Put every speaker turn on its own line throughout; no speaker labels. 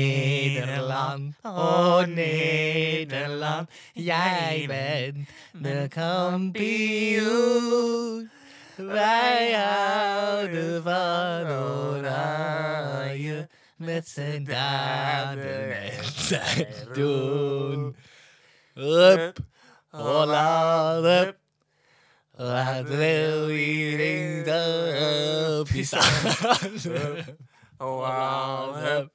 Nederland, oh Nederland, jij bent de kampioen. Wij houden van Oranje met zijn daden en zijn doen. Hup, Holland, hup. Laat wil iedereen de hulpje staan. Holland, Oh, hup.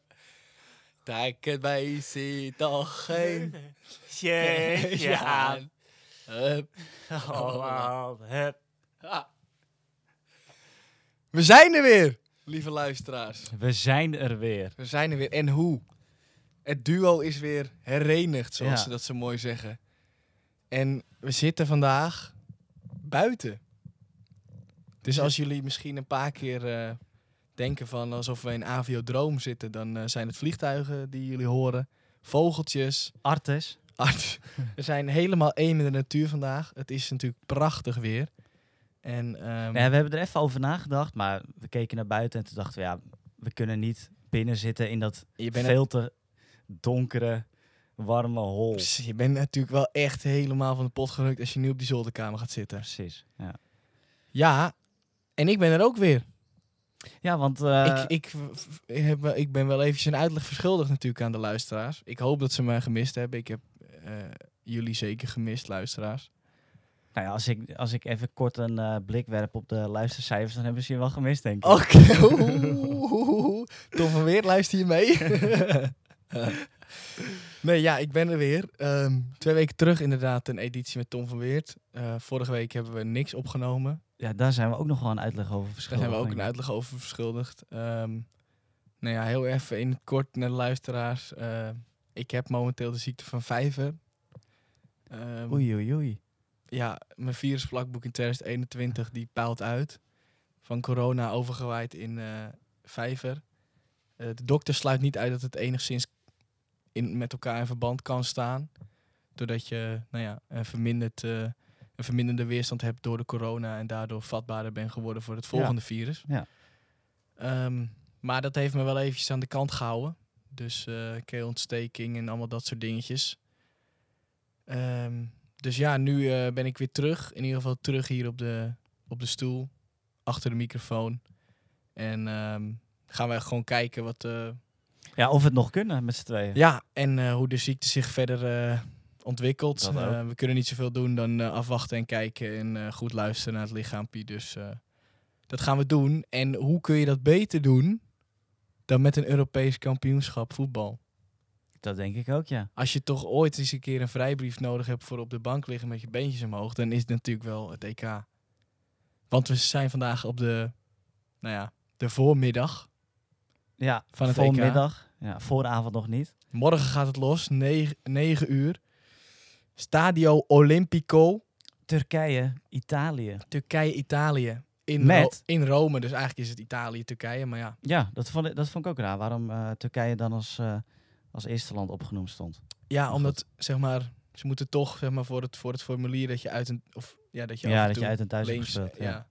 Daar kent mij zie toch geen
Jeetje aan.
Hup.
Oh, hup.
We zijn er weer, lieve luisteraars.
We zijn er weer.
We zijn er weer. En hoe? Het duo is weer herenigd, zoals
Ja.
ze dat zo mooi zeggen. En we zitten vandaag buiten. Dus als jullie misschien een paar keer eh, denken van alsof we in aviodroom zitten, dan eh, zijn het vliegtuigen die jullie horen, vogeltjes,
Artes.
Art. We zijn helemaal één in de natuur vandaag. Het is natuurlijk prachtig weer. En ehm,
Nee, we hebben er even over nagedacht, maar we keken naar buiten en toen dachten we, ja, we kunnen niet binnen zitten in dat
je, bent
veel te donkere, warme hol.
Pss, je bent natuurlijk wel echt helemaal van de pot gerukt als je nu op die zolderkamer gaat zitten.
Precies. Ja,
Ja, en ik ben er ook weer.
ja want eh,
ik, ik, v- v- ik, heb, wel- ik ben wel eventjes een uitleg verschuldigd natuurlijk aan de luisteraars. Ik hoop dat ze mij gemist hebben. Ik heb eh, jullie zeker gemist, luisteraars.
nou ja, als, ik, als ik even kort een eh, blik werp op de luistercijfers, dan hebben ze je wel gemist, denk ik.
Oké. Oeh. Tom van Weer, luister je mee? nee, ja, ik ben er weer. Ehm, twee weken terug inderdaad een editie met Tom van Weert. Eh, vorige week hebben we niks opgenomen.
Ja, daar zijn we ook nog wel een uitleg over
Daar
verschillend.
zijn we ook een
denk ik.
uitleg over verschuldigd. Ehm, nou ja, heel even in het kort naar de luisteraars. Ehm, ik heb momenteel de ziekte van vijver. Ehm,
Oei, oei, oei.
ja, mijn virusplakboek in 2021 die paalt uit. Van corona overgewaaid in eh, vijver. Eh, de dokter sluit niet uit dat het enigszins in, met elkaar in verband kan staan. Doordat je nou ja, een, verminderd, eh, een verminderde weerstand hebt door de corona en daardoor vatbaarder bent geworden voor het volgende virus.
Ja.
Ehm, maar dat heeft me wel eventjes aan de kant gehouden. Dus eh, keelontsteking en allemaal dat soort dingetjes. Ehm, dus ja, nu eh, ben ik weer terug. In ieder geval terug hier op de, op de stoel. Achter de microfoon. En ehm, gaan wij gewoon kijken wat. eh,
Ja, of we het nog kunnen met z'n tweeën.
ja, en eh, hoe de ziekte zich verder eh, ontwikkelt.
Dat ook.
Eh, we kunnen niet zoveel doen dan eh, afwachten en kijken. En eh, goed luisteren naar het lichaampje. Dus eh, dat gaan we doen. En hoe kun je dat beter doen dan met een Europees kampioenschap voetbal?
Dat denk ik ook, ja.
Als je toch ooit eens een keer een vrijbrief nodig hebt voor op de bank liggen met je beentjes omhoog, dan is het natuurlijk wel het EK. Want we zijn vandaag op de, nou ja, de voormiddag.
Ja,
Van het EK.
voormiddag. Ja, vooravond nog niet.
Morgen gaat het los, 9 uur. Stadio Olimpico,
Turkije, Italië.
Turkije-Italië. In,
Met?
Ro- in Rome, dus eigenlijk is het Italië-Turkije, maar ja.
Ja, dat vond ik, dat vond ik ook raar. Waarom eh, Turkije dan als, eh, als eerste land opgenoemd stond.
Ja,
goed.
omdat, zeg maar, ze moeten toch, zeg maar, voor het, voor het formulier dat je uit een, of ja, dat je af
ja,
en
dat
toe
je uit en thuis hebt
links,
gespeeld. Ja.
ja.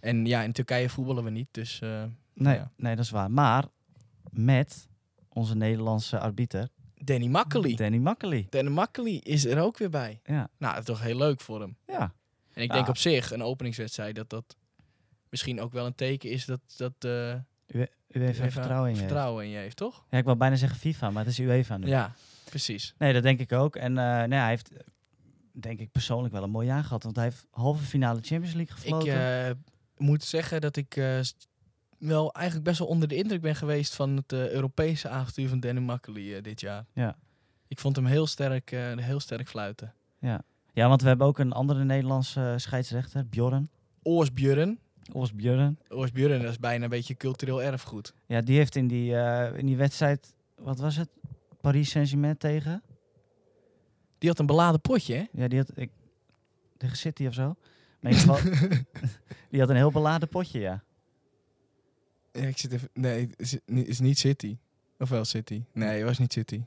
En ja, in Turkije voetballen we niet, dus... eh,
Nee,
Ja.
nee, dat is waar. Maar met onze Nederlandse arbiter,
Danny Makkely.
Danny Makkely.
Danny Makkely is er ook weer bij.
Ja,
Nou, dat is toch heel leuk voor hem.
ja.
En ik denk
Ja.
op zich, een openingswedstrijd, dat dat misschien ook wel een teken is dat, dat eh,
U heeft
UEFA
vertrouwen in je.
vertrouwen in je heeft, toch?
Ja, ik wil bijna zeggen FIFA, maar het is UEFA nu.
Ja, precies.
Nee, dat denk ik ook. En eh, nou ja, hij heeft, eh, denk ik persoonlijk, wel een mooi jaar gehad. Want hij heeft halve finale Champions League
Ik
gefloten.
eh, moet zeggen dat ik eh, st- wel eigenlijk best wel onder de indruk ben geweest van het eh, Europese avontuur van Danny Makkely eh, dit jaar.
Ja.
Ik vond hem heel sterk, eh, heel sterk fluiten.
Ja, want we hebben ook een andere Nederlandse eh, scheidsrechter, Bjorn.
Oorsbjörn.
Oors Bjorn.
Oorsbjörn, dat is bijna een beetje cultureel erfgoed.
Ja, die heeft in die, eh, in die wedstrijd, wat was het? Paris Saint-Germain tegen?
Die had een beladen potje, hè?
Ja, die had, ik, tegen City of zo. Maar in ieder geval, die had een heel beladen potje, ja.
Ja, ik zit even. Nee, het is, ni- is niet City. Of wel City? Nee, het was niet City.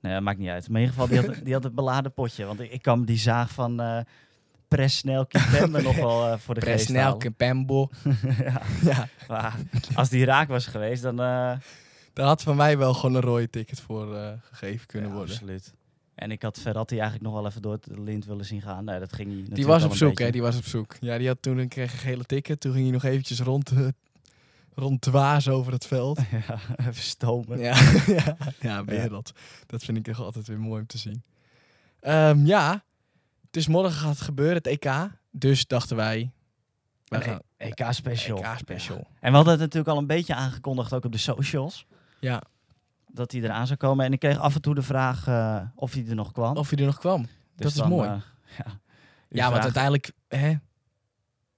Nee, dat maakt niet uit. Maar in ieder geval, die had, die had een beladen potje. Want ik, ik kwam die zaag van eh Pres Snel Kimpembe nog wel eh, voor de geest halen.
Pembo.
ja,
Ja,
maar als die raak was geweest, dan... eh,
Daar had van mij wel gewoon een rode ticket voor eh, gegeven kunnen
Ja,
worden.
Absoluut. En ik had Verratti eigenlijk nog wel even door het lint willen zien gaan. Nee, dat ging niet.
Die was op zoek, hè? Die was op zoek. Ja, die had toen een, kreeg een gele ticket. Toen ging hij nog eventjes rond, eh, rond dwaas over het veld.
ja, even stomen.
Ja, ja. ja weer dat. Dat vind ik toch altijd weer mooi om te zien. Ehm, ja, het is morgen gaat het gebeuren, het EK. Dus dachten wij... wij gaan-
Een EK special.
EK special.
Ja. En we hadden het natuurlijk al een beetje aangekondigd, ook op de socials,
Ja,
dat hij eraan zou komen. En ik kreeg af en toe de vraag eh, of hij er nog kwam.
of hij er nog kwam.
Dus
Oh, dat is
dan,
mooi.
eh, ja, U
Ja, want
vraagt-
uiteindelijk... Hè,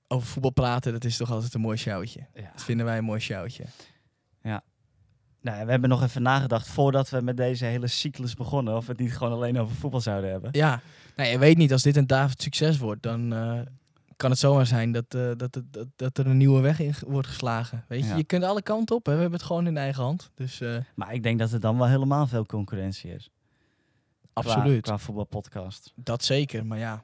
over voetbal praten, dat is toch altijd een mooi sjouwtje.
ja.
Dat vinden wij een mooi sjouwtje.
Nou, ja, we hebben nog even nagedacht voordat we met deze hele cyclus begonnen, of we het niet gewoon alleen over voetbal zouden hebben.
Ja, nou, je weet niet, als dit een David succes wordt, dan eh, kan het zomaar zijn dat, eh, dat, het- dat, dat er een nieuwe weg in ge- wordt geslagen. Weet je,
Ja.
je kunt alle kanten op. Hè? We hebben het gewoon in eigen hand. Dus eh,
Maar ik denk dat er dan wel helemaal veel concurrentie is. Qua-
absoluut,
Qua, voetbalpodcast.
dat zeker. Maar ja,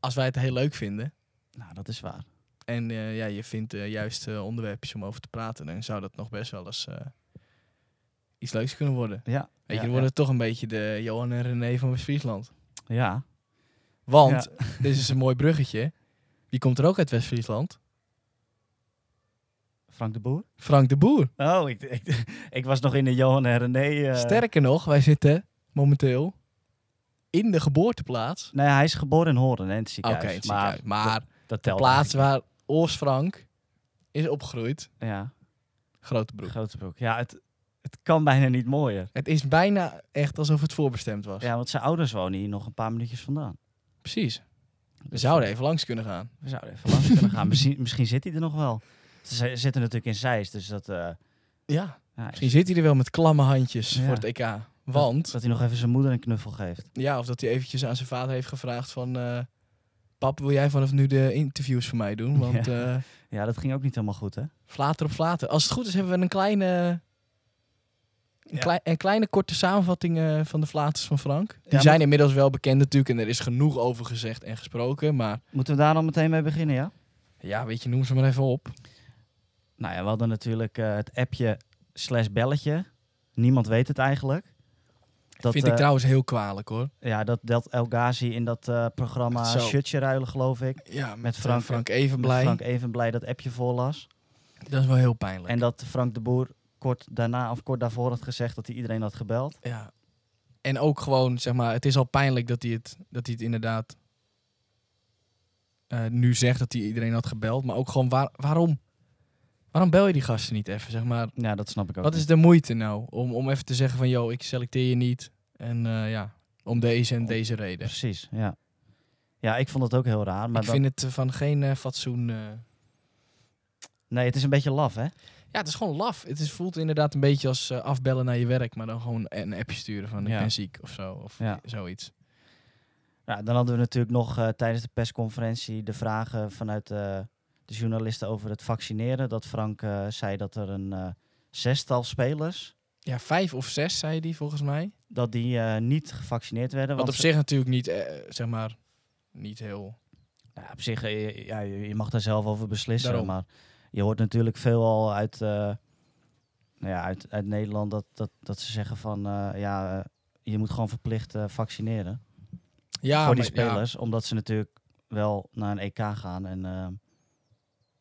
als wij het heel leuk vinden
Nou, dat is waar.
en eh, ja, je vindt eh, juist eh, onderwerpjes om over te praten, dan zou dat nog best wel eens eh, iets leuks kunnen worden.
Ja.
Weet
ja,
je, dan worden het toch een beetje de Johan en René van West-Friesland.
ja. ja.
Want, dit is een mooi bruggetje, wie komt er ook uit West-Friesland?
Frank de Boer?
Frank de Boer.
Oh, ik, ik, ik was nog in de Johan en René. eh,
Sterker nog, wij zitten momenteel in de geboorteplaats.
Nee, hij is geboren in Horen, hè, in het
Oké,
ziekenhuis.
het ziekenhuis.
Maar,
maar,
dat, dat
de
telt
plaats waar Oors Frank is opgegroeid,
eigenlijk. Ja,
grote broek.
grote broek. Ja, het, het kan bijna niet mooier.
Het is bijna echt alsof het voorbestemd was.
Ja, want zijn ouders wonen hier nog een paar minuutjes vandaan.
Precies. We
Dus,
zouden even langs kunnen gaan.
We zouden even langs kunnen gaan. Misschien, misschien zit hij er nog wel. Ze zitten natuurlijk in Zeist, dus dat... eh, ja,
Ja.
is-
Misschien zit hij er wel met klamme handjes
Ja.
voor het EK.
dat-
Want,
Dat, hij nog even zijn moeder een knuffel geeft.
ja, of dat hij eventjes aan zijn vader heeft gevraagd van... eh, Pap, wil jij vanaf nu de interviews voor mij doen? Want eh
Ja, dat ging ook niet helemaal goed, hè?
flater op flater. Als het goed is hebben we een kleine... Een,
Ja.
klei- een kleine korte samenvatting eh, van de flaters van Frank. Die
maar-
zijn inmiddels wel bekend natuurlijk en er is genoeg over gezegd en gesproken. Maar
Moeten we daar dan meteen mee beginnen, ja?
ja, weet je, noem ze maar even op.
Nou ja, we hadden natuurlijk eh, het appje slash belletje. Niemand weet het eigenlijk. Dat,
Vind
eh,
ik trouwens heel kwalijk hoor.
Ja, dat deelt El Ghazi in dat eh, programma
Zo.
Shirtje ruilen, geloof ik.
Ja, met,
met
eh,
Frank-
Frank, even
Met
blij.
Frank even blij dat appje voorlas.
Dat is wel heel pijnlijk.
En dat Frank de Boer kort daarna of kort daarvoor had gezegd dat hij iedereen had gebeld.
ja. en ook gewoon, zeg maar, het is al pijnlijk dat hij het, dat hij het inderdaad eh, nu zegt dat hij iedereen had gebeld. Maar ook gewoon, waar, waarom? Waarom bel je die gasten niet even, zeg maar?
Ja, dat snap ik ook.
Wat is
niet.
de moeite nou? Om, om even te zeggen van, yo, ik selecteer je niet. En eh, ja, om deze en deze reden.
Precies, ja. Ja, ik vond het ook heel raar. Maar
ik
dan-
vind het eh, van geen eh, fatsoen. eh.
Nee, het is een beetje laf, hè?
Ja, het is gewoon laf. Het is, voelt inderdaad een beetje als eh, afbellen naar je werk, maar dan gewoon een appje sturen van
Ja.
ik ben ziek of zo. Of
Ja.
zoiets.
Ja, dan hadden we natuurlijk nog eh, tijdens de persconferentie de vragen vanuit eh, de journalisten over het vaccineren. Dat Frank eh, zei dat er een eh, zestal spelers,
Ja, vijf of zes, zei die volgens mij.
dat die eh, niet gevaccineerd werden.
Wat
want
op
ze-
zich natuurlijk niet, eh, zeg maar, niet heel...
Ja, op zich, eh, ja, je je mag daar zelf over beslissen.
Daarom.
Maar je hoort natuurlijk veel al uit, eh, nou ja, uit, uit Nederland dat, dat, dat ze zeggen van eh, ja, eh, je moet gewoon verplicht eh, vaccineren
Ja,
voor die
maar- ja.
spelers. Omdat ze natuurlijk wel naar een EK gaan. En eh,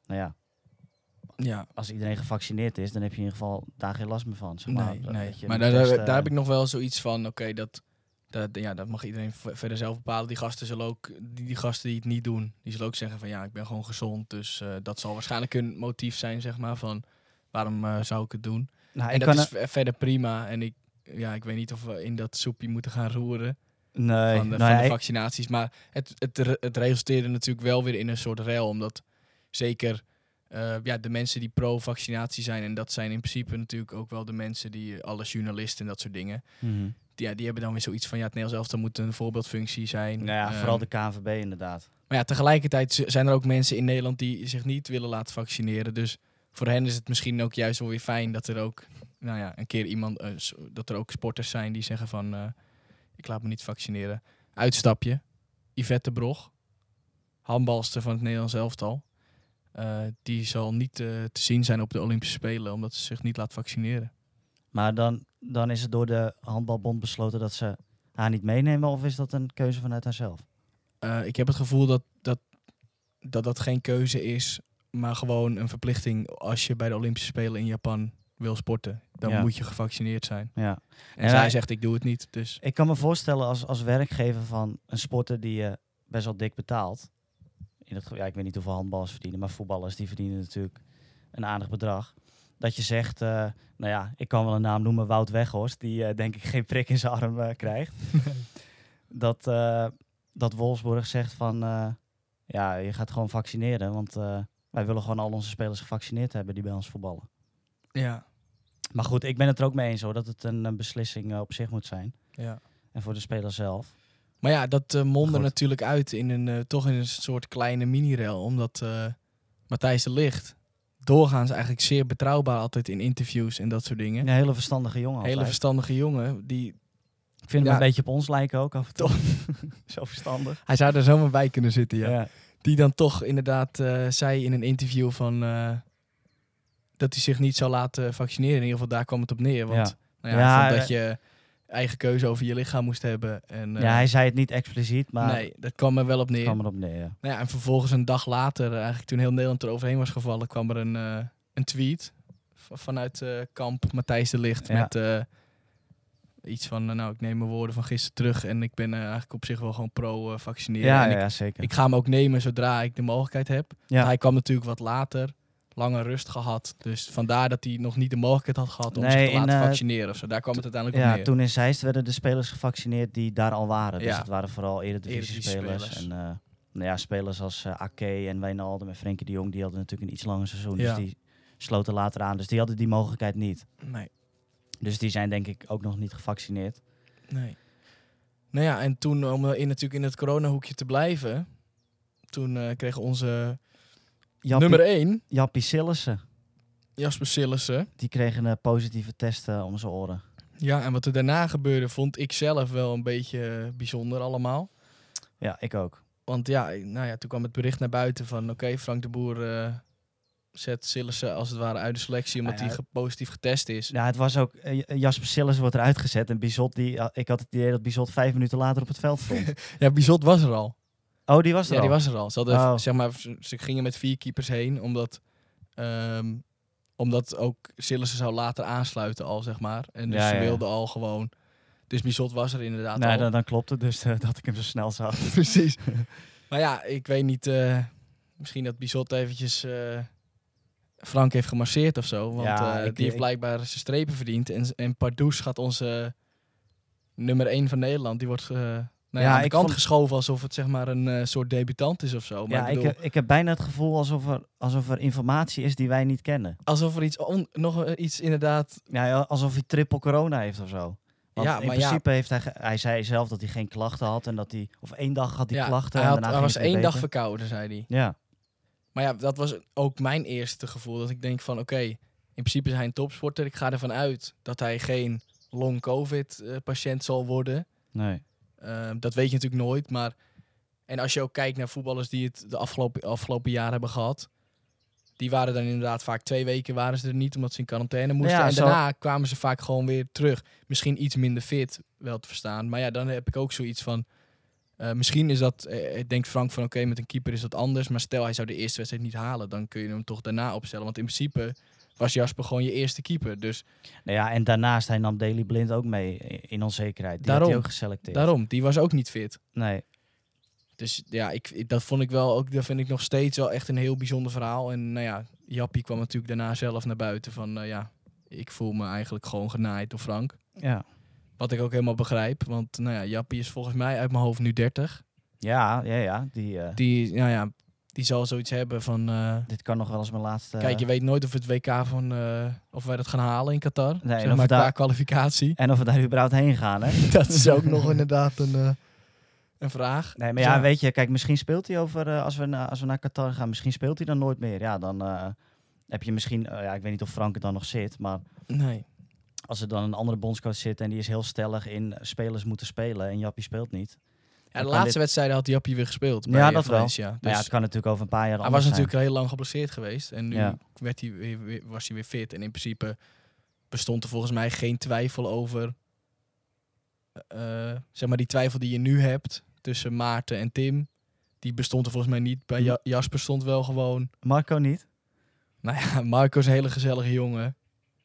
nou ja,
Ja,
als iedereen gevaccineerd is, dan heb je in ieder geval daar geen last meer van. Zeg maar
nee,
Dat-
nee.
dat je
Maar
moet
daar, daar,
testen.
daar heb ik nog wel zoiets van, oké, dat, dat, ja, dat mag iedereen v- verder zelf bepalen. Die gasten zullen ook, die, die gasten die het niet doen, die zullen ook zeggen van ja, ik ben gewoon gezond. Dus eh, dat zal waarschijnlijk hun motief zijn, zeg maar, van waarom eh, zou ik het doen?
Nou,
en
ik
dat
kan
is
er-
ver- verder prima. En ik, ja, ik weet niet of we in dat soepje moeten gaan roeren
nee,
van, de,
nou
van
ja,
de
ik-
vaccinaties. Maar het, het, re- het resulteerde natuurlijk wel weer in een soort rel. Omdat zeker eh, ja, de mensen die pro-vaccinatie zijn... en dat zijn in principe natuurlijk ook wel de mensen die... eh, alle journalisten en dat soort dingen...
Mhm.
die, ja, die hebben dan weer zoiets van... ja, het Nederlands elftal moet een voorbeeldfunctie zijn.
Nou ja,
Ehm,
vooral de KNVB inderdaad.
Maar ja, tegelijkertijd z- zijn er ook mensen in Nederland... die zich niet willen laten vaccineren. Dus voor hen is het misschien ook juist wel weer fijn... dat er ook nou ja, een keer iemand... eh, s- dat er ook sporters zijn die zeggen van... eh, ik laat me niet vaccineren. Uitstapje. Yvette de Brog, handbalster van het Nederlands elftal. Eh, die zal niet eh, te zien zijn op de Olympische Spelen omdat ze zich niet laat vaccineren.
Maar dan, dan is het door de handbalbond besloten dat ze haar niet meenemen. Of is dat een keuze vanuit haarzelf?
Eh, ik heb het gevoel dat dat, dat dat geen keuze is, maar gewoon een verplichting als je bij de Olympische Spelen in Japan wil sporten. Dan
Ja.
moet je gevaccineerd zijn.
Ja.
En,
En
zij
wij-
zegt ik doe het niet, dus
Ik kan me voorstellen als, als werkgever van een sporter die je best wel dik betaalt. In het, ge- ja, ik weet niet hoeveel handballers verdienen, maar voetballers die verdienen natuurlijk een aardig bedrag. Dat je zegt, eh, nou ja, ik kan wel een naam noemen, Wout Weghorst, die eh, denk ik geen prik in zijn arm eh, krijgt. dat, eh, dat Wolfsburg zegt van, eh, ja, je gaat gewoon vaccineren, want eh, wij willen gewoon al onze spelers gevaccineerd hebben die bij ons voetballen.
ja.
Maar goed, ik ben het er ook mee eens hoor, dat het een, eh, beslissing eh, op zich moet zijn.
ja.
En voor de speler zelf.
Maar ja, dat eh mondde
Goed.
natuurlijk uit in een, eh, toch in een soort kleine mini-rel. Omdat eh, Matthijs de Licht doorgaans eigenlijk zeer betrouwbaar altijd in interviews en dat soort dingen.
Een hele verstandige jongen altijd.
Hele verstandige jongen. Die,
ik vind hem
ja.
een beetje op ons lijken ook af en toe. Zo verstandig.
hij zou er zomaar bij kunnen zitten,
Ja.
Die dan toch inderdaad eh, zei in een interview van... eh, dat hij zich niet zou laten vaccineren. In ieder geval daar kwam het op neer. Want
Ja.
Nou ja, hij
Ja, eh,
vond dat je eigen keuze over je lichaam moest hebben. En, eh,
Ja, hij zei het niet expliciet, maar
Nee, dat kwam er wel op
het
neer.
kwam erop neer. ja.
Nou ja, en vervolgens een dag later, eigenlijk toen heel Nederland eroverheen was gevallen, kwam er een, eh, een tweet v- vanuit eh, kamp Matthijs de Licht
Ja.
met eh, iets van, eh, nou ik neem mijn woorden van gisteren terug en ik ben eh, eigenlijk op zich wel gewoon pro-vaccineren.
Ja,
en
ja,
ik,
ja, zeker.
ik ga hem ook nemen zodra ik de mogelijkheid heb.
ja.
Want Hij kwam natuurlijk wat later, lange rust gehad, dus vandaar dat hij nog niet de mogelijkheid had gehad om
Nee,
zich te
in,
laten
eh,
vaccineren of zo. Daar kwam het uiteindelijk op
ja,
neer.
toen in Zeist werden de spelers gevaccineerd die daar al waren. Dus
Ja.
het waren vooral eredivisie-spelers. En
Eredivisie-spelers.
eh, nou ja, spelers als eh Ake en Wijnaldum en Frenkie de Jong, die hadden natuurlijk een iets langer seizoen.
Ja.
Dus die sloten later aan. Dus die hadden die mogelijkheid niet.
Nee,
Dus die zijn denk ik ook nog niet gevaccineerd.
nee. Nou ja, en toen om eh, in, natuurlijk in het coronahoekje te blijven, toen eh kreeg onze...
Jappie,
Nummer 1,
Jappie Sillissen,
Jasper Sillissen.
die kregen een positieve test eh, om zijn oren.
Ja, en wat er daarna gebeurde vond ik zelf wel een beetje eh, bijzonder allemaal.
Ja, ik ook.
Want ja, ik- nou ja, toen kwam het bericht naar buiten van... oké, Frank de Boer eh, zet Sillissen als het ware uit de selectie... omdat
Nou ja,
hij ge- positief getest is.
Ja, het was ook... eh, J- Jasper Sillis wordt eruit gezet en Bizot, die, ah, ik had het idee dat Bizot vijf minuten later op het veld stond.
Ja, Bizot was er al.
oh, die was er
ja, die
al.
was er al. Ze, hadden,
Oh.
zeg maar, ze- ze gingen met vier keepers heen... omdat, ehm, omdat ook Sillissen zou later aansluiten al, zeg maar. En dus
Ja,
ze
ja.
wilden al gewoon... Dus Bizot was er inderdaad
Nou,
al.
dan, dan klopt het dus eh, dat ik hem zo snel zag.
Precies. maar ja, ik weet niet. eh, misschien dat Bizot eventjes eh, Frank heeft gemasseerd of zo. Want
Ja,
eh,
ik-
die heeft
ik-
blijkbaar zijn strepen verdiend. En, en Pardoes gaat onze nummer 1 van Nederland. Die wordt eh nou ja,
Ja,
aan de
ik
kant
vond-
geschoven alsof het zeg maar een eh, soort debutant is of zo. Maar
ja,
ik
ik,
bedoel,
heb- ik heb bijna het gevoel alsof er, alsof er informatie is die wij niet kennen.
alsof er iets, on- nog eh, iets inderdaad...
Ja, ja, alsof hij triple corona heeft of zo. Want
Ja,
in
maar ja.
principe heeft hij... ge- Hij zei zelf dat hij geen klachten had en dat hij... Of één dag had hij
ja,
klachten
hij,
en
had-
daarna
hij
ging
was
het weer
één dag
beter.
verkouden, zei hij.
Ja,
Maar ja, dat was ook mijn eerste gevoel. Dat ik denk van, oké, in principe is hij een topsporter. Ik ga ervan uit dat hij geen long-covid-patiënt zal worden.
nee.
Ehm, dat weet je natuurlijk nooit, maar... En als je ook kijkt naar voetballers die het de afgelopen, afgelopen jaren hebben gehad... Die waren dan inderdaad vaak twee weken waren ze er niet, omdat ze in quarantaine moesten.
Ja,
en
zo-
daarna kwamen ze vaak gewoon weer terug. Misschien iets minder fit, wel te verstaan. Maar ja, dan heb ik ook zoiets van... eh, misschien is dat, eh, eh, denkt Frank van oké, met een keeper is dat anders. Maar stel hij zou de eerste wedstrijd niet halen, dan kun je hem toch daarna opstellen. Want in principe was Jasper gewoon je eerste keeper. Dus
Nou ja, en daarnaast, hij nam Daily Blind ook mee in onzekerheid. Die had
Daarom.
hij ook geselecteerd.
daarom, die was ook niet fit.
Nee.
Dus ja, ik, ik- dat vond ik wel ook, dat vind ik nog steeds wel echt een heel bijzonder verhaal. En nou ja, Jappie kwam natuurlijk daarna zelf naar buiten van, nou ja, ik voel me eigenlijk gewoon genaaid door Frank.
Ja.
Wat ik ook helemaal begrijp, want nou ja, Jappie is volgens mij uit mijn hoofd nu 30.
Ja, ja, ja. Die, eh,
Die, nou ja, die zal zoiets hebben van, eh,
dit kan nog wel eens mijn laatste...
kijk, je weet nooit of het WK van, eh, of wij dat gaan halen in Qatar.
en
zeg
of
maar
daar-
qua kwalificatie.
eh, En of we daar überhaupt heen gaan, hè?
dat is ook nog inderdaad een, eh, een vraag.
Nee, maar
Dus
ja, weet je, kijk, misschien speelt hij over... eh, als, we na- als we naar Qatar gaan, misschien speelt hij dan nooit meer. Ja, dan eh, heb je misschien... eh, ja, ik weet niet of Frank er dan nog zit, maar...
Nee.
Als er dan een andere bondscoach zit en die is heel stellig in eh, spelers moeten spelen en Jappie speelt niet.
Ja, de
kan
laatste
dit-
wedstrijden had Jappie weer gespeeld.
Ja,
bij
dat wel.
Valencia. Dus
Maar ja, het kan natuurlijk over een paar jaar
Hij
anders
was
zijn.
natuurlijk heel lang geblesseerd geweest. En nu
Ja.
werd hij weer, weer- was hij weer fit. En in principe bestond er volgens mij geen twijfel over. eh, zeg maar die twijfel die je nu hebt tussen Maarten en Tim, die bestond er volgens mij niet. Bij Ja-
Mm-hmm.
Jasper stond wel gewoon.
Marco niet.
Nou ja, Marco is een hele gezellige jongen.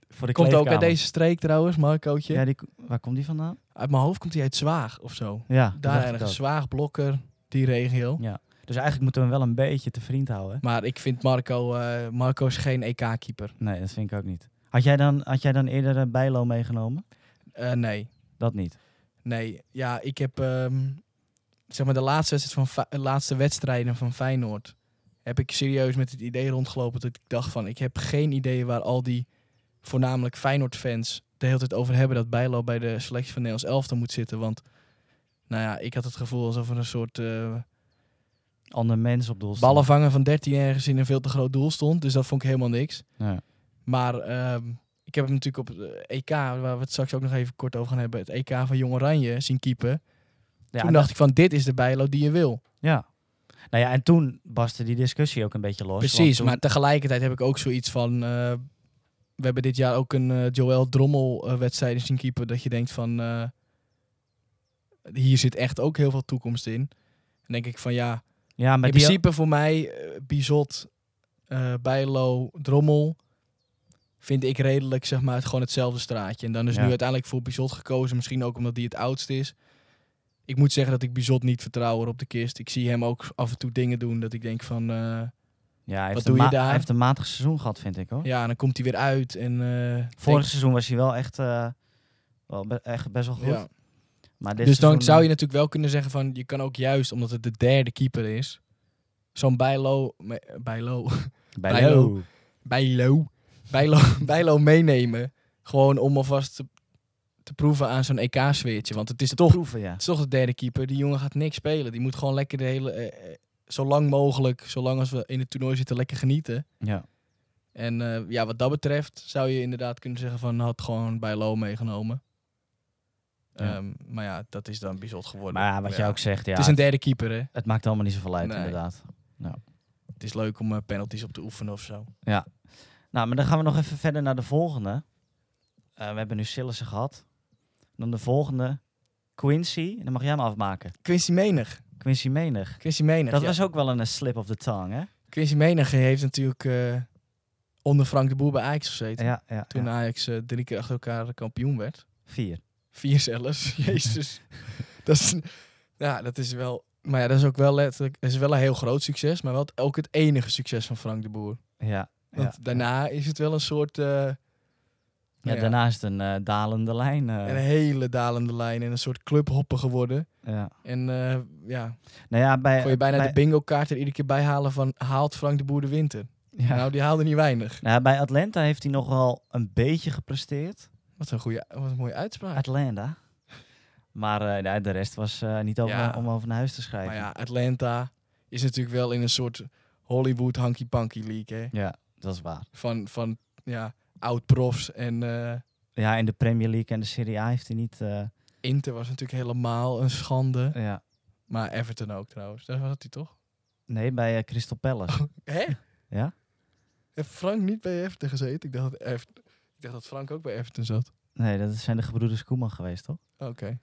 Voor de
Komt ook uit
kleedkamer.
deze streek trouwens, Marcootje.
Ja, die, ko- waar komt die vandaan?
Uit mijn hoofd komt hij uit Zwaag of zo.
Ja, dat dacht
Daar
ik
ergens,
ook.
Zwaag, Blokker, die regio.
Ja. Dus eigenlijk moeten we hem wel een beetje te vriend houden.
Maar ik vind Marco, eh, Marco is geen EK-keeper.
Nee, dat vind ik ook niet. Had jij dan, had jij dan eerder eh, Bijlo meegenomen?
Eh, nee,
Dat niet.
nee. Ja, ik heb ehm, zeg maar de laatste, wedstrijd van Fe- de laatste wedstrijden van Feyenoord... heb ik serieus met het idee rondgelopen dat ik dacht van... ik heb geen idee waar al die voornamelijk Feyenoord-fans de hele tijd over hebben... dat Bijlo bij de selectie van Nederlands elftal moet zitten. Want nou ja, ik had het gevoel alsof er een soort... eh,
Ander mens op doel staan.
ballen vangen van 13 ergens in een veel te groot doel stond. Dus dat vond ik helemaal niks.
Ja.
Maar ehm, ik heb hem natuurlijk op het EK, waar we het straks ook nog even kort over gaan hebben, het EK van Jong Oranje zien keepen.
Ja,
Toen
dat-
dacht ik van, dit is de bijlo die je wil.
Ja. Nou ja, en toen barstte die discussie ook een beetje los. want
Precies,
toen-
maar tegelijkertijd heb ik ook zoiets van, eh, we hebben dit jaar ook een eh, Joël Drommel eh, wedstrijd zien keepen, dat je denkt van, eh, hier zit echt ook heel veel toekomst in. Dan denk ik van, ja,
Ja, maar
in
die-
principe voor mij eh, Bizot, eh, Bijlo, Drommel vind ik redelijk zeg maar het gewoon hetzelfde straatje. En dan is
Ja.
nu uiteindelijk voor Bizot gekozen, misschien ook omdat hij het oudst is. Ik moet zeggen dat ik Bizot niet vertrouw hoor, op de kist. Ik zie hem ook af en toe dingen doen dat ik denk van eh,
ja, hij heeft
wat
een
doe je
ma-
daar?
Hij heeft een matig seizoen gehad, vind ik hoor.
ja, en dan komt hij weer uit en eh,
Vorig
denk-
seizoen was hij wel echt, eh, wel be- echt best wel goed.
ja.
Maar dit
Dus dan
seizoen,
zou je
eh,
natuurlijk wel kunnen zeggen van je kan ook juist omdat het de derde keeper is, zo'n Bijlo, me- Bijlo,
eh,
Bijlo.
Bijlo.
Bijlo, Bijlo, Bijlo meenemen. Gewoon om alvast te, te proeven aan zo'n EK-sfeertje. Want het is, toch, het
Proeven, ja.
is toch de derde keeper. Die jongen gaat niks spelen. Die moet gewoon lekker de hele... eh, eh, zo lang mogelijk, zolang als we in het toernooi zitten, lekker genieten.
ja.
En eh, ja, wat dat betreft zou je inderdaad kunnen zeggen van... had gewoon Bijlo meegenomen.
Ja.
Ehm, maar ja, dat is dan bijzonder geworden.
Maar ja, wat
Ja.
jij ook zegt, ja,
Het is een derde keeper, hè.
het maakt allemaal niet zoveel uit,
Nee.
inderdaad.
Het is leuk om eh, penalties op te oefenen of zo.
Nou, maar dan gaan we nog even verder naar de volgende. Eh, we hebben nu Sillissen gehad. Dan de volgende, Quincy. En dan mag jij hem afmaken.
Quincy Menig.
Quincy Menig.
Quincy Menig,
Dat
ja.
was ook wel een eh, slip of the tongue, hè?
Quincy Menige heeft natuurlijk eh, onder Frank de Boer bij Ajax gezeten.
Ja, ja.
Toen
ja.
Ajax eh, drie keer achter elkaar kampioen werd.
Vier.
Vier zelfs. Jezus. dat, is, ja, dat is wel... Maar ja, dat is ook wel letterlijk... Dat is wel een heel groot succes, maar wel het- ook het enige succes van Frank de Boer.
Ja.
Want
ja.
daarna is het wel een soort... eh,
Ja,
nou ja,
daarna is het een eh, dalende lijn. eh,
Een hele dalende lijn en een soort clubhopper geworden.
ja.
En eh, ja,
Nou ja, bij...
kon je bijna
bij,
de bingo kaart er iedere keer bij halen van... Haalt Frank de Boer de winter?
ja.
Nou, die haalde niet weinig.
Nou ja, bij Atlanta heeft hij nog wel een beetje gepresteerd.
Wat een, goede, wat een mooie uitspraak.
Atlanta. Maar eh, nou, de rest was eh, niet over,
Ja.
om over naar huis te schrijven.
Maar ja, Atlanta is natuurlijk wel in een soort Hollywood hanky-panky league. Hè?
Ja, dat is waar.
Van, van ja, oud-profs en eh,
Ja, in de Premier League en de Serie A heeft hij niet... eh,
Inter was natuurlijk helemaal een schande.
ja.
Maar Everton ook trouwens. Daar was hij toch?
Nee, bij eh, Crystal Palace.
Hè?
Ja?
Heeft Frank niet bij Everton gezeten? Ik dacht dat, Ever- Ik dacht dat Frank ook bij Everton zat.
Nee, dat zijn de gebroeders Koeman geweest, toch?
Oké.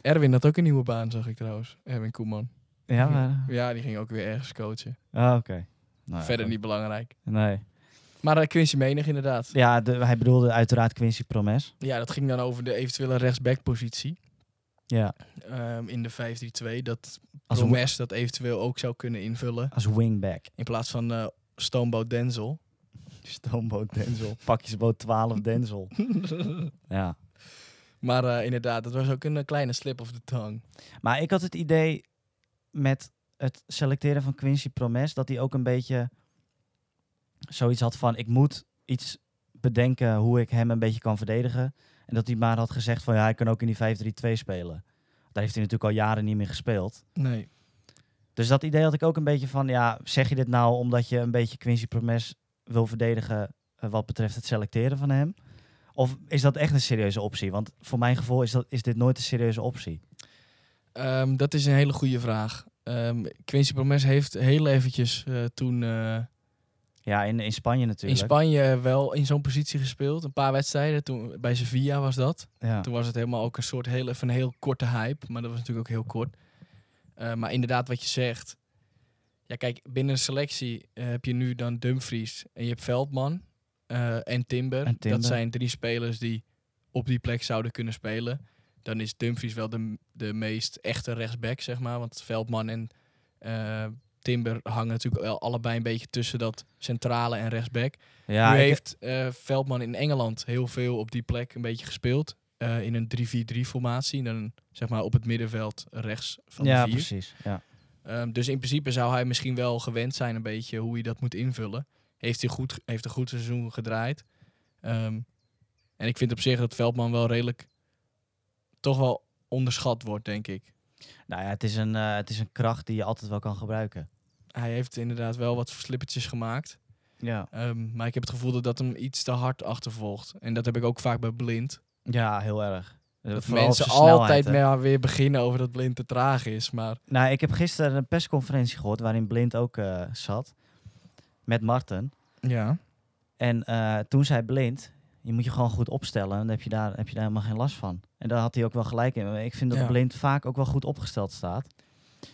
Erwin had ook een nieuwe baan, zag ik trouwens. Erwin Koeman.
Ja, maar...
Ja, die ging ook weer ergens coachen.
Ah, oké. Nou ja,
Verder
goed.
niet belangrijk.
Nee.
Maar eh, Quincy Menig inderdaad.
Ja, de- hij bedoelde uiteraard Quincy Promes.
Ja, dat ging dan over de eventuele rechtsbackpositie.
Ja,
ehm, in de 5-3-2. Dat
als, wi-
Promes dat eventueel ook zou kunnen invullen.
als wingback.
In plaats van eh Stoomboot Denzel.
Stoomboot Denzel. Pakjesboot 12 Denzel. ja.
Maar eh, inderdaad, dat was ook een eh, kleine slip of the tongue.
Maar ik had het idee met het selecteren van Quincy Promes dat hij ook een beetje zoiets had van: ik moet iets bedenken hoe ik hem een beetje kan verdedigen. En dat hij maar had gezegd van ja, hij kan ook in die 5-3-2 spelen. Daar heeft hij natuurlijk al jaren niet meer gespeeld.
Nee.
Dus dat idee had ik ook een beetje van: ja, zeg je dit nou omdat je een beetje Quincy Promes wil verdedigen eh, wat betreft het selecteren van hem? Of is dat echt een serieuze optie? Want voor mijn gevoel is, dat, is dit nooit een serieuze optie.
Ehm, dat is een hele goede vraag. Ehm, Quincy Promes heeft heel eventjes eh, toen eh,
Ja, in, in Spanje
In
natuurlijk.
Spanje wel in zo'n positie gespeeld. Een paar wedstrijden. Toen, bij Sevilla was dat.
ja.
Toen was het helemaal ook een soort heel, even een heel korte hype. Maar dat was natuurlijk ook heel kort. Eh, maar inderdaad, wat je zegt. Ja, kijk, binnen een selectie eh, heb je nu dan Dumfries en je hebt Veldman eh, en, Timber.
En Timber.
Dat zijn drie spelers die op die plek zouden kunnen spelen. Dan is Dumfries wel de, de meest echte rechtsback, zeg maar. Want Veldman en eh, Timber hangen natuurlijk wel allebei een beetje tussen dat centrale en rechtsback
ja,
nu
ik-
heeft eh, Veldman in Engeland heel veel op die plek een beetje gespeeld. eh, in een 3-4-3 formatie. Dan zeg maar op het middenveld rechts van
ja,
de vier.
precies. Ja.
Ehm, dus in principe zou hij misschien wel gewend zijn een beetje hoe hij dat moet invullen. Heeft hij goed, heeft een goed seizoen gedraaid. Ehm, en ik vind op zich dat Veldman wel redelijk toch wel onderschat wordt, denk ik.
Nou ja, het is, een, eh, het is een kracht die je altijd wel kan gebruiken.
Hij heeft inderdaad wel wat slippertjes gemaakt.
Ja,
Ehm, maar ik heb het gevoel dat dat hem iets te hard achtervolgt. En dat heb ik ook vaak bij Blind.
ja heel erg. Eh,
Dat
vooral op
mensen
zijn snelheid,
altijd
hè.
maar weer beginnen over dat blind te traag is. Maar
Nou, ik heb gisteren een persconferentie gehoord waarin Blind ook eh, zat. Met Marten.
ja.
En eh, toen zei Blind, je moet je gewoon goed opstellen. Dan heb je daar, heb je daar helemaal geen last van. En daar had hij ook wel gelijk in. Ik vind dat
Ja.
Blind vaak ook wel goed opgesteld staat.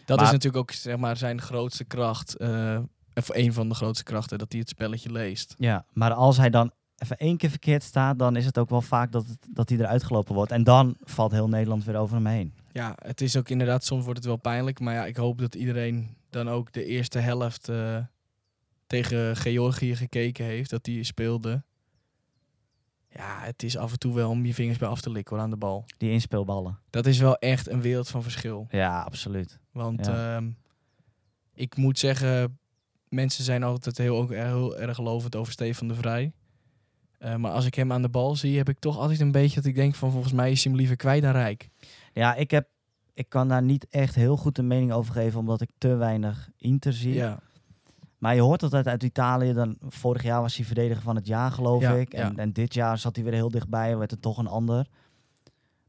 dat
Maar-
is natuurlijk ook zeg maar, zijn grootste kracht. eh, of een van de grootste krachten, dat hij het spelletje leest.
Ja, maar als hij dan even één keer verkeerd staat, dan is het ook wel vaak dat, het, dat hij eruit gelopen wordt. En dan valt heel Nederland weer over hem heen.
Ja, het is ook inderdaad, soms wordt het wel pijnlijk. Maar ja, ik hoop dat iedereen dan ook de eerste helft eh, tegen Georgië gekeken heeft. Dat die speelde. Ja, het is af en toe wel om je vingers bij af te likken hoor, aan de bal.
Die inspeelballen.
Dat is wel echt een wereld van verschil.
Ja, absoluut.
Want
Ja.
ehm, ik moet zeggen, mensen zijn altijd heel, ook heel erg lovend over Stefan de Vrij. Eh, maar als ik hem aan de bal zie, heb ik toch altijd een beetje dat ik denk van volgens mij is hij hem liever kwijt dan rijk.
Ja, ik, heb, ik kan daar niet echt heel goed een mening over geven, omdat ik te weinig Inter zie.
Ja,
Maar je hoort altijd uit Italië. Dan, vorig jaar was hij verdediger van het jaar, geloof
Ja,
ik. En,
ja.
en dit jaar zat hij weer heel dichtbij, werd het toch een ander.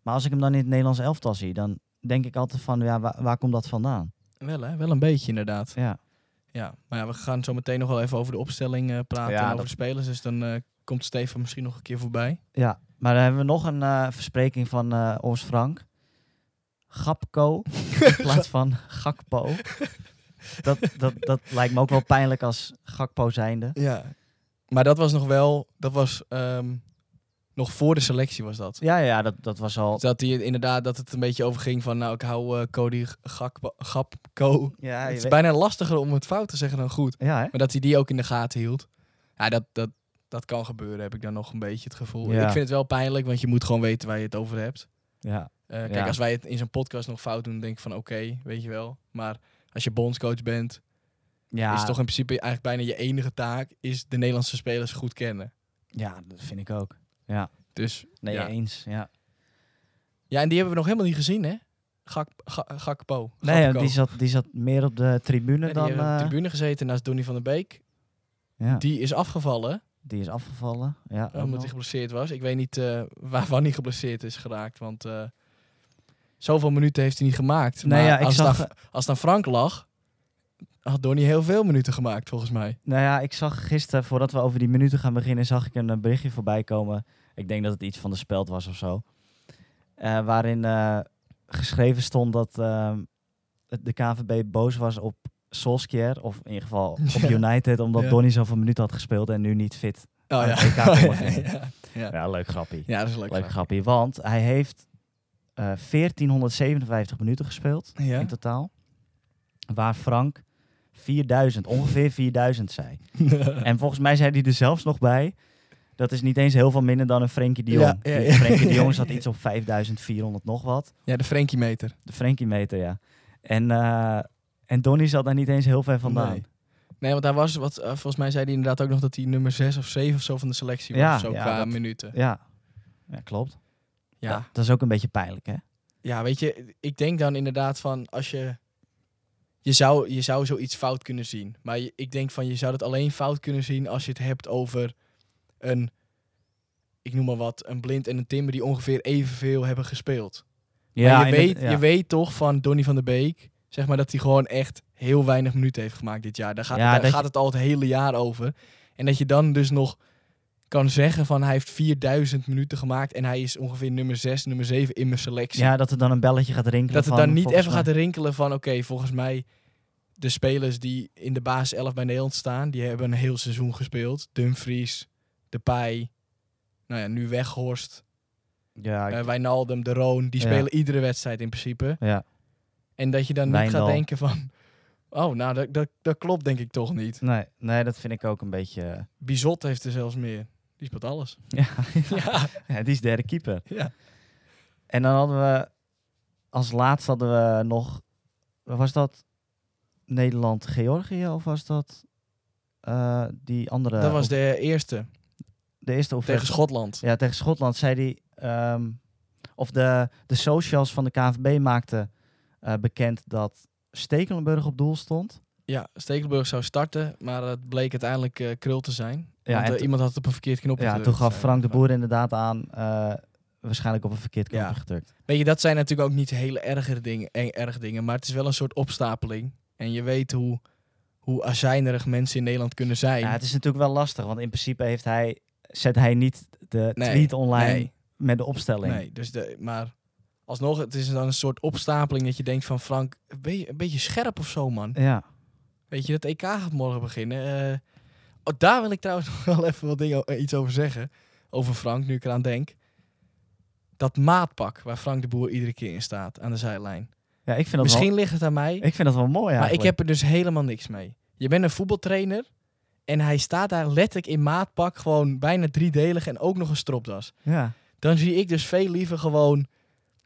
Maar als ik hem dan in het Nederlands elftal zie, dan denk ik altijd van, ja, waar, waar komt dat vandaan?
wel hè, wel een beetje inderdaad.
Ja,
Ja, maar ja, we gaan zo meteen nog wel even over de opstelling eh, praten
Ja,
en over
dat-
de spelers. Dus dan eh, komt Stefan misschien nog een keer voorbij.
ja. maar dan hebben we nog een eh, verspreking van eh Ors Frank. Gapko in plaats van Gakpo. Dat, dat, dat lijkt me ook wel pijnlijk als Gakpo zijnde.
Ja. Maar dat was nog wel, dat was ehm, nog voor de selectie was dat.
Ja, ja, dat, dat was al...
Dat hij inderdaad, dat het een beetje overging van nou ik hou eh, Cody Gakpo- Gapko
Ja, je
het is
weet-
bijna lastiger om het fout te zeggen dan goed.
ja, hè?
Maar dat hij die ook in de gaten hield. Ja, dat, dat, dat kan gebeuren, heb ik dan nog een beetje het gevoel.
Ja.
Ik vind het wel pijnlijk, want je moet gewoon weten waar je het over hebt.
ja.
Eh, kijk,
Ja.
als wij het in zo'n podcast nog fout doen, denk ik van oké, weet je wel. Maar als je bondscoach bent,
Ja,
is toch in principe eigenlijk bijna je enige taak... is de Nederlandse spelers goed kennen.
ja, dat vind ik ook.
Dus
Nee,
Ja.
eens. Ja.
ja, en die hebben we nog helemaal niet gezien, hè? Gak, Ga- Gakpo.
Nee, ja,
Gakpo.
die zat, die zat meer op de tribune
Ja, die
dan.
hebben op de
eh,
tribune gezeten naast Donny van der Beek.
ja, die,
Die is afgevallen. eh,
is afgevallen. Ja, ook
omdat
nog.
hij geblesseerd was. Ik weet niet eh, waarvan hij geblesseerd is geraakt. Want eh, zoveel minuten heeft hij niet gemaakt.
Nee,
maar
ja, ik
als,
zag-
het aan, als het aan Frank lag, had Donny heel veel minuten gemaakt, volgens mij.
Nou ja, ik zag gisteren, voordat we over die minuten gaan beginnen, zag ik een eh, berichtje voorbij komen. Ik denk dat het iets van de speld was of zo. Eh, waarin eh, geschreven stond dat ehm, het- de KVB boos was op Solskjaer. Of in ieder geval op
Ja.
United, omdat
Ja.
Donny zoveel minuten had gespeeld en nu niet fit.
Oh
Ah,
ja.
ik had hem nog niet.
ja. Ja.
Ja, leuk grappie.
Ja, dat is leuk.
leuk grappie, want hij heeft eh 1457 minuten gespeeld.
Ja?
in totaal. Waar Frank 4000, ongeveer 4000 zei. en volgens mij zei hij er zelfs nog bij. Dat is niet eens heel veel minder dan een Frenkie de Jong.
Ja, ja, ja.
Frenkie de Jong zat iets op 5400 nog wat.
ja, de Frenkie-meter.
De Frenkie meter, ja. En, eh en Donny zat daar niet eens heel ver vandaan.
Nee. Nee, want hij was, wat, eh, volgens mij zei hij inderdaad ook nog dat hij nummer 6 of 7 of zo van de selectie was.
Ja,
of zo
ja,
qua
dat-
minuten.
Ja. ja, klopt.
Ja.
Dat is ook een beetje pijnlijk, hè?
Ja, weet je, ik denk dan inderdaad van als je. Je zou, je zou zoiets fout kunnen zien. Maar je- ik denk van je zou dat alleen fout kunnen zien als je het hebt over een. Ik noem maar wat, een blind en een timber die ongeveer evenveel hebben gespeeld. Maar je, weet,
inderdaad, ja.
je weet toch van Donny van der Beek. Zeg maar dat hij gewoon echt heel weinig minuten heeft gemaakt dit jaar. Daar gaat,
Ja,
daar
dat
gaat
je-
het al het hele jaar over. En dat je dan dus nog kan zeggen van hij heeft 4000 minuten gemaakt en hij is ongeveer nummer 6, nummer 7 in mijn selectie.
Ja, dat er dan een belletje gaat rinkelen.
dat het
van,
dan niet
volgens
even
mij-
gaat rinkelen van oké, volgens mij de spelers die in de basis 11 bij Nederland staan, die hebben een heel seizoen gespeeld. Dumfries, Depay, nou ja, nu Weghorst,
Ja, ik-
eh, Wijnaldum, De Roon, die
Ja.
spelen iedere wedstrijd in principe.
ja.
En dat je dan niet
Wijndal.
gaat denken van, oh nou, dat, dat, dat klopt denk ik toch niet.
Nee, nee, dat vind ik ook een beetje... eh,
Bizot heeft er zelfs meer. Die speelt alles.
Ja,
Ja,
ja, die is derde keeper.
ja.
En dan hadden we... Als laatste hadden we nog... Was dat Nederland-Georgië of was dat eh, die andere...
dat was
of-
de eerste
de eerste of
tegen Schotland.
Ja, tegen Schotland zei hij... ehm, of de, de socials van de KNVB maakten eh, bekend dat Stekelenburg op doel stond.
Ja, Stekelenburg zou starten, maar het bleek uiteindelijk eh, krul te zijn.
Ja,
want
en
eh,
to-
iemand had het op een verkeerd knopje
Ja,
gedrukt.
toen gaf
Eh,
Frank de
maar-
Boer inderdaad aan... eh, waarschijnlijk op een verkeerd knopje
Ja.
gedrukt.
Weet je, dat zijn natuurlijk ook niet hele erge dingen, eng- erg dingen, maar het is wel een soort opstapeling. En je weet hoe, hoe azijnerig mensen in Nederland kunnen zijn.
Ja, het is natuurlijk wel lastig, want in principe heeft hij, zet hij niet de
Nee,
tweet online
nee,
met de opstelling.
nee. Dus de, maar alsnog, het is dan een soort opstapeling dat je denkt van Frank, ben je een beetje scherp of zo, man.
Ja.
Weet je, dat EK gaat morgen beginnen. Eh, oh, daar wil ik trouwens nog wel even wat dingen, eh, iets over zeggen. Over Frank, nu ik eraan denk. Dat maatpak waar Frank de Boer iedere keer in staat aan de zijlijn.
ja, ik vind dat,
Misschien
wel,
ligt het aan mij,
ik vind dat wel mooi
maar ik
eigenlijk.
heb er dus helemaal niks mee. Je bent een voetbaltrainer en hij staat daar letterlijk in maatpak gewoon bijna driedelig en ook nog een stropdas.
Ja,
Dan zie ik dus veel liever gewoon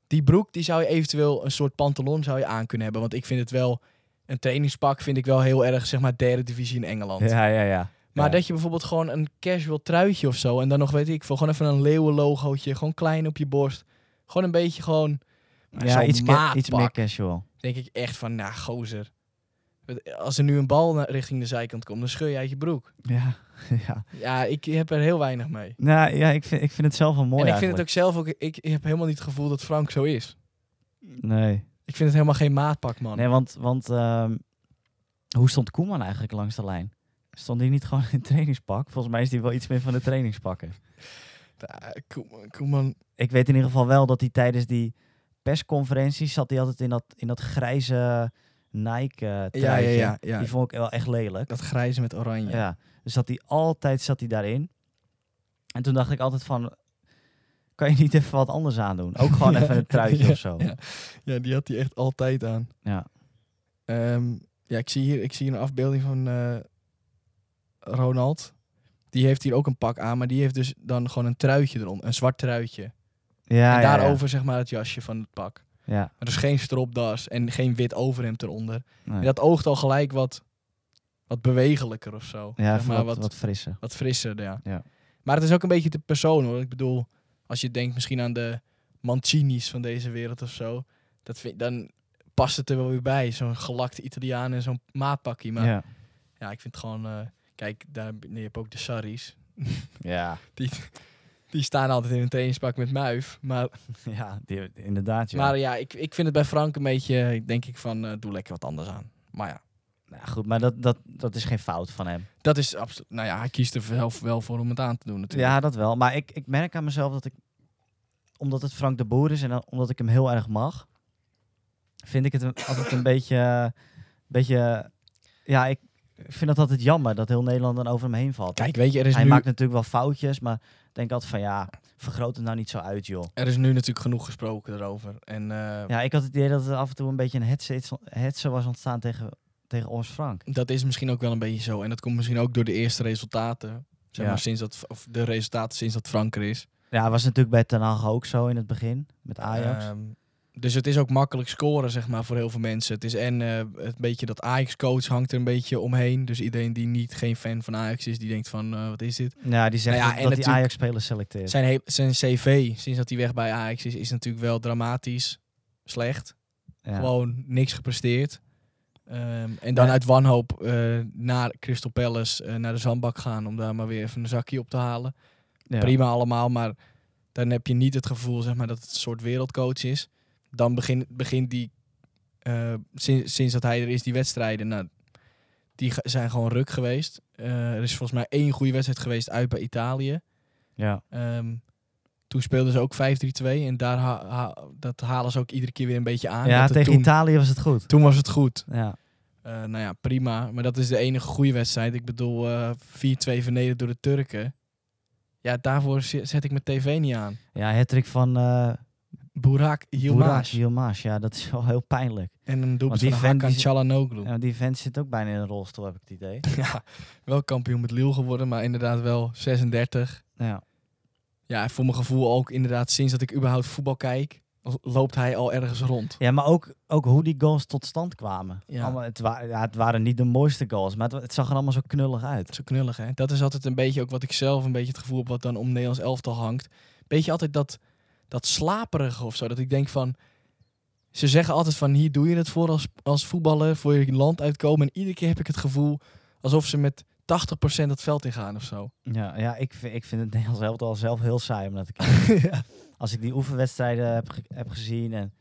die broek, die zou je eventueel een soort pantalon zou je aan kunnen hebben. Want ik vind het wel, een trainingspak vind ik wel heel erg, zeg maar, derde divisie in Engeland.
ja, ja. ja.
Maar
Ja.
dat je bijvoorbeeld gewoon een casual truitje of zo. En dan nog, weet ik veel, gewoon even een leeuwenlogootje. Gewoon klein op je borst. Gewoon een beetje gewoon... Maar
ja
zo'n
iets, ca- iets
maatpak,
meer casual.
denk ik echt van, nou gozer. Wat- Als er nu een bal naar- richting de zijkant komt, dan scheur je uit je broek.
Ja, ja.
Ja, ik heb er heel weinig mee.
Nou ja, ik vind, ik vind het zelf wel mooi
en ik vind het
eigenlijk.
ook zelf ook... Ik, ik heb helemaal niet het gevoel dat Frank zo is.
ook... Nee,
Ik vind het helemaal geen maatpak, man.
nee want, want ehm, hoe stond Koeman eigenlijk langs de lijn? Stond hij niet gewoon in een trainingspak? Volgens mij is hij wel iets meer van de trainingspakken.
Ja, Koeman, Eh, Koeman.
Ik weet in ieder geval wel dat hij tijdens die persconferenties zat hij altijd in dat, in dat grijze Nike eh,
Ja, ja,
truitje.
ja, ja.
Die vond ik wel echt lelijk.
Dat grijze met oranje.
Ja. Dus zat hij altijd zat hij daarin. En toen dacht ik altijd van, kan je niet even wat anders aandoen? Ook gewoon even een truitje
Ja,
of zo.
ja. ja, die had hij echt altijd aan.
Ja.
Ehm, ja, ik zie, hier, ik zie hier een afbeelding van eh, Ronald. Die heeft hier ook een pak aan, maar die heeft dus dan gewoon een truitje eronder. Een zwart truitje.
Ja,
en
ja,
daarover zeg maar het jasje van het pak.
Ja, ja.
Maar dus geen stropdas en geen wit overhemd eronder.
Nee.
En dat oogt al gelijk wat, wat bewegelijker of zo.
ja
zeg
even
maar
wat,
wat,
wat frisser.
wat frisser, ja.
Ja.
Maar het is ook een beetje de persoon, hoor. Ik bedoel, als je denkt misschien aan de Mancini's van deze wereld of zo. Dat vind, dan past het er wel weer bij. Zo'n gelakte Italiaan en zo'n maatpakkie. Maar
ja.
ja, ik vind het gewoon... eh, kijk, daar, heb- je hebt ook de Sarri's.
Ja.
Die staan altijd in een trainingspak met muif. Maar
ja, die- inderdaad. Ja.
maar ja, ik, ik vind het bij Frank een beetje... ik Denk ik van, eh, doe lekker wat anders aan. Maar ja,
Nou, goed, maar dat, dat, dat is geen fout van hem.
dat is absoluut... Nou ja, hij kiest er zelf wel voor om het aan te doen natuurlijk.
Ja, dat wel. Maar ik, ik merk aan mezelf dat ik, omdat het Frank de Boer is en dan- omdat ik hem heel erg mag, vind ik het een- altijd een beetje, eh, beetje, ja, ik vind dat altijd jammer dat heel Nederland dan over hem heen valt.
Kijk, weet je, er is,
Hij
nu,
maakt natuurlijk wel foutjes, maar ik denk altijd van ja, vergroot het nou niet zo uit, joh.
er is nu natuurlijk genoeg gesproken erover. En eh,
Ja, ik had het idee dat het af en toe een beetje een hetze, hetze was ontstaan tegen, tegen ons Frank.
Dat is misschien ook wel een beetje zo. En dat komt misschien ook door de eerste resultaten. Zeg
Ja.
maar, sinds dat, of de resultaten sinds dat Frank er is.
Ja, was natuurlijk bij Ten Hag ook zo in het begin, met Ajax.
Ehm, dus het is ook makkelijk scoren, zeg maar, voor heel veel mensen. Het is en eh, het beetje dat Ajax-coach hangt er een beetje omheen. Dus iedereen die niet geen fan van Ajax is, die denkt van, eh, wat is dit?
ja, die zegt
nou
dat, dat
ja, en
die
natuurlijk-
Ajax-spelers selecteert.
Zijn, he- zijn cv, sinds dat hij weg bij Ajax is, is natuurlijk wel dramatisch slecht.
Ja.
Gewoon niks gepresteerd. Ehm, en dan
Nee.
uit wanhoop eh, naar Crystal Palace, eh, naar de zandbak gaan... om daar maar weer even een zakje op te halen.
Ja.
prima allemaal, maar dan heb je niet het gevoel zeg maar, dat het een soort wereldcoach is. Dan begint begint die eh, sinds, sinds dat hij er is, die wedstrijden, nou, die ge- zijn gewoon ruk geweest. Eh, er is volgens mij één goede wedstrijd geweest uit bij Italië.
Ja.
Ehm, toen speelden ze ook 5-3-2 en daar ha- ha- dat halen ze ook iedere keer weer een beetje aan.
ja,
dat het
tegen
toen,
Italië was het goed.
toen was het goed.
Ja.
Eh, nou ja, prima. Maar dat is de enige goede wedstrijd. Ik bedoel, eh 4-2 vernederd door de Turken. Ja, daarvoor z- zet ik mijn tv niet aan.
Ja, hattrick van eh
Burak
Burak
Yilmaz.
Yilmaz. Ja, dat is wel heel pijnlijk.
En een
Want
doelpunt
die
van
vent
Hakan
die-
Çalhanoğlu.
Ja, die vent zit ook bijna in een rolstoel, heb ik het idee.
Ja, wel kampioen met Lille geworden, maar inderdaad wel 36.
Ja.
Ja, en voor mijn gevoel ook inderdaad sinds dat ik überhaupt voetbal kijk, lo- loopt hij al ergens rond.
Ja, maar ook, ook hoe die goals tot stand kwamen.
Ja.
Allemaal, het, wa- ja, het waren niet de mooiste goals, maar het, het zag er allemaal zo knullig uit.
Zo knullig, hè? Dat is altijd een beetje ook wat ik zelf een beetje het gevoel heb wat dan om Nederlands elftal hangt. Beetje altijd dat, dat slaperige of zo. Dat ik denk van... Ze zeggen altijd van hier doe je het voor als, als voetballer, voor je land uitkomen. En iedere keer heb ik het gevoel alsof ze met 80% het veld ingaan of zo.
Ja, ja ik, vind- ik vind het Nederlands elftal al zelf heel saai om naar te kijken.
ja.
Als ik die oefenwedstrijden heb, ge- heb gezien en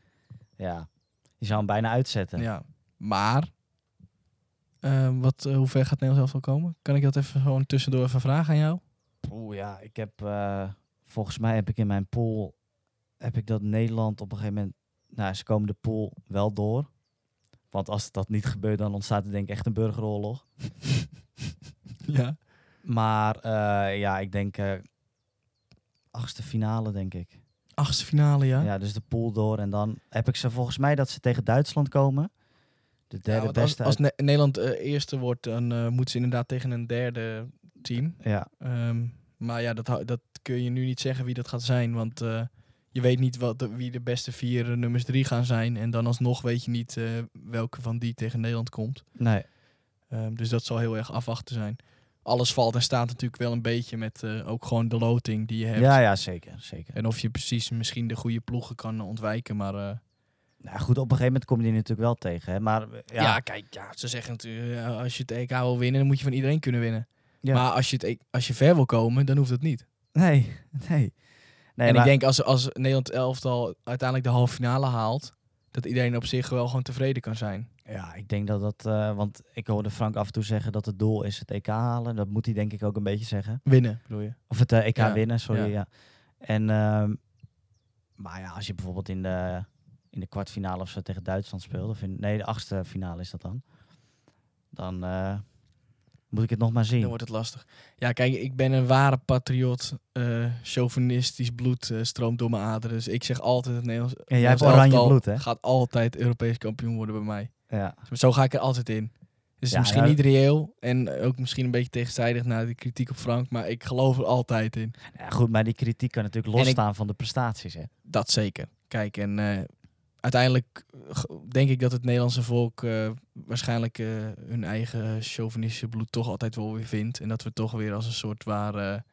ja, je zou hem bijna uitzetten.
ja. Maar, eh, wat, eh, hoe ver gaat Nederlands elftal komen? Kan ik dat even gewoon tussendoor even vragen aan jou?
Oeh, ja, ik heb eh, volgens mij heb ik in mijn pool heb ik dat Nederland op een gegeven moment. Nou, ze komen de pool wel door. Want als dat niet gebeurt, dan ontstaat er denk ik echt een burgeroorlog.
Ja.
Maar eh, ja, ik denk eh, achtste finale, denk ik.
Achtste finale, ja.
Ja? dus de pool door. En dan heb ik ze volgens mij dat ze tegen Duitsland komen. De
Ja,
derde
Nou, want als,
beste.
als
uit-
Ne- Nederland eh, eerste wordt, dan eh, moeten ze inderdaad tegen een derde team.
ja,
Ehm, maar ja, dat, hou- dat kun je nu niet zeggen wie dat gaat zijn. Want eh, je weet niet wat de- wie de beste vier eh, nummers drie gaan zijn. En dan alsnog weet je niet eh, welke van die tegen Nederland komt.
nee.
Ehm, dus dat zal heel erg afwachten zijn. Alles valt en staat natuurlijk wel een beetje met eh, ook gewoon de loting die je hebt.
ja, ja, zeker. zeker.
En of je precies misschien de goede ploegen kan ontwijken. Maar eh,
Nou goed, op een gegeven moment kom je die natuurlijk wel tegen. Hè? Maar eh,
ja.
ja,
kijk, ja, ze zeggen natuurlijk, eh, als je het EK wil winnen, dan moet je van iedereen kunnen winnen.
Ja.
Maar als je, het, e- als je ver wil komen, dan hoeft dat niet.
nee, nee. nee
en
maar-
ik denk als, als Nederland elftal uiteindelijk de halve finale haalt, dat iedereen op zich wel gewoon tevreden kan zijn.
Ja, ik denk dat dat... eh, want ik hoorde Frank af en toe zeggen dat het doel is het EK halen. Dat moet hij denk ik ook een beetje zeggen.
Winnen, bedoel je?
Of het eh, EK
Ja,
winnen, sorry.
ja.
Ja. En, ehm, maar ja, als je bijvoorbeeld in de, in de kwartfinale of zo tegen Duitsland speelt... Of in, nee, de achtste finale is dat dan. Dan eh, moet ik het nog maar zien.
Dan wordt het lastig. Ja, kijk, ik ben een ware patriot. eh, chauvinistisch bloed eh, stroomt door mijn aderen. Dus ik zeg altijd het Nederlands.
en jij hebt
Nederlands
oranje
elftal
bloed, hè?
Gaat altijd Europees kampioen worden bij mij.
Ja.
Zo ga ik er altijd in. Dus
Ja,
misschien
ja.
niet reëel en ook misschien een beetje tegenstrijdig naar de kritiek op Frank, maar ik geloof er altijd in.
ja. Goed, maar die kritiek kan natuurlijk
En ik-
losstaan van de prestaties, hè?
Dat zeker. Kijk, en eh, uiteindelijk ge- denk ik dat het Nederlandse volk eh, waarschijnlijk eh, hun eigen chauvinistische bloed toch altijd wel weer vindt. En dat we toch weer als een soort ware...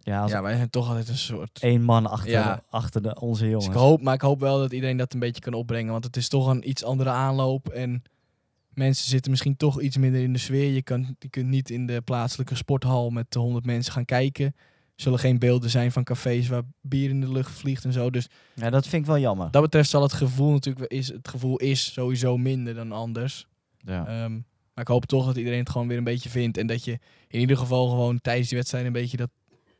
Ja, als
ja, wij zijn toch altijd een soort...
één man achter,
Ja.
achter de, onze
Dus ik
jongens.
hoop, maar ik hoop wel dat iedereen dat een beetje kan opbrengen. Want het is toch een iets andere aanloop. En mensen zitten misschien toch iets minder in de sfeer. Je, kan, je kunt niet in de plaatselijke sporthal met 100 mensen gaan kijken. Er zullen geen beelden zijn van cafés waar bier in de lucht vliegt en zo. Dus
Ja, dat vind ik wel jammer.
dat betreft zal het gevoel natuurlijk is, het gevoel is sowieso minder dan anders.
Ja.
Ehm, maar ik hoop toch dat iedereen het gewoon weer een beetje vindt. En dat je in ieder geval gewoon tijdens die wedstrijd een beetje dat,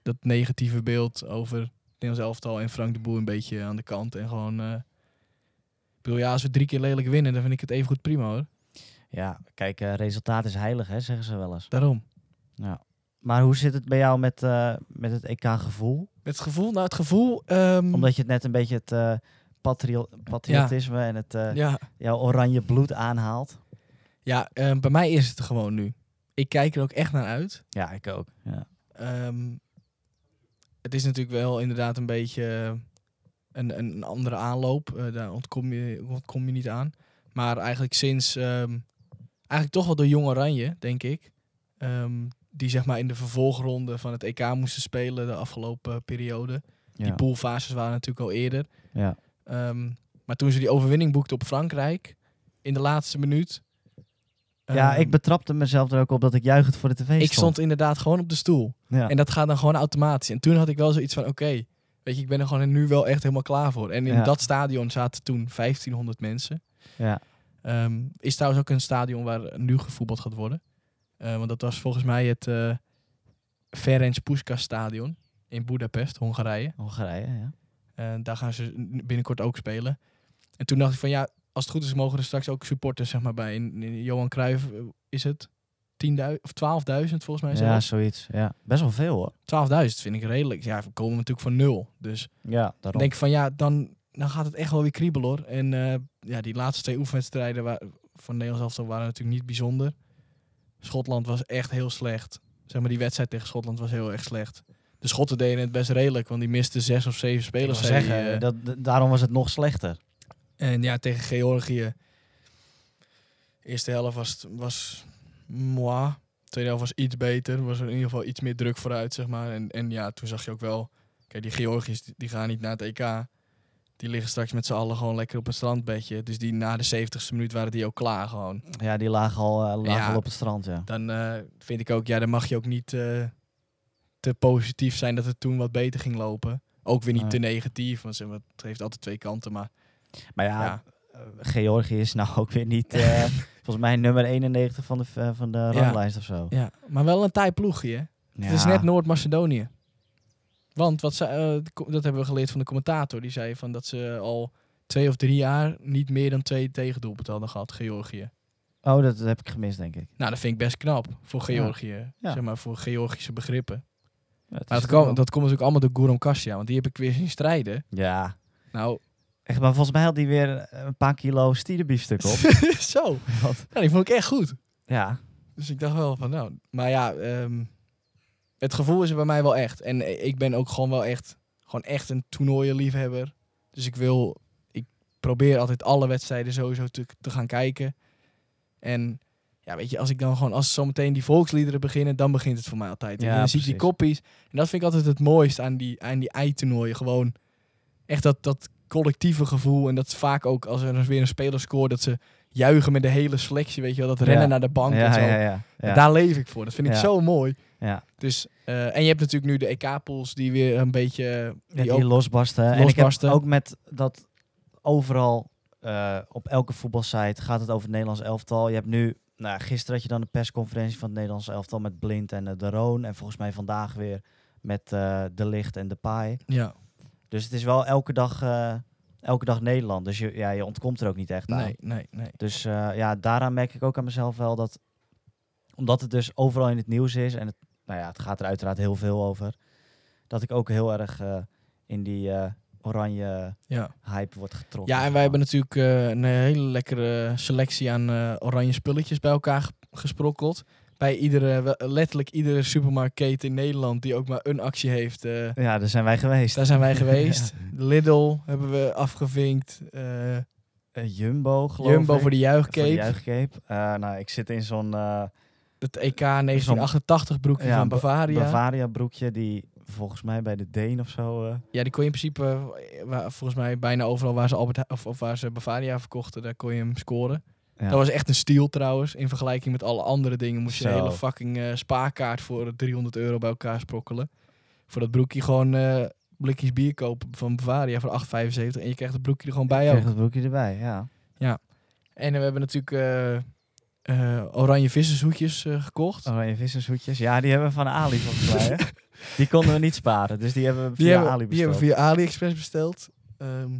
dat negatieve beeld over het Nederlands elftal en Frank de Boer een beetje aan de kant. En gewoon. eh, ik bedoel, ja, als we drie keer lelijk winnen, dan vind ik het even goed prima hoor.
Ja, kijk, eh, resultaat is heilig, hè, zeggen ze wel eens.
Daarom.
Maar hoe zit het bij jou met, eh, met het EK-gevoel?
Het gevoel, nou het gevoel. ehm,
Omdat je het net een beetje het eh, patrio- patriotisme en het, eh,
ja,
jouw oranje bloed aanhaalt.
ja ehm, bij mij is het er gewoon nu. Ik kijk er ook echt naar uit.
Ja, ik ook. Ja.
Ehm, het is natuurlijk wel inderdaad een beetje een, een een andere aanloop. Eh, daar ontkom je, ontkom je niet aan. Maar eigenlijk sinds, ehm, eigenlijk toch wel door Jong Oranje, denk ik. Ehm, die zeg maar in de vervolgronde van het EK moesten spelen de afgelopen eh, periode. Die
Ja.
poolfases waren natuurlijk al eerder.
Ja.
Ehm, maar toen ze die overwinning boekte op Frankrijk in de laatste minuut.
ja,
ehm,
ik betrapte mezelf er ook op dat ik juichend voor de tv stond.
ik stond inderdaad gewoon op de stoel.
Ja.
En dat gaat dan gewoon automatisch. En toen had ik wel zoiets van, oké, weet je, ik ben er gewoon nu wel echt helemaal klaar voor. En in
Ja.
dat stadion zaten toen 1500 mensen.
Ja.
Ehm, is trouwens ook een stadion waar nu gevoetbald gaat worden. Eh, want dat was volgens mij het eh Ferenc Puskas stadion in Budapest, Hongarije.
Hongarije, ja.
Eh, daar gaan ze n- binnenkort ook spelen. En toen dacht ik van ja, als het goed is mogen er straks ook supporters zeg maar, bij. In, in Johan Cruijff eh, is het 10.000 of 12.000 volgens mij
Ja,
zelfs.
zoiets. Ja. Best wel veel hoor.
12.000 vind ik redelijk. Ja, we komen natuurlijk van nul. Dus
Ja, daarom.
denk ik van ja, dan, dan gaat het echt wel weer kriebel hoor. En eh, ja, die laatste twee oefenwedstrijden wa- van Nederlands elftal waren natuurlijk niet bijzonder. Schotland was echt heel slecht. Zeg maar, die wedstrijd tegen Schotland was heel erg slecht. De Schotten deden het best redelijk, want die misten zes of zeven
Ik wou
spelers. zei
zeggen,
die, eh,
dat, d- daarom was het nog slechter.
en ja, tegen Georgië. Eerste helft was, het- was moi. Tweede helft was iets beter. Was er in ieder geval iets meer druk vooruit, zeg maar. En, en ja, toen zag je ook wel... Kijk, die Georgiërs die, die gaan niet naar het EK. Die liggen straks met z'n allen gewoon lekker op een strandbedje. Dus die na de 70ste minuut waren die ook klaar gewoon.
Ja, die lagen al, eh, lagen
Ja.
al op het strand, ja.
Dan eh, vind ik ook, ja, dan mag je ook niet eh, te positief zijn dat het toen wat beter ging lopen. Ook weer niet
Nee.
te negatief, want zeg maar, het heeft altijd twee kanten. Maar
Maar ja,
Ja.
eh, Georgië is nou ook weer niet, eh, volgens mij, nummer 91 van de, v- van de ranglijst of zo.
ja, maar wel een taai ploegje, hè? Het is
Ja.
net Noord-Macedonië. Want wat ze, eh, de co- dat hebben we geleerd van de commentator. Die zei van dat ze al twee of drie jaar niet meer dan twee tegendoelpunten hadden gehad, Georgië.
Oh, dat, dat heb ik gemist, denk ik.
Nou, dat vind ik best knap voor Georgië.
Ja.
Zeg maar voor Georgische begrippen.
Ja, het
Maar
is
dat,
toch
kwam-
wel-
dat komt natuurlijk allemaal door Guram Kasia. Want die heb ik weer zien strijden.
Ja,
Nou,
echt, maar volgens mij had hij weer eh, een paar kilo stierenbiefstuk op.
zo.
Wat?
Nou, die vond ik echt goed.
Ja,
Dus ik dacht wel van nou. Maar ja, ehm, het gevoel is er bij mij wel echt. En eh, ik ben ook gewoon wel echt, gewoon echt een toernooienliefhebber. Dus ik wil, ik probeer altijd alle wedstrijden sowieso te, te gaan kijken. En ja, weet je, als ik dan gewoon, als zometeen die volksliederen beginnen, dan begint het voor mij altijd. en
Ja,
dan zie ik die
precies.
koppies. En dat vind ik altijd het mooist aan die, aan die eitoernooien. Gewoon echt dat, dat collectieve gevoel. En dat is vaak ook als er weer een speler scoort, dat ze juichen met de hele selectie, weet je wel. Dat
Ja.
rennen naar de bank en
ja,
zo.
ja, ja. ja.
Daar leef ik voor. Dat vind ik
Ja.
zo mooi.
ja.
Dus, eh, en je hebt natuurlijk nu de EK-pools die weer een beetje... eh,
Ja,
Die
die
ook,
losbarsten. En ik
Losbarsten.
heb ook met dat overal eh, op elke voetbalsite gaat het over het Nederlands elftal. Je hebt nu, nou, ja, gisteren had je dan de persconferentie van het Nederlands elftal met Blind en eh, De Roon. En volgens mij vandaag weer met eh, De Licht en De Pai.
ja,
Dus het is wel elke dag, eh, elke dag Nederland. Dus je, ja, je ontkomt er ook niet echt aan.
nee, nee, nee.
Dus eh, ja, daaraan merk ik ook aan mezelf wel dat, omdat het dus overal in het nieuws is en het, nou ja, het gaat er uiteraard heel veel over, dat ik ook heel erg eh, in die eh, oranje
Ja,
hype word getrokken.
ja en wij hebben natuurlijk eh, een hele lekkere selectie aan eh, oranje spulletjes bij elkaar ge- gesprokkeld. Bij iedere, wel- letterlijk iedere supermarktketen in Nederland die ook maar een actie heeft. eh,
Ja, daar zijn wij geweest.
daar zijn wij geweest. Lidl hebben we afgevinkt. eh,
Eh, Jumbo, geloof
Jumbo
ik.
voor de
Voor de
juichcape.
juichcape. Eh, nou, ik zit in zo'n eh,
het E EK 1988 broekje
Ja,
van
Ba-
Bavaria.
Bavaria broekje die volgens mij bij de Deen of zo... eh,
Ja, die kon je in principe, eh, waar- volgens mij bijna overal waar ze, Albert, He- of, of waar ze Bavaria verkochten, daar kon je hem scoren.
ja.
Dat was echt een steal trouwens. In vergelijking met alle andere dingen moest je een
Zo.
hele fucking eh, spaarkaart voor 300 euro bij elkaar sprokkelen. Voor dat broekje gewoon eh, blikjes bier kopen van Bavaria voor 8,75 en je krijgt het broekje er gewoon bij ook.
Kreeg het broekje erbij, ja.
En we hebben natuurlijk eh, eh, oranje vissershoedjes eh, gekocht.
Oranje vissershoedjes. Ja, die hebben we van Ali volgens mij. hè? Die konden we niet sparen, dus die hebben we
die,
via
hebben,
Ali
die
besteld.
hebben we via AliExpress besteld. Ehm,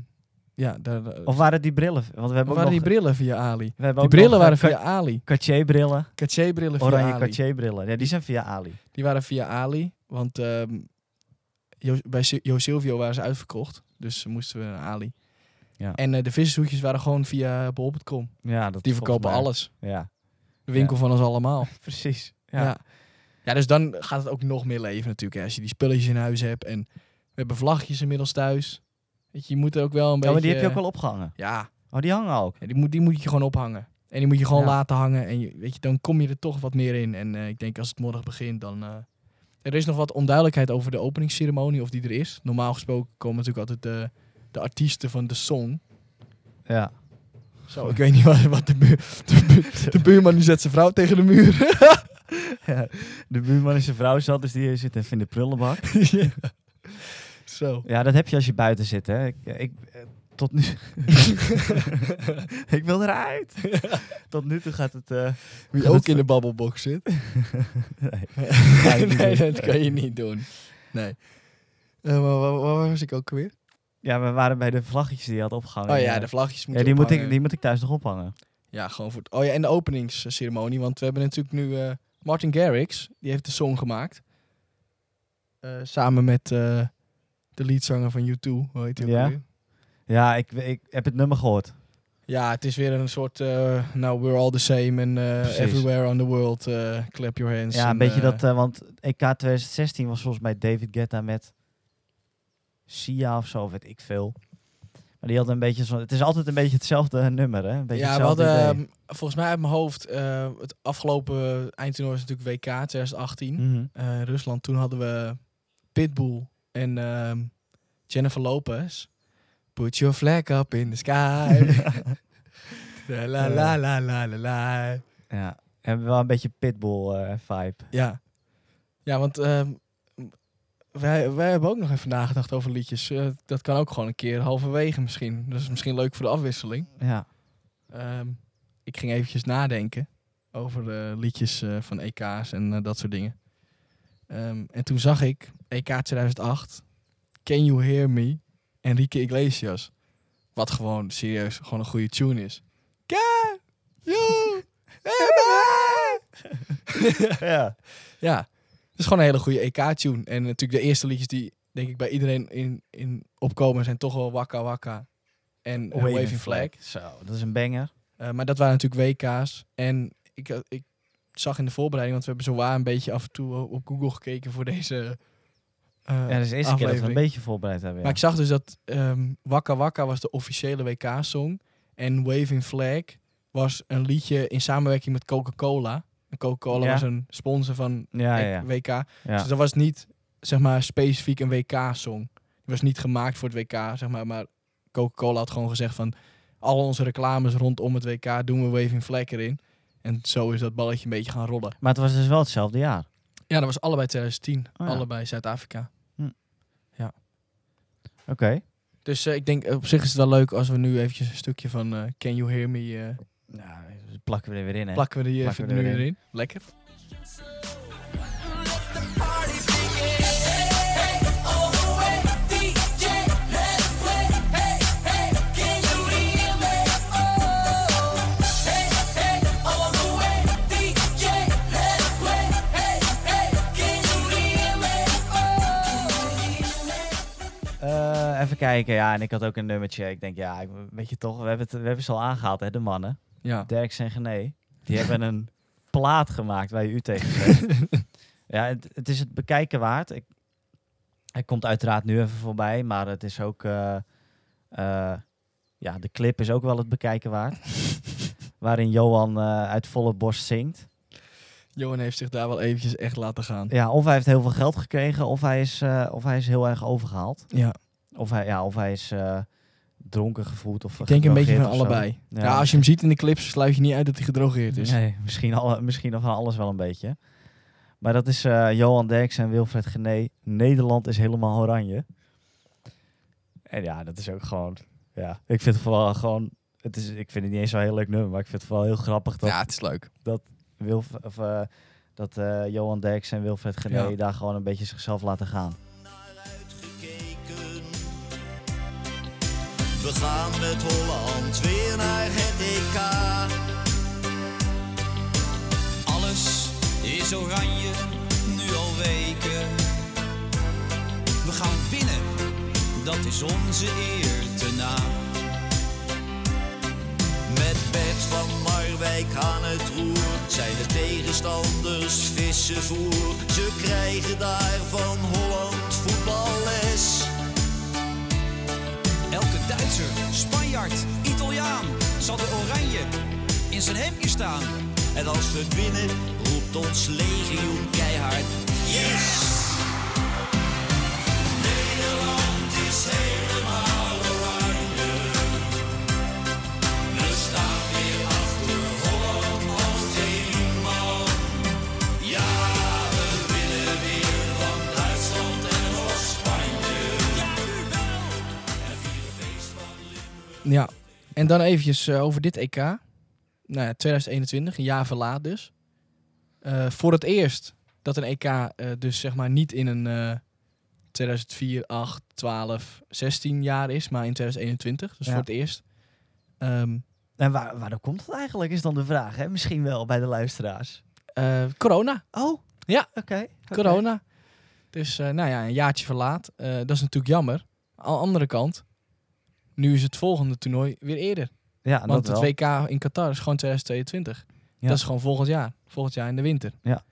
ja, daar, daar-
Of waren het die brillen? Want we hebben ook
of waren
nog,
die brillen via Ali?
we hebben
Die
ook
brillen
nog,
waren
eh,
via Ali.
Car- Cartier-brillen.
Cartier-brillen via
Oranje
Ali.
Cartier-brillen. Ja, die zijn via Ali.
Die waren via Ali, want ehm, Jo- bij Si- Jo Silvio waren ze uitverkocht. Dus moesten we naar Ali.
Ja.
En eh, de vissershoekjes waren gewoon via bol.com.
Ja, dat volgens
Die verkopen
mij-
alles.
Ja,
De winkel van ons allemaal.
precies.
Ja.
Ja.
ja. dus dan gaat het ook nog meer leven natuurlijk. Hè, als je die spulletjes in huis hebt. En we hebben vlaggetjes inmiddels thuis. Weet je, je moet er ook wel een
Oh,
beetje... eh,
maar die heb je ook wel opgehangen.
Ja,
Oh, die hangen ook.
ja, die, moet, die moet je gewoon ophangen. En die moet je gewoon
Ja.
laten hangen. En je, weet je, dan kom je er toch wat meer in. En eh, ik denk als het morgen begint, dan... eh, er is nog wat onduidelijkheid over de openingsceremonie, of die er is. Normaal gesproken komen natuurlijk altijd de, de artiesten van de song.
Ja.
Zo, ik weet niet wat, wat de, buur, de, buur- de buurman die zet zijn vrouw tegen de muur.
De buurman is zijn vrouw zat, dus die zit even in de prullenbak.
Zo.
ja, dat heb je als je buiten zit, hè. Ik, ik, eh, tot nu. ik wil eruit. tot nu toe gaat het. eh,
Wie
Gaat
ook
het-
in de babbelbox zit.
nee. Ga je
nee,
niet doen.
dat kan je niet doen. Nee. Eh, maar waar, waar was ik ook weer?
Ja, we waren bij de vlaggetjes die je had opgehangen.
Oh ja, de vlaggetjes
Ja,
moeten
die, moet ik,
ophangen.
die moet ik thuis nog ophangen.
Ja, gewoon voor. Oh ja, en de openingsceremonie. Want we hebben natuurlijk nu eh, Martin Garrix. Die heeft de song gemaakt. Eh, samen met eh, de leadzanger van U2. Hoe heet hij ook
Ja?
alweer?
Ja, ik, ik heb het nummer gehoord.
Ja, het is weer een soort. eh nou, we're all the same. En eh,
Precies.
everywhere on the world. eh, clap your hands.
Ja,
en,
een beetje
eh,
dat, eh, want EK 2016 was volgens mij David Guetta met Sia of zo, weet ik veel. Maar die had een beetje zo. Het is altijd een beetje hetzelfde nummer, hè? Een beetje
Ja, we
hetzelfde
hadden
idee.
ehm, volgens mij uit mijn hoofd. eh, het afgelopen eindtoernooi is natuurlijk WK 2018.
Mhm.
eh, Rusland. Toen hadden we Pitbull en ehm, Jennifer Lopez. Put your flag up in the sky. la la la la la la la.
Ja, hebben we wel een beetje eh, Pitbull-vibe.
Ja, ja want ehm, wij, wij hebben ook nog even nagedacht over liedjes. Eh, dat kan ook gewoon een keer halverwege misschien. Dat is misschien leuk voor de afwisseling.
ja.
Ehm, ik ging eventjes nadenken over eh, liedjes eh, van EK's en eh, dat soort dingen. Ehm, en toen zag ik E EK 2008, Can You Hear Me, Enrique Iglesias. Wat gewoon serieus gewoon een goede tune is. Can you hear me?
ja.
ja, het is gewoon een hele goede EK-tune. En natuurlijk de eerste liedjes die denk ik bij iedereen in, in opkomen zijn toch wel Waka Waka en eh, Waving, Flag.
Zo, dat is een banger.
Eh, maar dat waren natuurlijk WK's. En ik, eh, ik zag in de voorbereiding, want we hebben zowaar een beetje af en toe o- op Google gekeken voor deze. eh,
Ja, dat is de eerste keer dat we
aflevering.
een beetje voorbereid hebben. Ja.
Maar ik zag dus dat ehm Wakka Wakka was de officiële WK-song. En Waving Flag was een liedje in samenwerking met Coca-Cola. En Coca-Cola
Ja.
was een sponsor van
ja, ja, ja.
WK.
Ja.
Dus dat was niet, zeg maar, specifiek een WK-song. Die was niet gemaakt voor het WK, zeg maar. Maar Coca-Cola had gewoon gezegd van... al onze reclames rondom het WK doen we Waving Flag erin. En zo is dat balletje een beetje gaan rollen.
Maar het was dus wel hetzelfde jaar.
Ja, dat was allebei 2010.
Oh ja.
Allebei Zuid-Afrika.
Oké.
Dus eh, ik denk, eh, op zich is het wel leuk als we nu eventjes een stukje van eh, Can You Hear Me... eh,
Nou, dat plakken we er weer in, hè?
plakken we die
Plakken
even
we
nu
erin.
erin. Lekker.
Eh, even kijken, ja. En ik had ook een nummertje. Ik denk, ja, ik- weet je toch, we hebben, het, we hebben ze al aangehaald, hè, de mannen.
Ja.
Dirk en Gené. Die hebben een plaat gemaakt waar je u tegen zegt. ja, het, het is het bekijken waard. Ik, hij komt uiteraard nu even voorbij, maar het is ook... eh, eh, ja, de clip is ook wel het bekijken waard. waarin Johan eh, uit volle borst zingt.
Johan heeft zich daar wel eventjes echt laten gaan.
Ja, of hij heeft heel veel geld gekregen, of hij is, eh, of hij is heel erg overgehaald.
Ja,
Of hij, ja, of hij is eh, dronken gevoeld. Of
ik denk een beetje van
gedrogeerd of zo.
allebei. Ja.
Ja.
als je hem ziet in de clips, sluit je niet uit dat hij gedrogeerd is.
Nee, misschien, alle, misschien nog van alles wel een beetje. Maar dat is eh, Johan Derks en Wilfred Gené. Nederland is helemaal oranje. En ja, dat is ook gewoon... Ja, ik vind het vooral gewoon... Het is, ik vind het niet eens zo'n heel leuk nummer, maar ik vind het vooral heel grappig dat,
Ja, het is leuk.
Wilf, of, eh, dat eh, Johan Derks en Wilfred Gené
Ja.
daar gewoon een beetje zichzelf laten gaan.
naar uitgekeken. We gaan met Holland weer naar het EK. Alles is oranje, nu al weken. We gaan winnen, dat is onze eer te na. Met Bert van Marwijk aan het roer zijn de tegenstanders vissen voer. Ze krijgen daar van Holland voetballes.
Elke Duitser, Spanjaard, Italiaan zal de oranje in zijn hemdje staan.
En als we winnen, roept ons legioen keihard. Yes! Nederland is helemaal oranje. We staan weer achter Holland als één man. Ja, we winnen weer van Duitsland en van Spanje. Ja, nu wel! En vieren feest van Limburg.
Ja, en dan eventjes eh, over dit EK. Nou ja, 2021, een jaar verlaat dus. Eh, voor het eerst dat een EK eh, dus zeg maar niet in een eh 2004, 8, 12, 16 jaar is, maar in 2021. Dus
Ja.
voor het eerst. Ehm,
En waar, waardoor komt dat eigenlijk, is dan de vraag. Hè? Misschien wel bij de luisteraars.
eh, corona,
Oh,
Ja.
Oké. oké.
corona. Dus eh, nou ja, een jaartje verlaat. Eh, dat is natuurlijk jammer. Aan de andere kant, nu is het volgende toernooi weer eerder.
Ja,
Want
dat
het
wel.
WK in Qatar is gewoon 2022.
Ja.
Dat is gewoon volgend jaar. Volgend jaar in de winter.
Ja.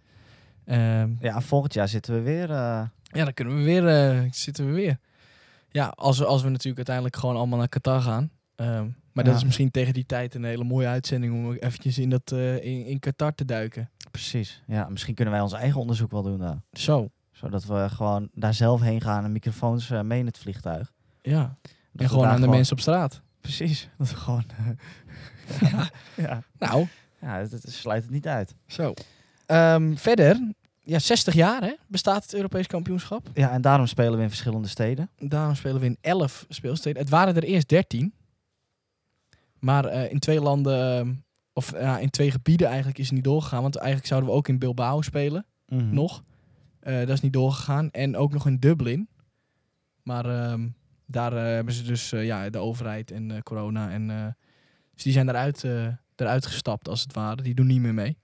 Ehm,
Ja, volgend jaar zitten we weer... eh,
ja, dan kunnen we weer, eh, zitten we weer. Ja, als we, als we natuurlijk uiteindelijk gewoon allemaal naar Qatar gaan. Ehm, maar dat
Ja.
is misschien tegen die tijd een hele mooie uitzending om ook eventjes in, dat, eh, in, in Qatar te duiken.
precies. Ja, misschien kunnen wij ons eigen onderzoek wel doen daar.
Zo,
Zodat we gewoon daar zelf heen gaan en microfoons eh, mee in het vliegtuig.
ja.
Dat we
en gewoon
daar
aan de mensen op straat.
Precies. Dat we gewoon... eh, ja. ja.
Nou,
Ja, het, het sluit het niet uit.
zo. Ehm, verder, ja, 60 jaar hè, bestaat het Europees kampioenschap.
Ja, en daarom spelen we in verschillende steden.
Daarom spelen we in 11 speelsteden. Het waren er eerst 13. Maar eh, in twee landen, ehm, of ja, in twee gebieden eigenlijk, is het niet doorgegaan. Want eigenlijk zouden we ook in Bilbao spelen, nog. Eh, dat is niet doorgegaan. En ook nog in Dublin. Maar ehm, daar eh, hebben ze dus eh, ja, de overheid en eh, corona. En, eh, dus die zijn eruit, eh, eruit gestapt, als het ware. Die doen niet meer mee.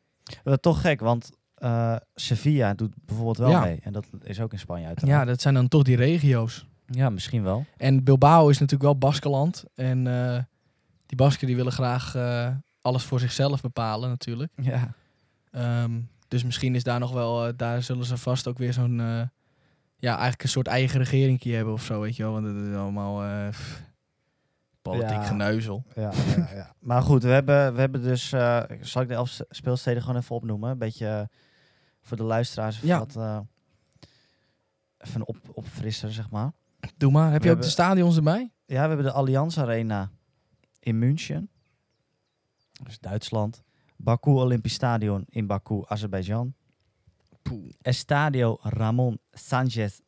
Wat toch gek, want eh, Sevilla doet bijvoorbeeld wel
Ja.
mee. En dat is ook in Spanje
Ja,
uiteraard.
dat zijn dan toch die regio's.
ja misschien wel.
En Bilbao is natuurlijk wel Baskeland. En eh, die Basken die willen graag eh, alles voor zichzelf bepalen natuurlijk.
Ja.
Ehm, dus misschien is daar nog wel, eh, daar zullen ze vast ook weer zo'n, eh, ja, eigenlijk een soort eigen regeringje hebben of zo, weet je wel. Want dat is allemaal eh, pff, politiek
Ja.
geneuzel.
Ja, ja, ja. Maar goed, we hebben, we hebben dus... eh, zal ik de elf s- speelsteden gewoon even opnoemen? Een beetje eh, voor de luisteraars.
Ja.
Ja. Wat, eh, even een op, opfrisser, zeg maar.
Doe maar, heb
We
je ook
hebben-
de stadions erbij?
Ja, we hebben de Allianz Arena in München. Dus Duitsland. Baku Olympisch Stadion in Baku, Azerbeidzjan. Estadio Ramon Sanchez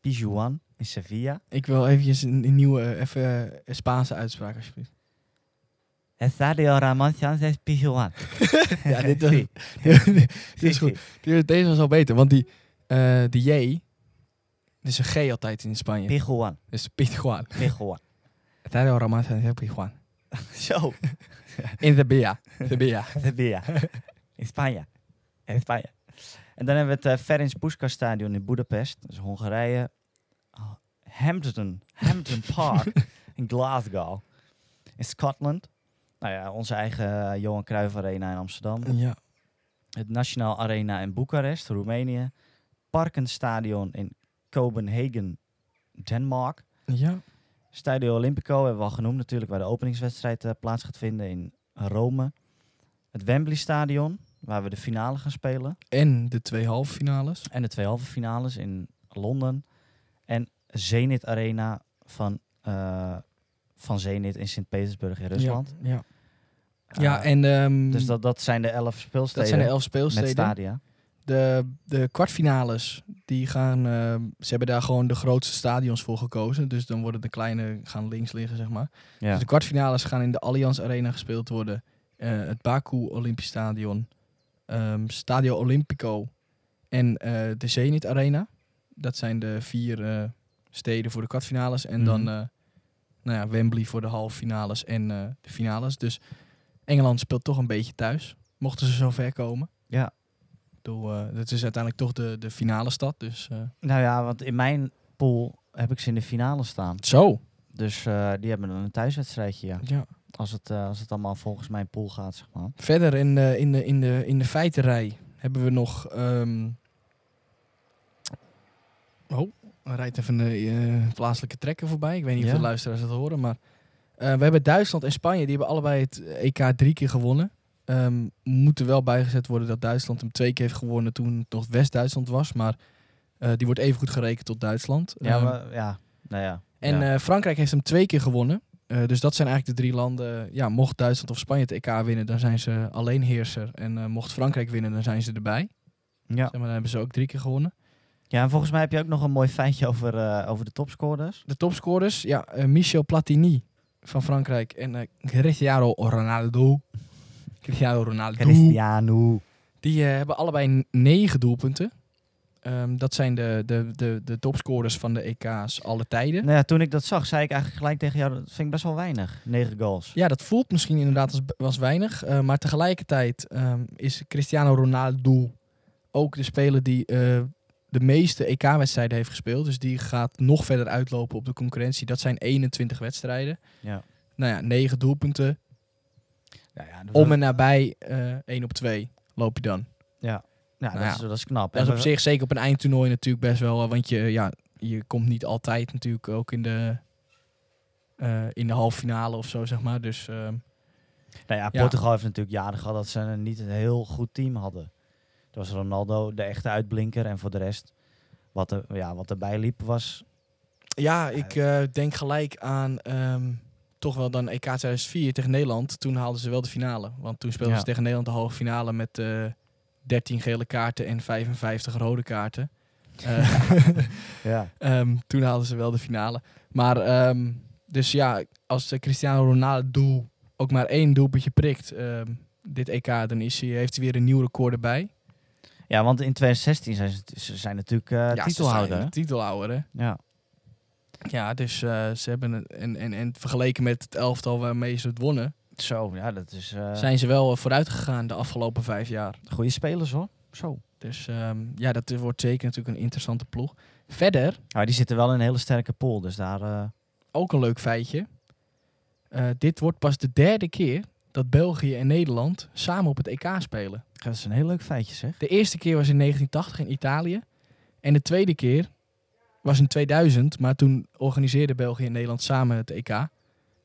Pijuan in Sevilla.
Ik wil eventjes een, een nieuwe, eh, even eh, een Spaanse uitspraak alsjeblieft.
Estadio Ramon Sanchez Pijuan.
Ja, dit, was- dit is goed. Dit- Deze was al beter, want die, eh die J, dus een G altijd in Spanje.
Pijuan.
Dus Pitjuan.
Pijuan.
Estadio Ramón Sánchez Pitjuan.
Zo,
In de Bia. De Bia.
Sevilla. In Spanje. In Spanje. En dan hebben we het eh, Ferenc Puskas Stadion in Budapest. Dus Hongarije. Oh, Hampton. Hampton Park in Glasgow. In Scotland. Nou ja, onze eigen eh, Johan Cruijff Arena in Amsterdam.
Ja.
het Nationaal Arena in Boekarest, Roemenië. Parkenstadion in Kopenhagen, Denemarken.
Ja.
Stadio Olimpico hebben we al genoemd natuurlijk, waar de openingswedstrijd eh, plaats gaat vinden in Rome. Het Wembley Stadion, waar we de finale gaan spelen.
En de twee halve finales.
En de twee halve finales in Londen. En Zenit Arena van, eh, van Zenit in Sint-Petersburg in Rusland.
Ja. Ja,
Eh,
ja en ehm,
dus dat, dat zijn de elf speelsteden
dat zijn de elf
met
speelsteden.
stadia.
De, de kwartfinales, die gaan, ehm, ze hebben daar gewoon de grootste stadions voor gekozen. Dus dan worden de kleine, gaan links liggen, zeg maar.
Ja.
Dus de kwartfinales gaan in de Allianz Arena gespeeld worden. Eh, het Baku Olympisch Stadion, ehm, Stadio Olimpico en eh, de Zenit Arena. Dat zijn de vier eh, steden voor de kwartfinales. En dan
Mhm.
eh, nou ja, Wembley voor de halve finales en eh, de finales. Dus Engeland speelt toch een beetje thuis. Mochten ze zover komen.
Ja.
Ik bedoel, eh, dat is uiteindelijk toch de, de finale stad. Dus, eh,
Nou ja, want in mijn pool heb ik ze in de finale staan.
Zo.
Dus eh, die hebben dan een thuiswedstrijdje, ja.
Ja.
Als het, eh, als het allemaal volgens mijn pool gaat, zeg maar.
Verder in de, in de, in de, in de feitenrij hebben we nog. ehm, Oh, er rijdt even een eh, plaatselijke trekker voorbij. Ik weet niet of
Ja.
de luisteraars het horen, maar. eh, we hebben Duitsland en Spanje, die hebben allebei het EK drie keer gewonnen. Ehm moet er wel bijgezet worden dat Duitsland hem twee keer heeft gewonnen toen het nog West-Duitsland was. Maar eh, die wordt even goed gerekend tot Duitsland.
Ja,
Ehm,
maar, ja. Nou ja.
en
ja.
eh, Frankrijk heeft hem twee keer gewonnen. Eh, dus dat zijn eigenlijk de drie landen. Ja, mocht Duitsland of Spanje het EK winnen, dan zijn ze alleen heerser. En eh, mocht Frankrijk winnen, dan zijn ze erbij.
ja.
Zeg maar, dan hebben ze ook drie keer gewonnen.
ja, en volgens mij heb je ook nog een mooi feitje over, eh, over de topscorers.
De topscorers, ja, eh, Michel Platini van Frankrijk en eh, Cristiano Ronaldo. Cristiano Ronaldo.
Cristiano.
Die eh, hebben allebei n- negen doelpunten. Ehm, dat zijn de, de, de, de topscorers van de EK's alle tijden.
Nou ja, toen ik dat zag, zei ik eigenlijk gelijk tegen jou, dat vind ik best wel weinig. Negen goals.
Ja, dat voelt misschien inderdaad als, als weinig. eh, maar tegelijkertijd ehm, is Cristiano Ronaldo ook de speler die eh, de meeste EK-wedstrijden heeft gespeeld. Dus die gaat nog verder uitlopen op de concurrentie. Dat zijn 21 wedstrijden.
Ja.
Nou ja, 9 doelpunten.
Nou ja, dat-
Om en nabij eh 1 op 2 loop je dan.
Ja, dat,
nou ja.
Is, dat is knap.
Dat is
En
op
we-
zich zeker op een eindtoernooi natuurlijk best wel. eh, Want je, ja, je komt niet altijd natuurlijk ook in de, eh in de halve finale of zo, zeg maar. Dus ehm,
Nou ja,
Ja.
Portugal heeft natuurlijk jaren gehad dat ze een, niet een heel goed team hadden. Toen was Ronaldo de echte uitblinker en voor de rest, wat, er, ja, wat erbij liep, was...
Ja, ik eh, denk gelijk aan ehm, toch wel dan EK 2004 tegen Nederland. Toen haalden ze wel de finale. Want toen speelden
Ja.
ze tegen Nederland de halve finale met eh 13 gele kaarten en 55 rode kaarten. Eh,
Ja.
ehm, toen haalden ze wel de finale. Maar ehm, dus ja, als eh, Cristiano Ronaldo ook maar één doelpuntje prikt ehm, dit EK, dan is hij, heeft hij weer een nieuw record erbij.
ja, want in 2016 zijn ze, ze zijn natuurlijk eh,
ja, ze
titelhouder.
zijn
hè?
de Titelhouder, hè?
Ja.
Ja, dus eh, ze hebben een, en, en, en vergeleken met het elftal waarmee ze het wonnen,
Zo, ja, dat is eh,
zijn ze wel eh, vooruit gegaan de afgelopen vijf jaar.
goede spelers hoor. Zo.
Dus ehm, ja, dat wordt zeker natuurlijk een interessante ploeg. Verder,
Maar die zitten wel in een hele sterke pool, dus daar... eh,
ook een leuk feitje. Eh, dit wordt pas de derde keer dat België en Nederland samen op het EK spelen.
dat is een heel leuk feitje zeg.
De eerste keer was in 1980 in Italië. En de tweede keer was in 2000, maar toen organiseerden België en Nederland samen het EK.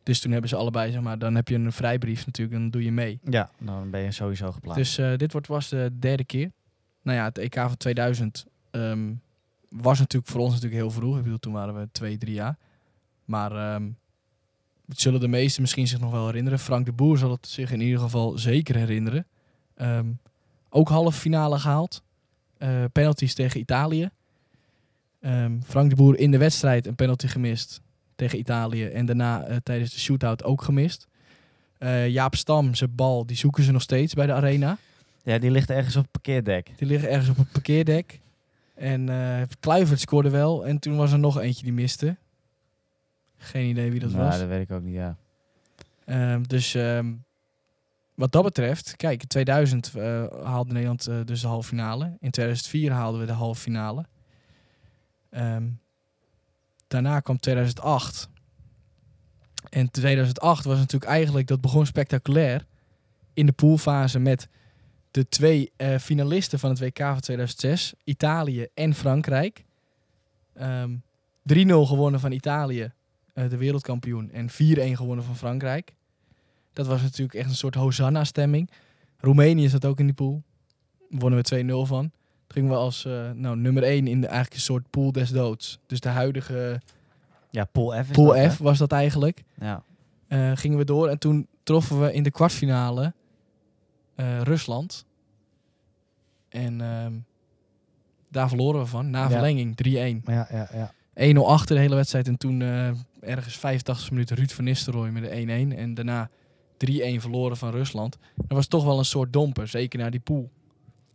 Dus toen hebben ze allebei, zeg maar, dan heb je een vrijbrief natuurlijk en dan doe je mee.
Ja, dan ben je sowieso geplaatst.
Dus eh, dit wordt, was de derde keer. Nou ja, het EK van 2000 ehm, was natuurlijk voor ons natuurlijk heel vroeg. Ik bedoel, toen waren we twee, drie jaar. Maar ehm, het zullen de meesten misschien zich nog wel herinneren. Frank de Boer zal het zich in ieder geval zeker herinneren. Ehm, ook halve finale gehaald. Eh, penalties tegen Italië. Ehm, Frank de Boer in de wedstrijd een penalty gemist tegen Italië. En daarna eh, tijdens de shootout ook gemist. Eh, Jaap Stam, zijn bal, die zoeken ze nog steeds bij de arena.
ja, die ligt ergens op het parkeerdek.
Die liggen ergens op het parkeerdek. En eh Kluivert scoorde wel. En toen was er nog eentje die miste. Geen idee wie dat
Nou,
was.
dat weet ik ook niet, ja.
Ehm, dus ehm, wat dat betreft, kijk, in 2000 eh, haalde Nederland eh, dus de halve finale. In 2004 haalden we de halve finale. Ehm, daarna kwam 2008. En 2008 was natuurlijk eigenlijk, dat begon spectaculair. In de poolfase met de twee eh, finalisten van het WK van 2006, Italië en Frankrijk. Ehm 3-0 gewonnen van Italië eh, de wereldkampioen en 4-1 gewonnen van Frankrijk. Dat was natuurlijk echt een soort Hosanna-stemming. Roemenië zat ook in die pool. Wonnen we 2-0 van. Toen gingen we als eh, nou, nummer 1 in de, eigenlijk een soort pool des doods. Dus de huidige
Ja, Pool F is
pool
dat, hè?
F was dat eigenlijk.
Ja.
Eh, gingen we door en toen troffen we in de kwartfinale eh, Rusland. En ehm, daar verloren we van. Na
Ja.
verlenging 3-1.
Ja, ja, ja.
1-0 achter de hele wedstrijd. En toen eh, ergens 85 minuten Ruud van Nistelrooy met de 1-1. En daarna 3-1 verloren van Rusland. Dat was toch wel een soort domper, zeker naar die pool.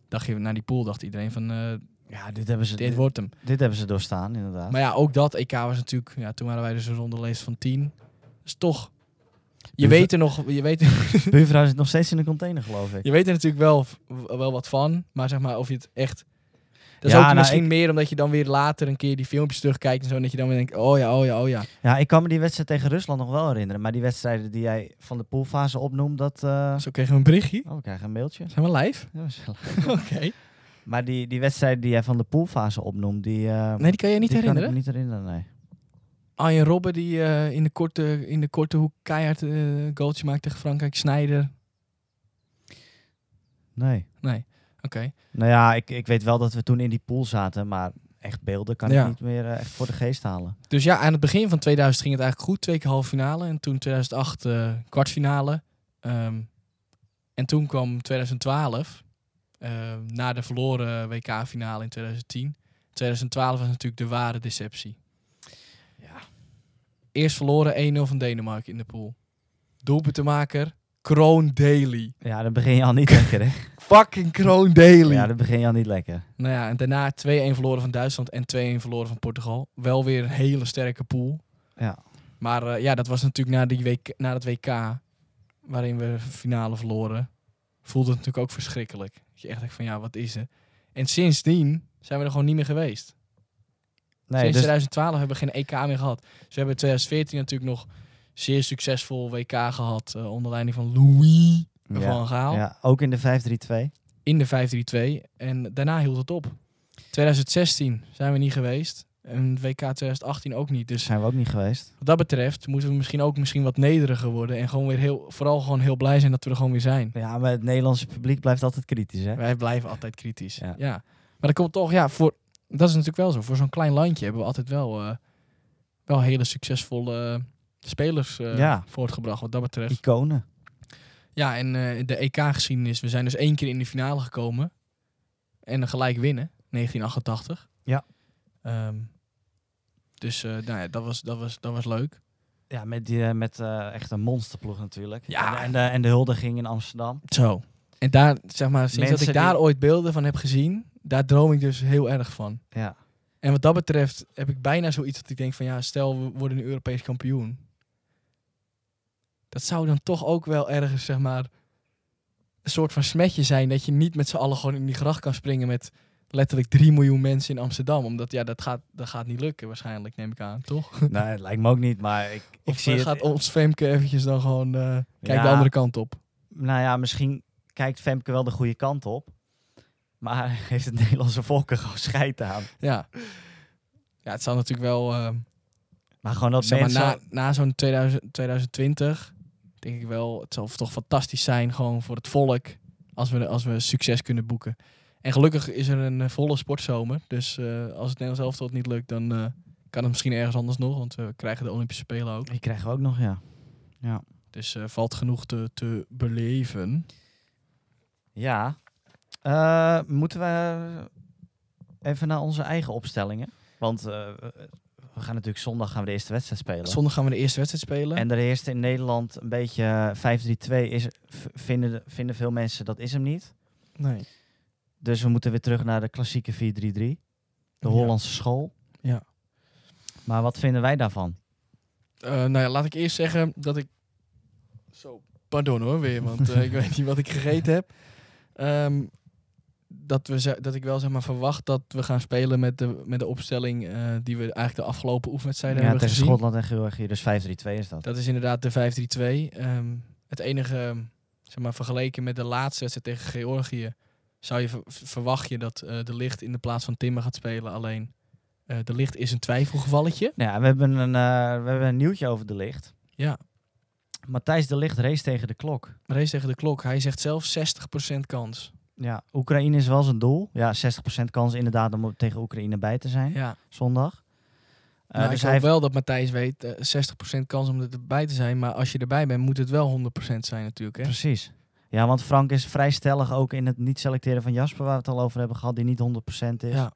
Dacht je, naar die pool dacht iedereen van, eh,
Ja, dit hebben ze,
dit
dit,
wordt hem.
dit hebben ze doorstaan, inderdaad.
Maar ja, ook dat EK was natuurlijk... Ja, toen waren wij dus een ronde leest van 10. Dus toch... Je
Dus-
weet, er nog, je, weet,
Buurvrouw zit nog steeds in de container, geloof ik.
je weet er natuurlijk wel, wel wat van, maar zeg maar of je het echt... Dat is
Ja,
ook
nou,
misschien
ik-
meer omdat je dan weer later een keer die filmpjes terugkijkt en zo. En dat je dan weer denkt, oh ja, oh ja, oh ja.
Ja, ik kan me die wedstrijd tegen Rusland nog wel herinneren. Maar die wedstrijden die jij van de poolfase opnoemt, dat... eh,
Zo kregen we een berichtje.
Oh, we krijgen een mailtje.
Zijn we live?
Ja, gezellig.
Oké.
maar die, die wedstrijden die jij van de poolfase opnoemt, die... eh,
Nee, die kan je niet
die kan ik
herinneren.
me niet herinneren, nee.
Arjen Robben die eh, in, de korte, in de korte hoek keihard eh goaltje maakt tegen Frankrijk. Snijder.
Nee.
Nee, oké.
Nou ja, ik, ik weet wel dat we toen in die pool zaten, maar echt beelden kan
Ja.
ik niet meer eh, echt voor de geest halen.
Dus ja, aan het begin van 2000 ging het eigenlijk goed. Twee keer halve finale en toen 2008 eh, kwartfinale. Ehm, en toen kwam 2012, eh, na de verloren WK-finale in 2010. 2012 was natuurlijk de ware deceptie. Eerst verloren 1-0 van Denemarken in de pool. Doelpuntenmaker, Kroon Daly.
Ja, dan begin je al niet lekker, hè?
Fucking Kroon Daly.
Ja, dan begin je al niet lekker.
Nou ja, en daarna 2-1 verloren van Duitsland en 2-1 verloren van Portugal. Wel weer een hele sterke pool.
Ja.
Maar eh, ja, dat was natuurlijk na, die WK, na dat WK, waarin we de finale verloren, voelde het natuurlijk ook verschrikkelijk. Dat je echt denkt van, ja, wat is er? En sindsdien zijn we er gewoon niet meer geweest.
Nee,
Sinds
dus,
2012 hebben we geen EK meer gehad. Ze hebben in 2014 natuurlijk nog zeer succesvol WK gehad. eh, onder leiding van Louis
ja,
van Gaal.
ja, ook in de 5-3-2.
In de 5-3-2. En daarna hield het op. 2016 zijn we niet geweest. En WK 2018 ook niet. Dus
Zijn we ook niet geweest.
wat dat betreft moeten we misschien ook misschien wat nederiger worden. En gewoon weer heel, vooral gewoon heel blij zijn dat we er gewoon weer zijn.
Ja, maar het Nederlandse publiek blijft altijd kritisch, hè?
Wij blijven altijd kritisch.
Ja.
Ja. Maar dat komt toch, ja, voor, dat is natuurlijk wel zo. Voor zo'n klein landje hebben we altijd wel, eh, wel hele succesvolle eh, spelers eh,
Ja.
voortgebracht, wat dat betreft.
Iconen.
Ja, en eh, de EK-geschiedenis, we zijn dus één keer in de finale gekomen. En dan gelijk winnen, 1988.
Ja.
Ehm, dus eh, nou ja, dat, was, dat, was, dat was leuk.
Ja, met, die, eh, met eh, echt een monsterploeg natuurlijk.
Ja.
En, en, de, en de huldiging in Amsterdam.
Zo. En daar, zeg maar, sinds dat
Mensen
ik daar
die-
ooit beelden van heb gezien, daar droom ik dus heel erg van.
Ja.
En wat dat betreft heb ik bijna zoiets dat ik denk van ja, stel we worden nu Europees kampioen. Dat zou dan toch ook wel ergens zeg maar een soort van smetje zijn dat je niet met z'n allen gewoon in die gracht kan springen met letterlijk 3 miljoen mensen in Amsterdam. Omdat ja, dat gaat, dat gaat niet lukken waarschijnlijk, neem ik aan, toch?
nee, het lijkt me ook niet, maar ik, ik
Of
zie
eh,
het...
gaat ons Femke eventjes dan gewoon, eh kijk de
Ja.
andere kant op.
Nou ja, misschien kijkt Femke wel de goede kant op. Maar heeft het Nederlandse volk er gewoon scheid aan.
Ja. Ja, het zou natuurlijk wel... ehm,
Maar gewoon dat
Zeg maar,
mensen...
na, na zo'n 2000, 2020 denk ik wel, het zal toch fantastisch zijn gewoon voor het volk als we, als we succes kunnen boeken. En gelukkig is er een eh, volle sportzomer, dus eh, als het Nederlands elftal het niet lukt, dan eh, kan het misschien ergens anders nog, want we krijgen de Olympische Spelen ook.
Die krijgen we ook nog, ja.
Dus eh, valt genoeg te, te beleven.
Ja. Eh, moeten we even naar onze eigen opstellingen? Want eh, we gaan natuurlijk zondag gaan we de eerste wedstrijd spelen.
Zondag gaan we de eerste wedstrijd spelen.
en de eerste in Nederland een beetje eh, 5-3-2 is, v- vinden, de- vinden veel mensen dat is hem niet.
nee.
Dus we moeten weer terug naar de klassieke 4-3-3. De
Ja.
Hollandse school.
Ja.
Maar wat vinden wij daarvan?
Eh, nou ja, laat ik eerst zeggen dat ik. Zo. Pardon hoor, weer, want eh, ik weet niet wat ik gegeten heb. Ehm, dat, we, ze- dat ik wel zeg maar verwacht dat we gaan spelen met de, met de opstelling eh, die we eigenlijk de afgelopen oefenwedstrijden
Ja,
hebben
tegen
gezien.
Schotland en Georgië. Dus 5-3-2 is dat.
Dat is inderdaad de 5-3-2. Ehm, het enige, zeg maar, vergeleken met de laatste wedstrijd tegen Georgië, zou je ver- verwacht je dat eh, de licht in de plaats van Timmer gaat spelen. Alleen eh, de licht is een twijfelgevalletje.
Nou ja, we hebben, een, eh, we hebben een nieuwtje over de licht.
Ja.
Matthijs de Licht race tegen de klok.
Race tegen de klok. Hij zegt zelf 60% kans.
Ja, Oekraïne is wel zijn doel. Ja, 60% kans inderdaad om tegen Oekraïne bij te zijn
Ja,
zondag. Eh,
maar
dus
ik
hij
hoop
heeft,
wel dat Matthijs weet, eh, 60% kans om erbij te zijn. Maar als je erbij bent, moet het wel 100% zijn natuurlijk. Hè?
precies. Ja, want Frank is vrij stellig ook in het niet selecteren van Jasper, waar we het al over hebben gehad, die niet 100% is.
Ja.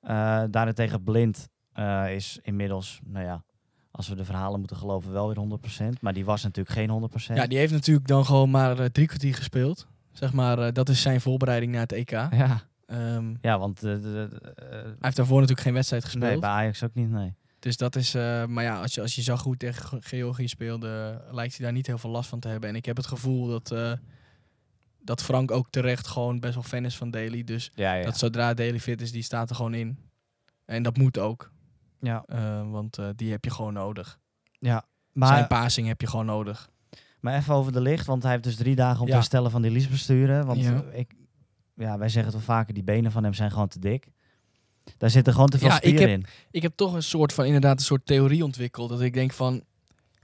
Eh, daarentegen Blind eh, is inmiddels, nou ja, als we de verhalen moeten geloven, wel weer 100%. Maar die was natuurlijk geen 100%.
ja, die heeft natuurlijk dan gewoon maar eh, drie kwartier gespeeld. Zeg maar, eh, dat is zijn voorbereiding naar het EK.
ja.
Ehm,
ja want eh, de- de- eh,
hij heeft daarvoor natuurlijk geen wedstrijd gespeeld.
nee, bij Ajax ook niet, nee.
Dus dat is, eh, maar ja, als je, als je zag hoe het tegen Ge- Georgië speelde, lijkt hij daar niet heel veel last van te hebben. En ik heb het gevoel dat, eh, dat Frank ook terecht gewoon best wel fan is van Daly. Dus
Ja, ja.
dat zodra Daly fit is, die staat er gewoon in. En dat moet ook,
ja.
eh, want eh, die heb je gewoon nodig.
Maar,
Zijn passing heb je gewoon nodig.
Maar even over de licht, want hij heeft dus drie dagen om te
Ja.
herstellen van die liesbesturen. Want
Ja.
eh, ik, ja, wij zeggen het wel vaker, die benen van hem zijn gewoon te dik. Daar zitten gewoon te veel
Ja, ik
spieren
heb-
in.
Ik heb toch een soort van inderdaad een soort theorie ontwikkeld. Dat ik denk van,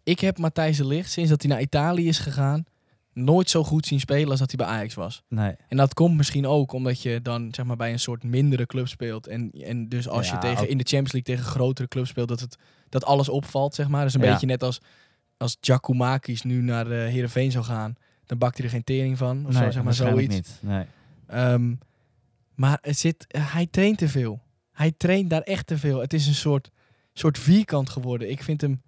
ik heb Matthijs de Ligt sinds dat hij naar Italië is gegaan... nooit zo goed zien spelen als dat hij bij Ajax was.
Nee,
En dat komt misschien ook omdat je dan zeg maar, bij een soort mindere club speelt. En, en dus als
Ja,
je tegen,
ook-
in de Champions League tegen grotere clubs speelt... dat, het, dat alles opvalt, zeg maar. Dus een
Ja.
beetje net als, als Giacomakis nu naar eh Heerenveen zou gaan... dan bakt hij er geen tering van of
nee
zo, zeg maar
waarschijnlijk
zoiets.
niet. Nee.
Ehm, eh, maar het zit, hij traint te veel. Hij traint daar echt te veel. Het is een soort soort vierkant geworden. Ik vind hem... En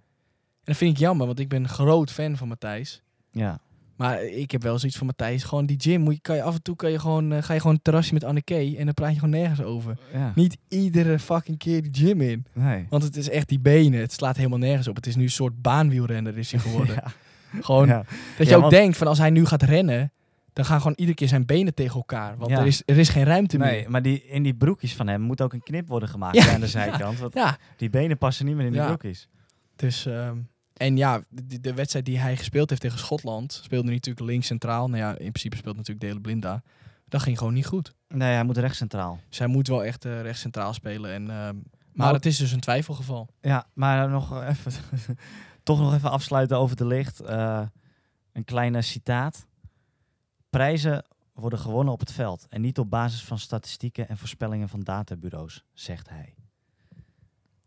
dat vind ik jammer, want ik ben een groot fan van Matthijs.
Ja.
Maar ik heb wel zoiets van Matthijs. Gewoon die gym, moet je, kan je af en toe kan je gewoon, eh, ga je gewoon een terrasje met Anne Kay en dan praat je gewoon nergens over.
ja.
Niet iedere fucking keer die gym in.
Nee.
Want het is echt die benen. Het slaat helemaal nergens op. Het is nu een soort baanwielrenner is hij geworden.
Ja.
Gewoon
Ja.
dat je
Ja,
ook
want-
denkt van als hij nu gaat rennen, dan gaan gewoon iedere keer zijn benen tegen elkaar. Want
Ja.
er, is, er is geen ruimte
Nee,
meer.
maar die, in die broekjes van hem moet ook een knip worden gemaakt
Ja.
aan de zijkant. Want
Ja,
die benen passen niet meer in die
Ja.
broekjes.
dus... ehm, en ja, de, de wedstrijd die hij gespeeld heeft tegen Schotland, speelde hij natuurlijk links centraal. Nou ja, in principe speelt natuurlijk Dele Blinda. Dat ging gewoon niet goed.
Nee, hij moet recht centraal.
Zij moet wel echt eh rechts centraal spelen. En, ehm, maar
Maar ook-
het is dus een twijfelgeval.
Ja, maar nog even, toch nog even afsluiten over de licht. Eh, een kleine citaat. Prijzen worden gewonnen op het veld en niet op basis van statistieken en voorspellingen van databureaus, zegt hij.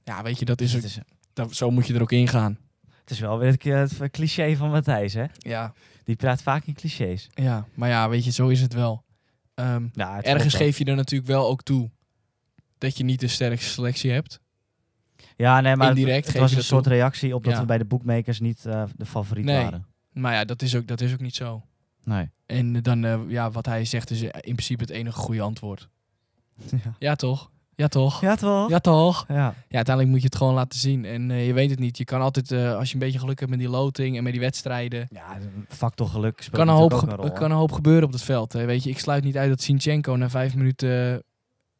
Ja, weet je, dat is,
Dus
ook-
het, is,
dat- zo moet je er ook in gaan.
het is wel weer het, het cliché van Matthijs, hè?
Ja,
Die praat vaak in clichés.
ja, maar ja, weet je, zo is het wel. Ehm,
Ja, het
ergens
klopt wel.
geef je er natuurlijk wel ook toe dat je niet de sterkste selectie hebt.
Ja, nee, maar het-
indirect
het,
geef
was
je
een
dat
soort
toe.
reactie op dat
Ja.
we bij de bookmakers niet eh, de favoriet
Nee.
waren.
Maar ja, dat is ook, dat is ook niet zo.
Nee.
En eh, dan, eh, ja, wat hij zegt is eh, in principe het enige goede antwoord.
Ja,
Ja, toch? Ja, toch?
ja toch?
Ja, toch?
Ja.
Ja, uiteindelijk moet je het gewoon laten zien. En eh, je weet het niet. Je kan altijd, eh, als je een beetje geluk hebt met die loting en met die wedstrijden,
Ja, een factor geluk speelt
kan een, hoop
natuurlijk ook
ge-
een rol.
kan
hè?
een hoop gebeuren op dat veld. Hè. Weet je, ik sluit niet uit dat Sinchenko na vijf minuten eh,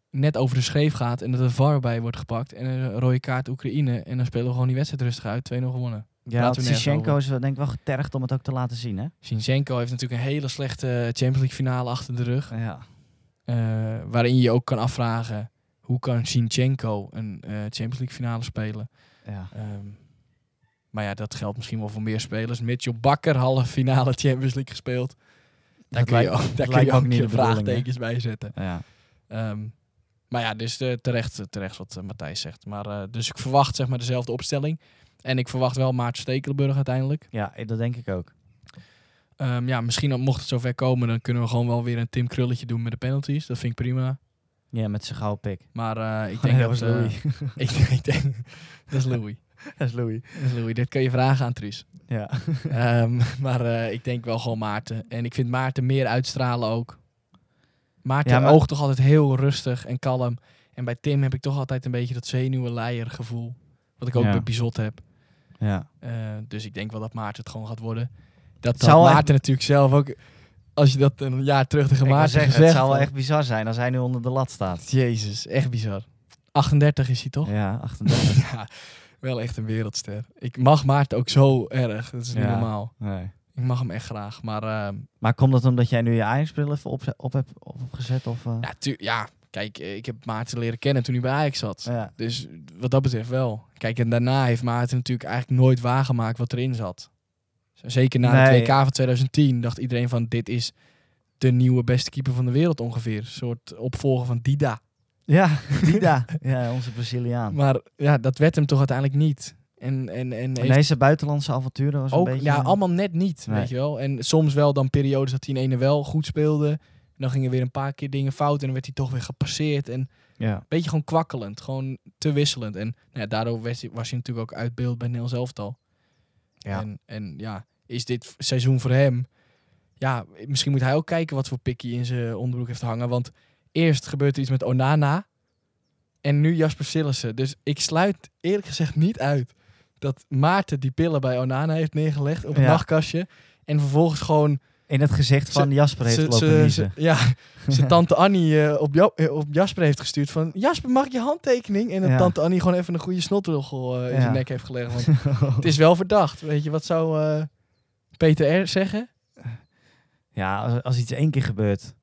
net over de scheef gaat en dat er VAR bij wordt gepakt en een rode kaart Oekraïne. En dan spelen we gewoon die wedstrijd rustig uit. 2-0 gewonnen.
Ja,
Laten
want
we nergens
Sishenko
over.
is wel- denk ik wel getergd om het ook te laten zien, hè?
Sinchenko heeft natuurlijk een hele slechte Champions League finale achter de rug.
Ja.
eh, waarin je je ook kan afvragen, hoe kan Sinchenko een eh, Champions League finale spelen?
ja.
Ehm, maar ja, dat geldt misschien wel voor meer spelers. Mitchell Bakker, halve finale Champions League gespeeld. Daar
Dat
kun je
lijkt-
ook,
dat
daar kun je
lijkt me
ook
ook niet
je
de bedoeling, hè?
vraagtekens bij zetten.
ja.
Ehm, maar ja, dus eh, terecht, eh, terecht wat eh, Matthijs zegt. Maar, eh, dus ik verwacht zeg maar dezelfde opstelling. En ik verwacht wel Maarten Stekelenburg uiteindelijk.
Ja, eh, dat denk ik ook.
Ehm, ja, misschien al- mocht het zover komen, dan kunnen we gewoon wel weer een Tim Krulletje doen met de penalties. Dat vind ik prima.
Ja, met zijn gouden pik.
Maar eh, ik
Nee,
denk
dat
dat...
was
eh,
Louis.
ik, ik denk, dat is Louis.
dat is Louis.
Dat is Louis. Dit kun je vragen aan Truus.
Ja.
Ehm, maar eh, ik denk wel gewoon Maarten. En ik vind Maarten meer uitstralen ook. Maarten
Ja, maar-
oogt toch altijd heel rustig en kalm. En bij Tim heb ik toch altijd een beetje dat zenuwenleier gevoel. Wat ik ook
Ja.
bij Bizot heb.
ja.
Eh, dus ik denk wel dat Maarten het gewoon gaat worden. Dat
zou
had
wel
Maarten
echt-
natuurlijk zelf ook... Als je dat een jaar terug tegen
Ik wou
Maarten
zeggen, het
gezegd
zou wel
had.
echt bizar zijn als hij nu onder de lat staat.
Jezus, echt bizar. 38 is hij toch?
Ja, 38.
Ja, wel echt een wereldster. Ik mag Maarten ook zo erg. Dat is niet
Ja.
normaal.
nee.
Ik mag hem echt graag. Maar ehm,
Maar komt dat omdat jij nu je Ajax-bril even op, op hebt op, hebt gezet? Of, eh?
Ja, Nou, tu- ja, kijk, eh, ik heb Maarten leren kennen toen hij bij Ajax zat.
ja.
Dus wat dat betreft wel. Kijk, en daarna heeft Maarten natuurlijk eigenlijk nooit waargemaakt wat erin zat. Z- Zeker na
Nee.
de WK van 2010 dacht iedereen van dit is de nieuwe beste keeper van de wereld ongeveer. Een soort opvolger van Dida.
Ja, Dida. ja, onze Braziliaan.
Maar ja, dat werd hem toch uiteindelijk niet. En, en, en heeft
Nee, zijn buitenlandse avonturen was
ook,
een beetje...
ja, allemaal net niet,
Nee.
weet je wel. En soms wel dan periodes dat hij in ene wel goed speelde. En dan gingen weer een paar keer dingen fout en dan werd hij toch weer gepasseerd. En
Ja.
beetje gewoon kwakkelend, gewoon te wisselend. En nou ja, daardoor was hij, was hij natuurlijk ook uit beeld bij Nederlands elftal.
Ja.
En, en ja, is dit v- seizoen voor hem? Ja, misschien moet hij ook kijken wat voor pikkie in zijn onderbroek heeft hangen. Want eerst gebeurt er iets met Onana en nu Jasper Sillissen. Dus ik sluit eerlijk gezegd niet uit dat Maarten die pillen bij Onana heeft neergelegd op een
Ja.
nachtkastje. En vervolgens gewoon...
In het gezicht van Jasper heeft
ze-
lopen
ze-
niezen.
ze- Ja, zijn tante Annie eh, op, jou, eh, op Jasper heeft gestuurd van... Jasper, mag ik je handtekening? En dat
Ja.
tante Annie gewoon even een goede snotrugel eh, in
Ja.
zijn nek heeft gelegd. Want het is wel verdacht. Weet je, wat zou eh, Peter R. zeggen?
Ja, als, als iets één keer gebeurt,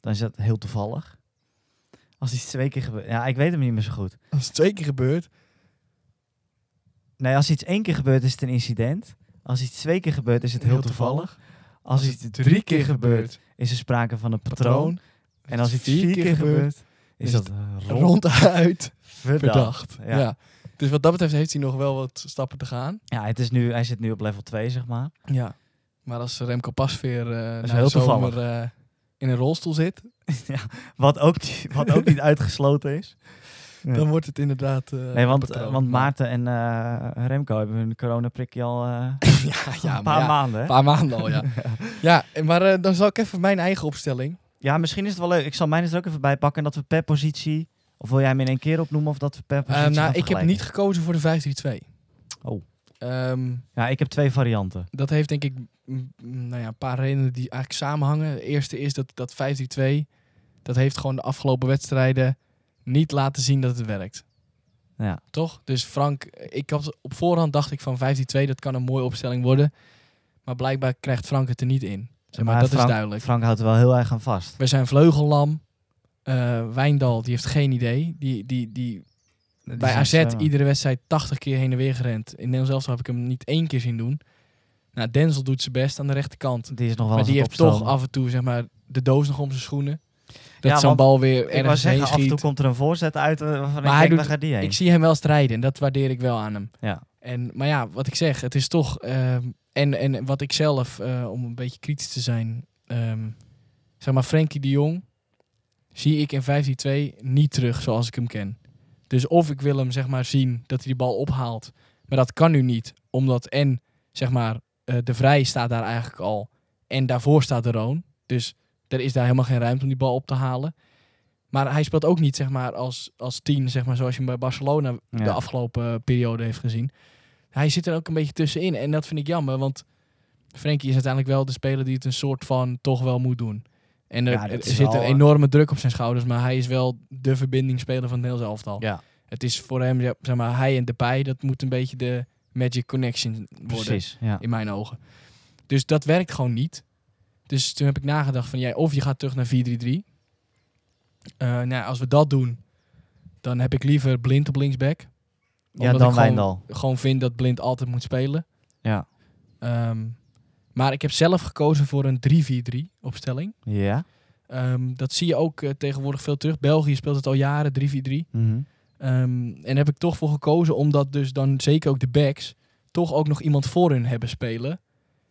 dan is dat heel toevallig. Als iets twee keer gebeurt... Ja, ik weet hem niet meer zo goed.
Als het twee keer gebeurt.
Nee, als iets één keer gebeurt, is het een incident. Als iets twee keer gebeurt, is het heel, toevallig. Als, iets drie, keer gebeurt, is er sprake van een patroon.
Patroon.
En als iets vier keer gebeurt, is
is
dat rond
Ronduit
verdacht.
verdacht. Ja.
ja.
Dus wat dat betreft heeft hij nog wel wat stappen te gaan.
Ja, het is nu, hij zit nu op level 2, zeg maar.
Ja. Maar als Remco Pasveer eh
is
na de
heel
zomer
toevallig.
eh, in een rolstoel zit...
Wat ook, wat ook niet uitgesloten is.
Dan wordt het inderdaad. eh,
Nee, want,
patroon.
want
Maar-
Maarten en eh, Remco hebben hun coronaprikje al eh,
ja, ja,
een paar
ja,
maanden. hè?
Een paar maanden al, ja. ja, en maar eh, dan zal ik even mijn eigen opstelling.
Ja, misschien is het wel leuk. Ik zal mijn eens er ook even bij pakken. En dat we per positie. Of wil jij hem in één keer opnoemen? Of dat we per
Eh,
positie.
nou,
gaan
ik heb
vergelijken?
niet gekozen voor de 5-3-2.
Oh.
Ehm,
Ja, ik heb twee varianten.
dat heeft denk ik mm, nou ja, een paar redenen die eigenlijk samenhangen. De eerste is dat, dat 5-3-2, dat heeft gewoon de afgelopen wedstrijden niet laten zien dat het werkt.
Ja.
Toch? Dus Frank, ik had, op voorhand dacht ik van 5-3-2, dat kan een mooie opstelling worden. Maar blijkbaar krijgt Frank het er niet in. Zeg maar, dat
Frank,
is duidelijk.
Frank houdt er wel heel erg aan vast.
We zijn vleugellam. Eh, Wijndal, die heeft geen idee. Die, die, die,
Die eh,
bij
zijn
AZ
slimmer.
iedere wedstrijd 80 keer heen en weer gerend. In Nederland zelf heb ik hem niet één keer zien doen. Nou, Denzel doet zijn best aan de rechterkant.
Die is nog wel
Maar
eens
die
aan
heeft
het
toch
opstomen.
af en toe zeg maar, de doos nog om zijn schoenen. Dat
Ja,
zo'n
want
bal weer
Ik wou
ergens heen
zeggen, af en toe
schiet.
komt er een voorzet uit eh, waarvan ik
hij
denk,
doet-
waar gaat die heen?
Ik zie hem wel strijden en dat waardeer ik wel aan hem.
Ja.
En, maar ja, wat ik zeg, het is toch... ehm, en, en wat ik zelf, eh, om een beetje kritisch te zijn... ehm, zeg maar, Frenkie de Jong zie ik in 15-2 niet terug zoals ik hem ken. Dus of ik wil hem zeg maar zien dat hij die bal ophaalt. Maar dat kan nu niet, omdat en zeg maar, eh, de Vrij staat daar eigenlijk al. En daarvoor staat de Roon. Dus er is daar helemaal geen ruimte om die bal op te halen. Maar hij speelt ook niet zeg maar, als, als tien, zeg maar, zoals je hem bij Barcelona
Ja.
de afgelopen eh, periode heeft gezien. Hij zit er ook een beetje tussenin. En dat vind ik jammer, want Frenkie is uiteindelijk wel de speler die het een soort van toch wel moet doen. En er,
Ja, dat
er
is
zit
wel,
een
eh,
enorme druk op zijn schouders, maar hij is wel de verbindingsspeler van het hele elftal.
Ja.
Het is voor hem, ja, zeg maar, hij en Depay, dat moet een beetje de magic connection worden
Precies, ja.
in mijn ogen. Dus dat werkt gewoon niet. Dus toen heb ik nagedacht van, jij of je gaat terug naar 4-3-3. Eh, nou, ja, als we dat doen, dan heb ik liever Blind op linksback.
Ja,
Omdat
dan
ik gewoon-
Wijndal.
Gewoon vind dat Blind altijd moet spelen.
Ja.
Ehm, maar ik heb zelf gekozen voor een 3-4-3 opstelling.
Ja.
Ehm, dat zie je ook eh, tegenwoordig veel terug. België speelt het al jaren 3-4-3.
Mhm.
Ehm, en daar heb ik toch voor gekozen, omdat dus dan zeker ook de backs toch ook nog iemand voor hun hebben spelen.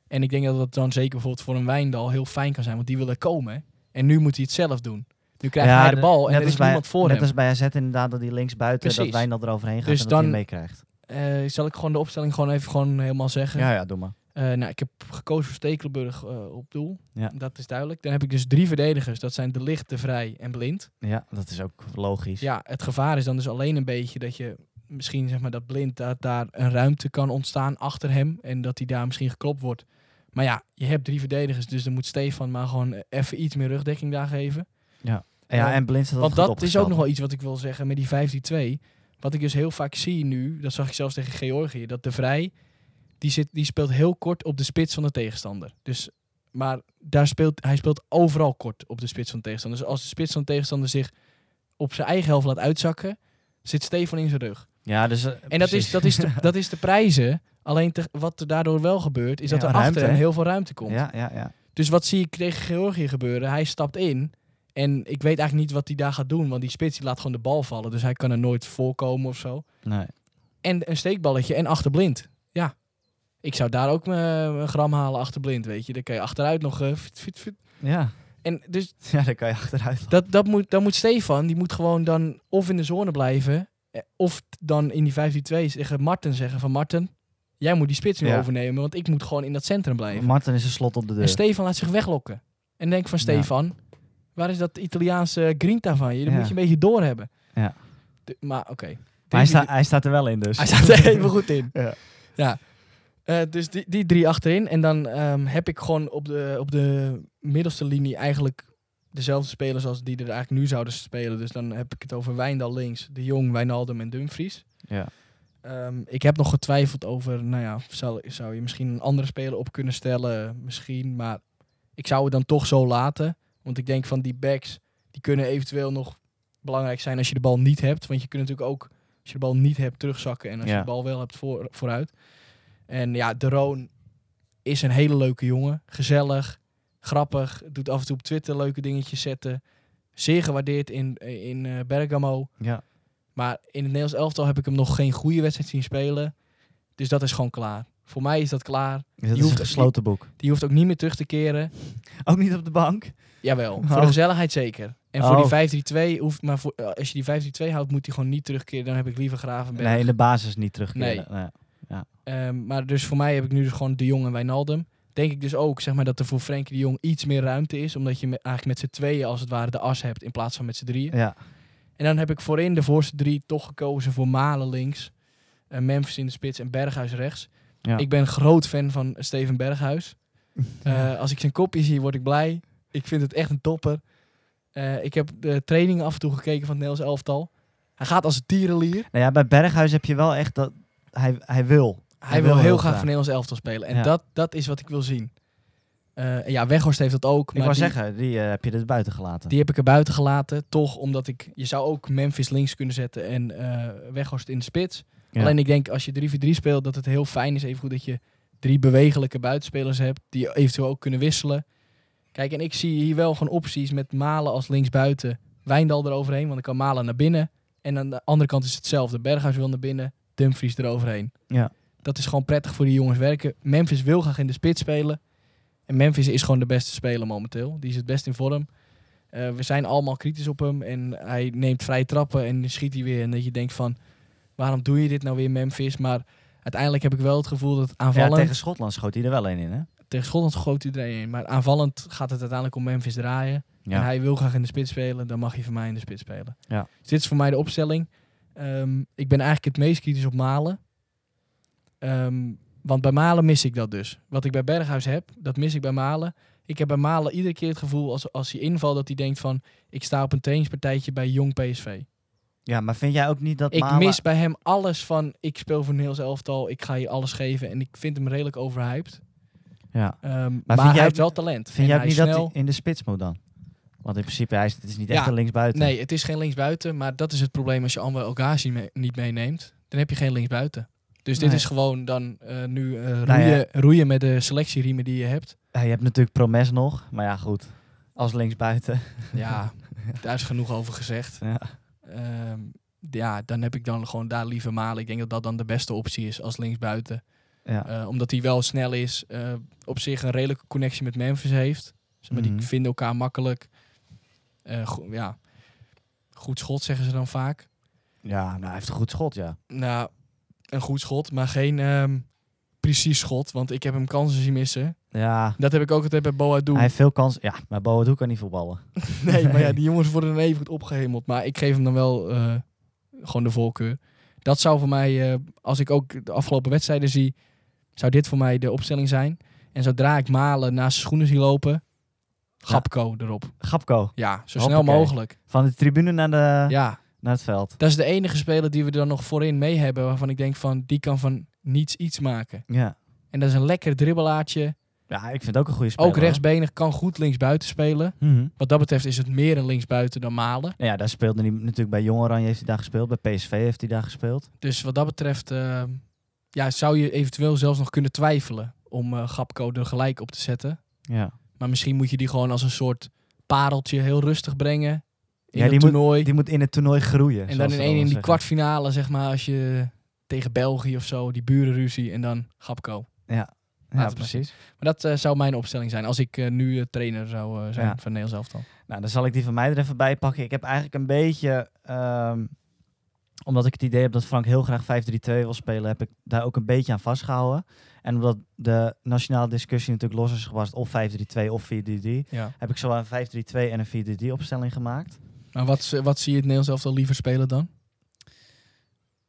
En ik denk dat dat dan zeker bijvoorbeeld voor een Wijndal heel fijn kan zijn, want die wil er komen. hè. En nu moet hij het zelf doen. Nu krijgt hij de bal en
net
er
als
is
bij-
niemand voor
Net
hem.
als bij AZ inderdaad, dat die links buiten, dat
Precies.
Wijndal eroverheen gaat
Dus
en dat hij
dan-
hem meekrijgt.
Eh, zal ik gewoon de opstelling gewoon even gewoon helemaal zeggen?
ja, doe maar.
Eh, nou, ik heb gekozen voor Stekelenburg eh, op doel.
Ja.
Dat is duidelijk. Dan heb ik dus drie verdedigers. Dat zijn De Licht, De Vrij en Blind.
Ja, dat is ook logisch.
Ja, het gevaar is dan dus alleen een beetje dat je misschien zeg maar dat blind dat daar een ruimte kan ontstaan achter hem en dat hij daar misschien geklopt wordt. Maar ja, je hebt drie verdedigers, dus dan moet Stefan maar gewoon eh, even iets meer rugdekking daar geven.
En ja,
eh,
en blind staat
Want
goed
dat is ook
opgesteld.
nog wel iets wat ik wil zeggen met die 15-2. Wat ik dus heel vaak zie nu, dat zag ik zelfs tegen Georgië, dat de Vrij die, zit, die speelt heel kort op de spits van de tegenstander. Dus, maar daar speelt, hij speelt overal kort op de spits van de tegenstander. Dus als de spits van de tegenstander zich op zijn eigen helft laat uitzakken, zit Stefan in zijn rug.
Ja, dus,
En dat is, dat, is de, dat is de prijzen. Alleen te- wat er daardoor wel gebeurt, is
Ja,
dat er
ruimte,
achter hem
hè?
heel veel ruimte komt.
Ja, ja, ja.
Dus wat zie ik tegen Georgië gebeuren? Hij stapt in. En ik weet eigenlijk niet wat hij daar gaat doen. Want die spits die laat gewoon de bal vallen. Dus hij kan er nooit voorkomen of zo.
Nee.
En een steekballetje en achterblind. Ja. Ik zou daar ook mijn mijn gram halen achterblind, weet je. Dan kan je achteruit nog... eh, fit, fit, fit.
Ja.
En dus
ja, daar kan je achteruit.
dat, dat moet, dan moet Stefan, die moet gewoon dan of in de zone blijven, eh, of t- dan in die 15-2 tegen Marten zeggen van Marten, jij moet die spits nu
Ja.
overnemen, want ik moet gewoon in dat centrum blijven.
Martin is een slot op de
en
deur.
Stefan laat zich weglokken. En denk van
Ja.
Stefan, waar is dat Italiaanse grinta van je? Dat
Ja.
moet je een beetje doorhebben.
Ja.
De- maar oké.
Maar hij, sta, hij staat er wel in dus.
Hij staat er even goed in.
Ja.
Ja. Eh, dus die, die drie achterin. En dan ehm, heb ik gewoon op de, op de middelste linie eigenlijk dezelfde spelers als die er eigenlijk nu zouden spelen. Dus dan heb ik het over Wijndal links, De Jong, Wijnaldum en Dumfries.
Ja.
Ehm, ik heb nog getwijfeld over, nou ja, zou, zou je misschien een andere speler op kunnen stellen? Misschien, maar ik zou het dan toch zo laten. Want ik denk van die backs, die kunnen eventueel nog belangrijk zijn als je de bal niet hebt. Want je kunt natuurlijk ook, als je de bal niet hebt, terugzakken. En als
Ja.
je de bal wel hebt, voor, vooruit. En ja, De Roon is een hele leuke jongen. Gezellig, grappig. Doet af en toe op Twitter leuke dingetjes zetten. Zeer gewaardeerd in, in eh, Bergamo.
Ja.
Maar in het Nederlands elftal heb ik hem nog geen goede wedstrijd zien spelen. Dus dat is gewoon klaar. Voor mij is dat klaar.
Dus dat
Je
is een
hoeft-
gesloten boek.
Die hoeft ook niet meer terug te keren.
Ook niet op de bank.
Jawel,
Oh.
voor de gezelligheid zeker. En voor
Oh.
die 5-3-2 hoeft, maar voor, eh, als je die 5-3-2 houdt, moet hij gewoon niet terugkeren. Dan heb ik liever Gravenberg.
Nee, in de basis niet terugkeren. Nee.
Ehm, maar dus voor mij heb ik nu dus gewoon De Jong en Wijnaldum. Denk ik dus ook zeg maar, dat er voor Frenkie de Jong iets meer ruimte is. Omdat je me- eigenlijk met z'n tweeën als het ware de as hebt in plaats van met z'n drieën.
Ja.
En dan heb ik voorin de voorste drie toch gekozen voor Malen links. eh, Memphis in de spits en Berghuis rechts.
Ja.
Ik ben groot fan van Steven Berghuis. Eh, als ik zijn kopje zie, word ik blij. Ik vind het echt een topper. Eh, ik heb de trainingen af en toe gekeken van het Nederlands elftal. Hij gaat als een tierenlier.
Nou ja, bij Berghuis heb je wel echt dat... Hij, hij wil.
Hij, wil heel graag van Nederlands elftal spelen. En
Ja.
dat, dat is wat ik wil zien. Eh, en ja, Weghorst heeft dat ook.
Ik
maar
wou
die,
zeggen, die eh, heb je er buiten gelaten.
die heb ik er buiten gelaten. Toch omdat ik... Je zou ook Memphis links kunnen zetten en eh Weghorst in de spits.
Ja.
Alleen ik denk als je 3-4-3 speelt dat het heel fijn is. Even goed dat je drie bewegelijke buitenspelers hebt. Die eventueel ook kunnen wisselen. Kijk, en ik zie hier wel gewoon opties met Malen als linksbuiten. Wijndal eroverheen, want dan kan Malen naar binnen. En aan de andere kant is hetzelfde. Berghuis wil naar binnen, Dumfries eroverheen.
Ja.
Dat is gewoon prettig voor die jongens werken. Memphis wil graag in de spits spelen. En Memphis is gewoon de beste speler momenteel. Die is het best in vorm. Eh, we zijn allemaal kritisch op hem. En hij neemt vrije trappen en dan schiet hij weer. En dat je denkt van, waarom doe je dit nou weer Memphis? Maar uiteindelijk heb ik wel het gevoel dat
ja,
aanvallend...
tegen Schotland schoot hij er wel een in, hè?
Tegen Schotland gooit iedereen in. Maar aanvallend gaat het uiteindelijk om Memphis draaien.
Ja.
En hij wil graag in de spits spelen. Dan mag hij van mij in de spits spelen.
Ja.
Dus dit is voor mij de opstelling. Ehm, ik ben eigenlijk het meest kritisch op Malen. Ehm, want bij Malen mis ik dat dus. Wat ik bij Berghuis heb, dat mis ik bij Malen. Ik heb bij Malen iedere keer het gevoel als, als hij invalt dat hij denkt van... ik sta op een trainingspartijtje bij Jong PSV.
Ja, maar vind jij ook niet dat
Ik
Malen...
mis bij hem alles van... ik speel voor Niels Elftal, ik ga je alles geven. En ik vind hem redelijk overhyped.
Ja.
Ehm, maar
jij
hij
ook-
heeft wel talent.
Vind jij
En
ook
hij
niet
is snel.
dat hij in de spits moet dan? Want in principe, hij is, het is niet echt
Ja,
een linksbuiten.
Nee, het is geen linksbuiten. Maar dat is het probleem als je Anwar Ogazi me- niet meeneemt. Dan heb je geen linksbuiten. Dus dit
Nee.
is gewoon dan eh, nu eh, roeien,
Nou ja.
roeien met de selectieriemen die je hebt.
Ja, je hebt natuurlijk Promes nog, maar ja, goed. Als linksbuiten.
Ja, daar is genoeg over gezegd.
Ja.
Ehm, ja, dan heb ik dan gewoon daar liever Malen. Ik denk dat dat dan de beste optie is als linksbuiten.
Ja.
Eh, omdat hij wel snel is. eh, op zich een redelijke connectie met Memphis heeft. Zeg maar,
Mhm.
Die vinden elkaar makkelijk. Eh, go- ja. Goed schot zeggen ze dan vaak.
ja, nou, hij heeft een goed schot, ja.
Nou, een goed schot, maar geen ehm, precies schot. Want ik heb hem kansen zien missen.
Ja,
Dat heb ik ook altijd bij Boa doen.
hij heeft veel kans. Ja, maar Boadu kan niet voetballen.
Nee, maar ja, die jongens worden dan even goed opgehemeld. Maar ik geef hem dan wel eh, gewoon de voorkeur. Dat zou voor mij, eh, als ik ook de afgelopen wedstrijden zie, zou dit voor mij de opstelling zijn. En zodra ik Malen naast zijn schoenen zie lopen, Gapko erop.
Gapko,
Ja, zo
Hoppakee.
snel mogelijk.
van de tribune naar, de,
Ja,
naar het veld.
dat is de enige speler die we er nog voorin mee hebben, waarvan ik denk van, die kan van niets iets maken.
Ja.
En dat is een lekker dribbelaartje.
ja, ik vind het ook een goede speler.
Ook rechtsbenig, kan goed linksbuiten spelen.
hoor. Mhm.
Wat dat betreft is het meer een linksbuiten dan Malen.
Nou ja, daar speelde hij natuurlijk bij Jong Oranje heeft hij daar gespeeld. Bij PSV heeft hij daar gespeeld.
Dus wat dat betreft eh, ja, zou je eventueel zelfs nog kunnen twijfelen om eh Gapco er gelijk op te zetten.
Ja.
Maar misschien moet je die gewoon als een soort pareltje heel rustig brengen in
Ja,
het
die moet-
toernooi.
Die moet in het toernooi groeien.
en
zoals
dan
ze
in
dat
één in
wel
die
zeggen.
kwartfinale, zeg maar, als je tegen België of zo, die burenruzie en dan Gapco.
Ja,
laten we
precies.
Maar dat eh, zou mijn opstelling zijn als ik eh, nu eh, trainer zou eh, zijn
Ja.
van Nederlands elftal.
Nou, dan zal ik die van mij er even bij pakken. Ik heb eigenlijk een beetje... ehm, omdat ik het idee heb dat Frank heel graag 5-3-2 wil spelen, heb ik daar ook een beetje aan vastgehouden. En omdat de nationale discussie natuurlijk los is gewast of 5-3-2 of 4-3-3,
Ja.
heb ik zowel een 5-3-2 en een 4-3-3 opstelling gemaakt.
Maar wat, eh, wat zie je het Nederlands elftal liever spelen dan?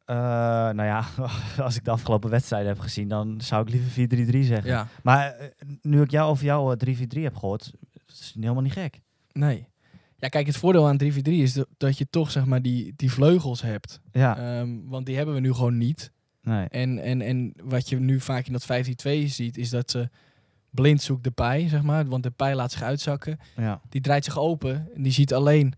Eh, nou ja, als ik de afgelopen wedstrijden heb gezien, dan zou ik liever 4-3-3 zeggen.
Ja,
Maar eh, nu ik jou over jouw eh, 3-4-3 heb gehoord, is het helemaal niet gek.
nee. Ja, kijk, het voordeel aan 3v3 is dat- dat je toch zeg maar die, die vleugels hebt.
Ja,
Ehm, want die hebben we nu gewoon niet.
nee.
En, en, en wat je nu vaak in dat 15-2 ziet, is dat ze blind zoekt de pij, zeg maar. Want de pij laat zich uitzakken.
Ja.
Die draait zich open en die ziet alleen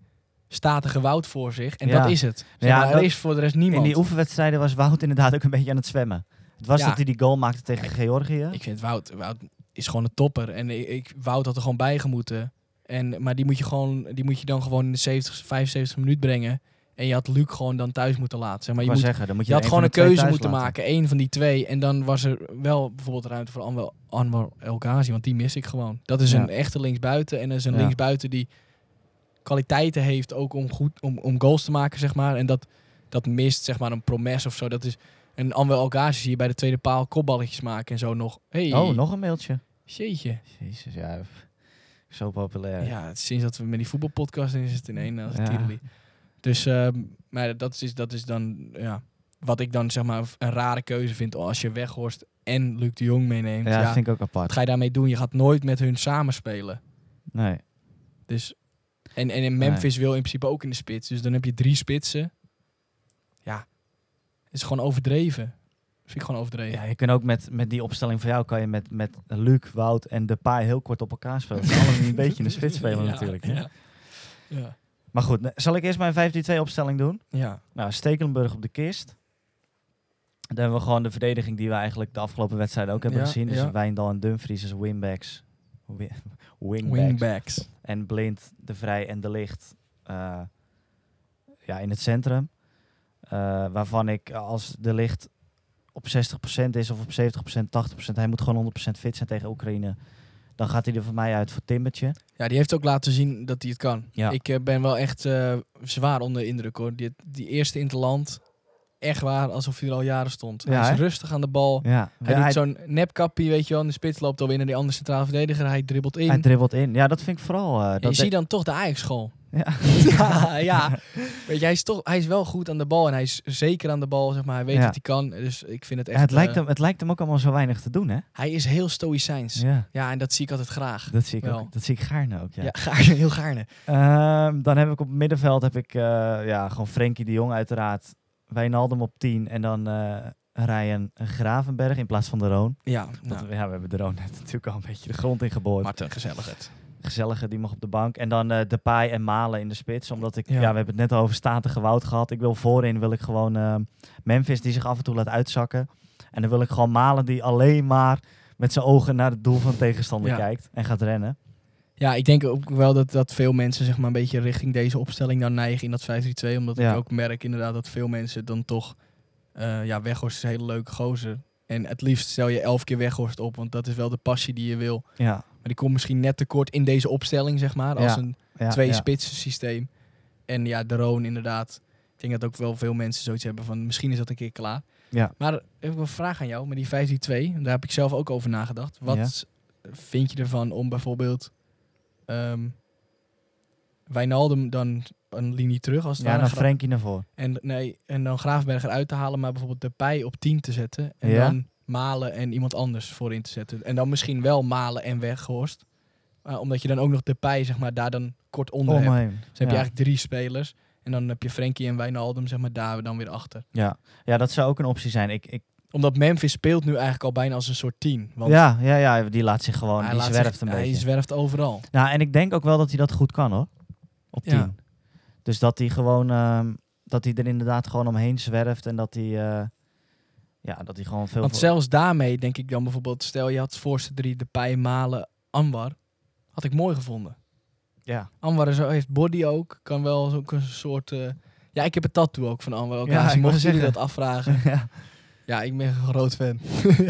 statige Wout voor zich. En
Ja.
dat is het. Zeg
Ja,
maar, er
dat-
is voor de rest
In
niemand.
die oefenwedstrijden was Wout inderdaad ook een beetje aan het zwemmen. Het was
Ja.
dat hij die goal maakte tegen Georgië.
ik vind Wout, Wout is gewoon een topper. En ik, ik- Wout had er gewoon bij gemoeten. En, maar die moet, je gewoon, die moet je dan gewoon in de 70, 75 minuut brengen. En je had Luc gewoon dan thuis moeten laten. Zeg maar,
Ik wou
je moet
zeggen, dan moet je,
Je had
er
gewoon een
van de twee
keuze
thuis
moeten
laten.
maken, één van die twee. En dan was er wel bijvoorbeeld ruimte voor Anwar, Anwar El Ghazi, want die mis ik gewoon. Dat is
Ja.
een echte linksbuiten en dat is een
Ja.
linksbuiten die kwaliteiten heeft ook om, goed, om, om goals te maken, zeg maar. En dat, dat mist, zeg maar, een promes of zo. Dat is, en Anwel Elgazi zie je bij de tweede paal kopballetjes maken en zo nog. Hey,
Oh, nog een mailtje.
Jeetje.
Jezus, ja. pff, Zo populair.
Ja, sinds dat we met die voetbalpodcast in nou, is het in één als
Eh, Ja.
het Tiroli. Dus ehm, maar dat is, dat is dan ja, wat ik dan zeg maar een rare keuze vind. Als je Weghorst en Luc de Jong meeneemt,
Ja,
ja,
dat vind ik ook
wat
apart.
ga je daarmee doen? Je gaat nooit met hun samenspelen.
Nee.
Dus, en, en in Memphis wil in principe ook in de spits. Dus dan heb je drie spitsen. Ja, het is gewoon overdreven. Vind ik gewoon overdreven.
Ja, je kunt ook met, met die opstelling van jou, kan je met, met Luc, Wout en Depay heel kort op elkaar spelen. Ze allemaal een beetje in de spits spelen
Ja,
natuurlijk. hè.
Ja. Ja.
Maar goed, nou, zal ik eerst mijn 5-3-2 opstelling doen?
ja,
Nou, Stekelenburg op de kist. Dan hebben we gewoon de verdediging die we eigenlijk de afgelopen wedstrijden ook hebben
Ja,
gezien. Dus
ja.
Wijndal en Dumfries als wingbacks. Wi- wingbacks.
wingbacks.
En Blind, De Vrij en De Licht eh, ja, in het centrum. Eh, waarvan ik als De Licht op 60% is of op 70%, 80%, hij moet gewoon 100% fit zijn tegen Oekraïne. Dan gaat hij er voor mij uit voor Timbertje.
Ja, die heeft ook laten zien dat hij het kan.
Ja.
Ik eh, ben wel echt eh, zwaar onder de indruk hoor. Die, die eerste interland, echt waar, alsof hij er al jaren stond.
Ja,
hij
hè?
is rustig aan de bal.
Ja,
Oh, Hij doet zo'n nepkappie, weet je wel. In de spits loopt alweer naar die andere centrale verdediger. Hij dribbelt in.
hij dribbelt in. Ja, dat vind ik vooral. eh,
En
dat
je ziet dan toch de Ajax-school.
Ja.
ja, ja. Weet je, hij is, toch, hij is wel goed aan de bal en hij is zeker aan de bal, zeg maar. Hij weet
Ja.
wat hij kan, dus ik vind het echt...
Ja, het, lijkt
eh,
hem, het lijkt hem ook allemaal zo weinig te doen, hè?
Hij is heel stoïcijns. Ja.
Ja,
en dat zie ik altijd graag.
dat zie ik
Wel.
ook. Dat zie ik gaarne ook, ja.
Ja, gaarne, heel gaarne.
Ehm, dan heb ik op het middenveld heb ik, eh, ja, gewoon Frenkie de Jong uiteraard. Wijnaldum op 10 en dan eh Ryan Gravenberg in plaats van de Roon.
Ja,
Dat-
nou,
ja, we hebben de Roon net natuurlijk al een beetje de grond in geboord.
Marten, gezellig het.
Gezellige, die mag op de bank. En dan eh Depay en Malen in de spits. Omdat ik, ja.
Ja.
we hebben het net al over statige woud gehad. Ik wil voorin, wil ik gewoon ehm, Memphis die zich af en toe laat uitzakken. En dan wil ik gewoon Malen die alleen maar met zijn ogen naar het doel van de tegenstander
Ja.
kijkt. En gaat rennen.
Ja, ik denk ook wel dat, dat veel mensen zeg maar, een beetje richting deze opstelling dan neigen in dat 5-3-2. Omdat
Ja.
ik ook merk inderdaad dat veel mensen dan toch... eh ja, Weghorst is een hele leuke gozer. En het liefst stel je elf keer Weghorst op, want dat is wel de passie die je wil.
Ja,
Maar die komt misschien net tekort in deze opstelling, zeg maar.
Ja.
Als een
ja
twee
ja.
spitsen systeem. En ja, de Roon inderdaad. Ik denk dat ook wel veel mensen zoiets hebben van misschien is dat een keer klaar.
Ja.
Maar heb ik een vraag aan jou, met die 5-3-2, daar heb ik zelf ook over nagedacht. Wat vind je ervan om bijvoorbeeld ehm Wijnaldum dan een linie terug als het
Ja,
ware,
dan
Gra-
Frenkie naar voren.
en, nee, en dan Graafberger uit te halen, maar bijvoorbeeld de pij op 10 te zetten. En
Ja.
dan Malen en iemand anders voorin te zetten. En dan misschien wel Malen en Weghorst. Maar omdat je dan ook nog de pij zeg maar, daar dan kort onder hebt.
Omheen.
Dus dan heb
Oh, ja.
je eigenlijk drie spelers. En dan heb je Frenkie en Wijnaldum zeg maar, daar dan weer achter.
Ja. ja, dat zou ook een optie zijn. Ik, ik,
Omdat Memphis speelt nu eigenlijk al bijna als een soort 10. Want
ja, ja, ja, die laat zich gewoon,
hij
die
laat
zwerft
zich-
een
Hij
beetje.
zwerft overal.
Nou, en ik denk ook wel dat hij dat goed kan hoor. Op 10.
Ja.
Dus dat hij gewoon, ehm, dat hij er inderdaad gewoon omheen zwerft en dat hij, eh, ja, dat hij gewoon veel.
Want zelfs daarmee denk ik dan bijvoorbeeld... Stel, je had voorste drie de pij, Malen, Anwar. Had ik mooi gevonden.
ja,
Anwar is, heeft body ook. Kan wel zo'n een soort... eh, ja, ik heb een tattoo ook van Anwar. Ook
Ja, ik
ja,
wou
mocht jullie
zeggen.
dat afvragen.
ja.
Ja, ik ben een groot fan.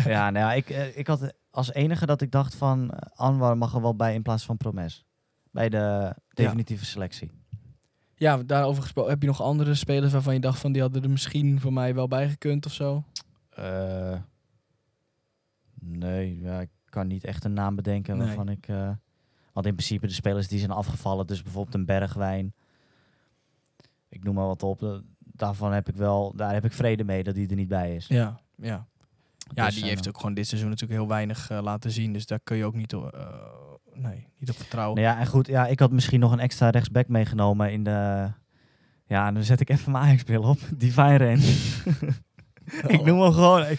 ja, nou ja, ik, eh, ik had als enige dat ik dacht van eh, Anwar mag er wel bij in plaats van Promes. Bij de definitieve selectie.
Ja, daarover gesproken. Heb je nog andere spelers waarvan je dacht van... die hadden er misschien voor mij wel bij gekund of zo?
Eh, nee, ja, ik kan niet echt een naam bedenken
Nee.
waarvan ik. eh, want in principe de spelers die zijn afgevallen, dus bijvoorbeeld een Bergwijn. Ik noem maar wat op. eh, Daarvan heb ik wel, daar heb ik vrede mee dat die er niet bij is.
Ja, ja. Ja,
Dus,
die
eh,
heeft ook gewoon dit seizoen natuurlijk heel weinig eh, laten zien. Dus daar kun je ook niet, op- eh, nee, niet op vertrouwen.
Nou ja, en goed, ja, ik had misschien nog een extra rechtsback meegenomen in de. Ja, en dan zet ik even mijn Ajax-bril op. Divine Ren. ik noem hem gewoon. Ik,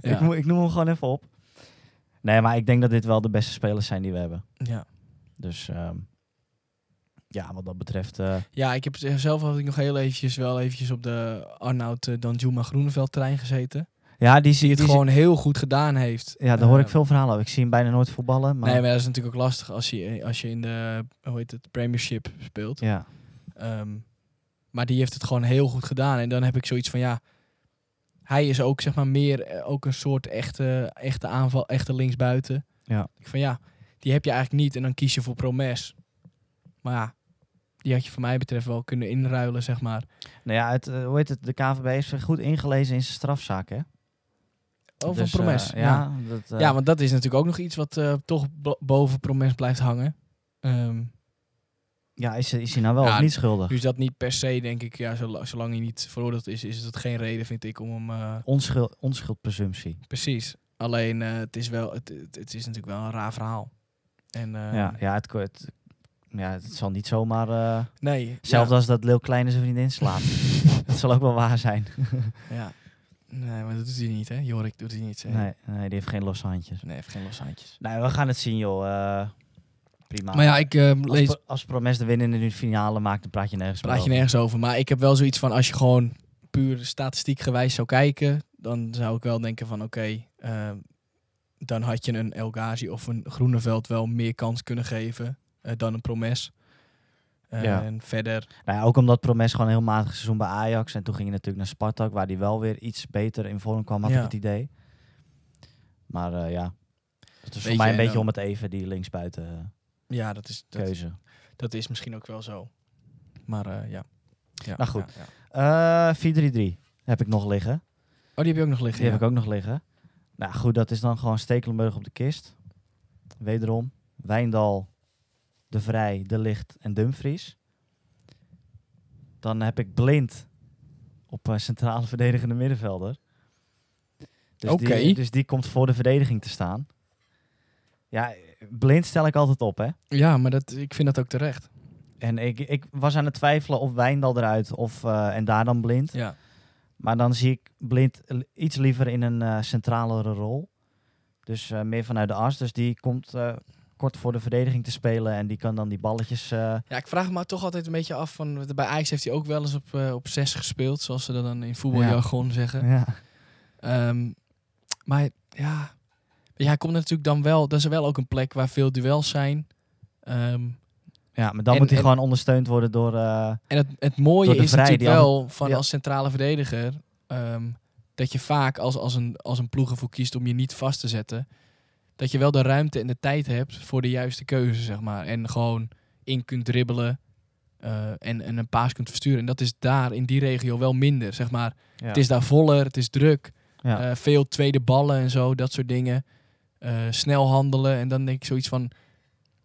ik,
Ja.
noem- ik noem hem gewoon even op. Nee, maar ik denk dat dit wel de beste spelers zijn die we hebben.
Ja.
Dus ehm, ja, wat dat betreft. eh,
ja, ik heb z- zelf had ik nog heel eventjes wel eventjes op de Arnoud eh, Danjuma Groeneveld trein gezeten.
ja, die zie
Die
je
het gewoon heel goed gedaan heeft.
Ja, daar hoor ik
Eh,
veel verhalen over. Ik zie hem bijna nooit voetballen. Maar,
Nee, maar dat is natuurlijk ook lastig als je, als je in de hoe heet het, Premiership speelt.
ja.
Ehm, maar die heeft het gewoon heel goed gedaan. En dan heb ik zoiets van ja. Hij is ook zeg maar meer eh, ook een soort echte, echte aanval, echte linksbuiten.
Ja.
Ik van ja, die heb je eigenlijk niet. En dan kies je voor Promes. Maar ja, die had je van mij betreft wel kunnen inruilen, zeg maar.
Nou ja, het, eh, hoe heet het? De KVB heeft zich goed ingelezen in zijn strafzaak, hè?
Over
Dus, eh,
Oh, Promes. ja.
ja, dat, eh,
ja, want dat is natuurlijk ook nog iets wat eh, toch bo- boven Promes blijft hangen. Ehm,
ja, is, is hij nou wel
Ja,
of niet schuldig?
dus dat niet per se, denk ik. Ja, zola- zolang hij niet veroordeeld is, is het geen reden, vind ik, om hem... eh,
Onschuld, onschuldpresumptie.
precies. Alleen, eh, het, is wel, het, het, het is natuurlijk wel een raar verhaal. En, eh,
ja, ja, het, ko- het, ja, het zal niet zomaar... eh
Nee.
hetzelfde als dat Leeuw Kleine zijn vriendin slaat. dat zal ook wel waar zijn.
Ja, ja. Nee, maar dat doet hij niet, hè? Jorik doet hij niet. hè?
Nee, nee, die heeft geen losse handjes.
Nee, heeft geen losse handjes.
Nee, we gaan het zien, joh. Eh, prima.
Maar ja, ik eh,
als,
lees...
Pro- als Promes de winnende in de finale maakt, dan praat je nergens meer
praat je
over.
nergens over. Maar ik heb wel zoiets van, als je gewoon puur statistiek gewijs zou kijken, dan zou ik wel denken van, oké, ehm, dan had je een El Ghazi of een Groeneveld wel meer kans kunnen geven eh, dan een Promes. Eh,
Ja.
En verder,
Nou ja, ook omdat Promes gewoon een heel matig seizoen bij Ajax. En toen ging hij natuurlijk naar Spartak, waar hij wel weer iets beter in vorm kwam, had
Ja.
ik het idee. Maar eh, ja, het is
je,
voor mij een
en
beetje
dan-
om het even, die linksbuiten eh,
ja, dat is, dat,
keuze.
dat is misschien ook wel zo. Maar eh, ja. ja.
Nou goed.
ja, ja.
Eh 4-3-3 heb ik nog liggen.
Oh, die heb je ook nog
Die
liggen.
heb ik ook nog liggen. Nou goed, dat is dan gewoon Stekelenburg op de kist. Wederom. Wijndal, De Vrij, De Licht en Dumfries. Dan heb ik Blind op eh, centrale verdedigende middenvelder. Dus,
Oké.
die, dus die komt voor de verdediging te staan. Ja, Blind stel ik altijd op, hè.
ook. Ja, maar dat, ik vind dat ook terecht.
En ik, ik was aan het twijfelen of Wijndal eruit of, eh, en daar dan Blind.
Ja.
Maar dan zie ik Blind li- iets liever in een eh, centralere rol. Dus eh, meer vanuit de as. Dus die komt eh, kort voor de verdediging te spelen. En die kan dan die balletjes... eh,
Ja, ik vraag me toch altijd een beetje af van, bij Ajax heeft hij ook wel eens op, eh, op zes gespeeld, zoals ze dat dan in voetbaljargon zeggen.
ja.
Ehm, maar ja, ja, hij komt natuurlijk dan wel. Dat is wel ook een plek waar veel duels zijn. Ehm,
ja, maar dan
En-
moet hij
en-
gewoon ondersteund worden door... eh,
en het, het
Door
mooie
de
is
Vrij,
natuurlijk
die
wel van
ja.
als centrale verdediger. ehm, dat je vaak als, als, een, als een ploeg ervoor kiest om je niet vast te zetten. Dat je wel de ruimte en de tijd hebt voor de juiste keuze, zeg maar. En gewoon in kunt dribbelen eh, en, en een paas kunt versturen. En dat is daar in die regio wel minder, zeg maar.
ja.
Het is daar voller, het is druk.
Ja.
Eh, veel tweede ballen en zo, dat soort dingen. Eh, snel handelen. En dan denk ik zoiets van...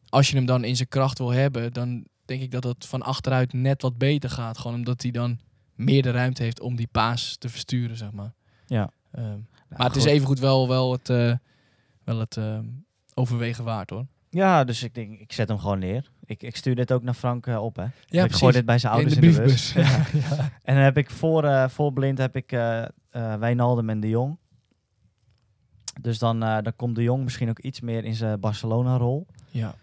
Als je hem dan in zijn kracht wil hebben... dan denk ik dat dat van achteruit net wat beter gaat. Gewoon omdat hij dan meer de ruimte heeft om die paas te versturen, zeg maar.
Ja.
Ehm,
Nou,
maar het is
goed.
evengoed wel, wel het, eh, wel het eh, overwegen waard, hoor.
Ja, dus ik denk, ik zet hem gewoon neer. Ik, ik stuur dit ook naar Frank eh, op, hè.
Ja,
ik gooi dit bij zijn
in
ouders
de
in de, bus.
briefbus. Ja.
En dan heb ik voor, eh, voor Blind heb ik eh eh, Wijnaldum en De Jong. Dus dan, eh, dan komt De Jong misschien ook iets meer in zijn Barcelona-rol.
ja.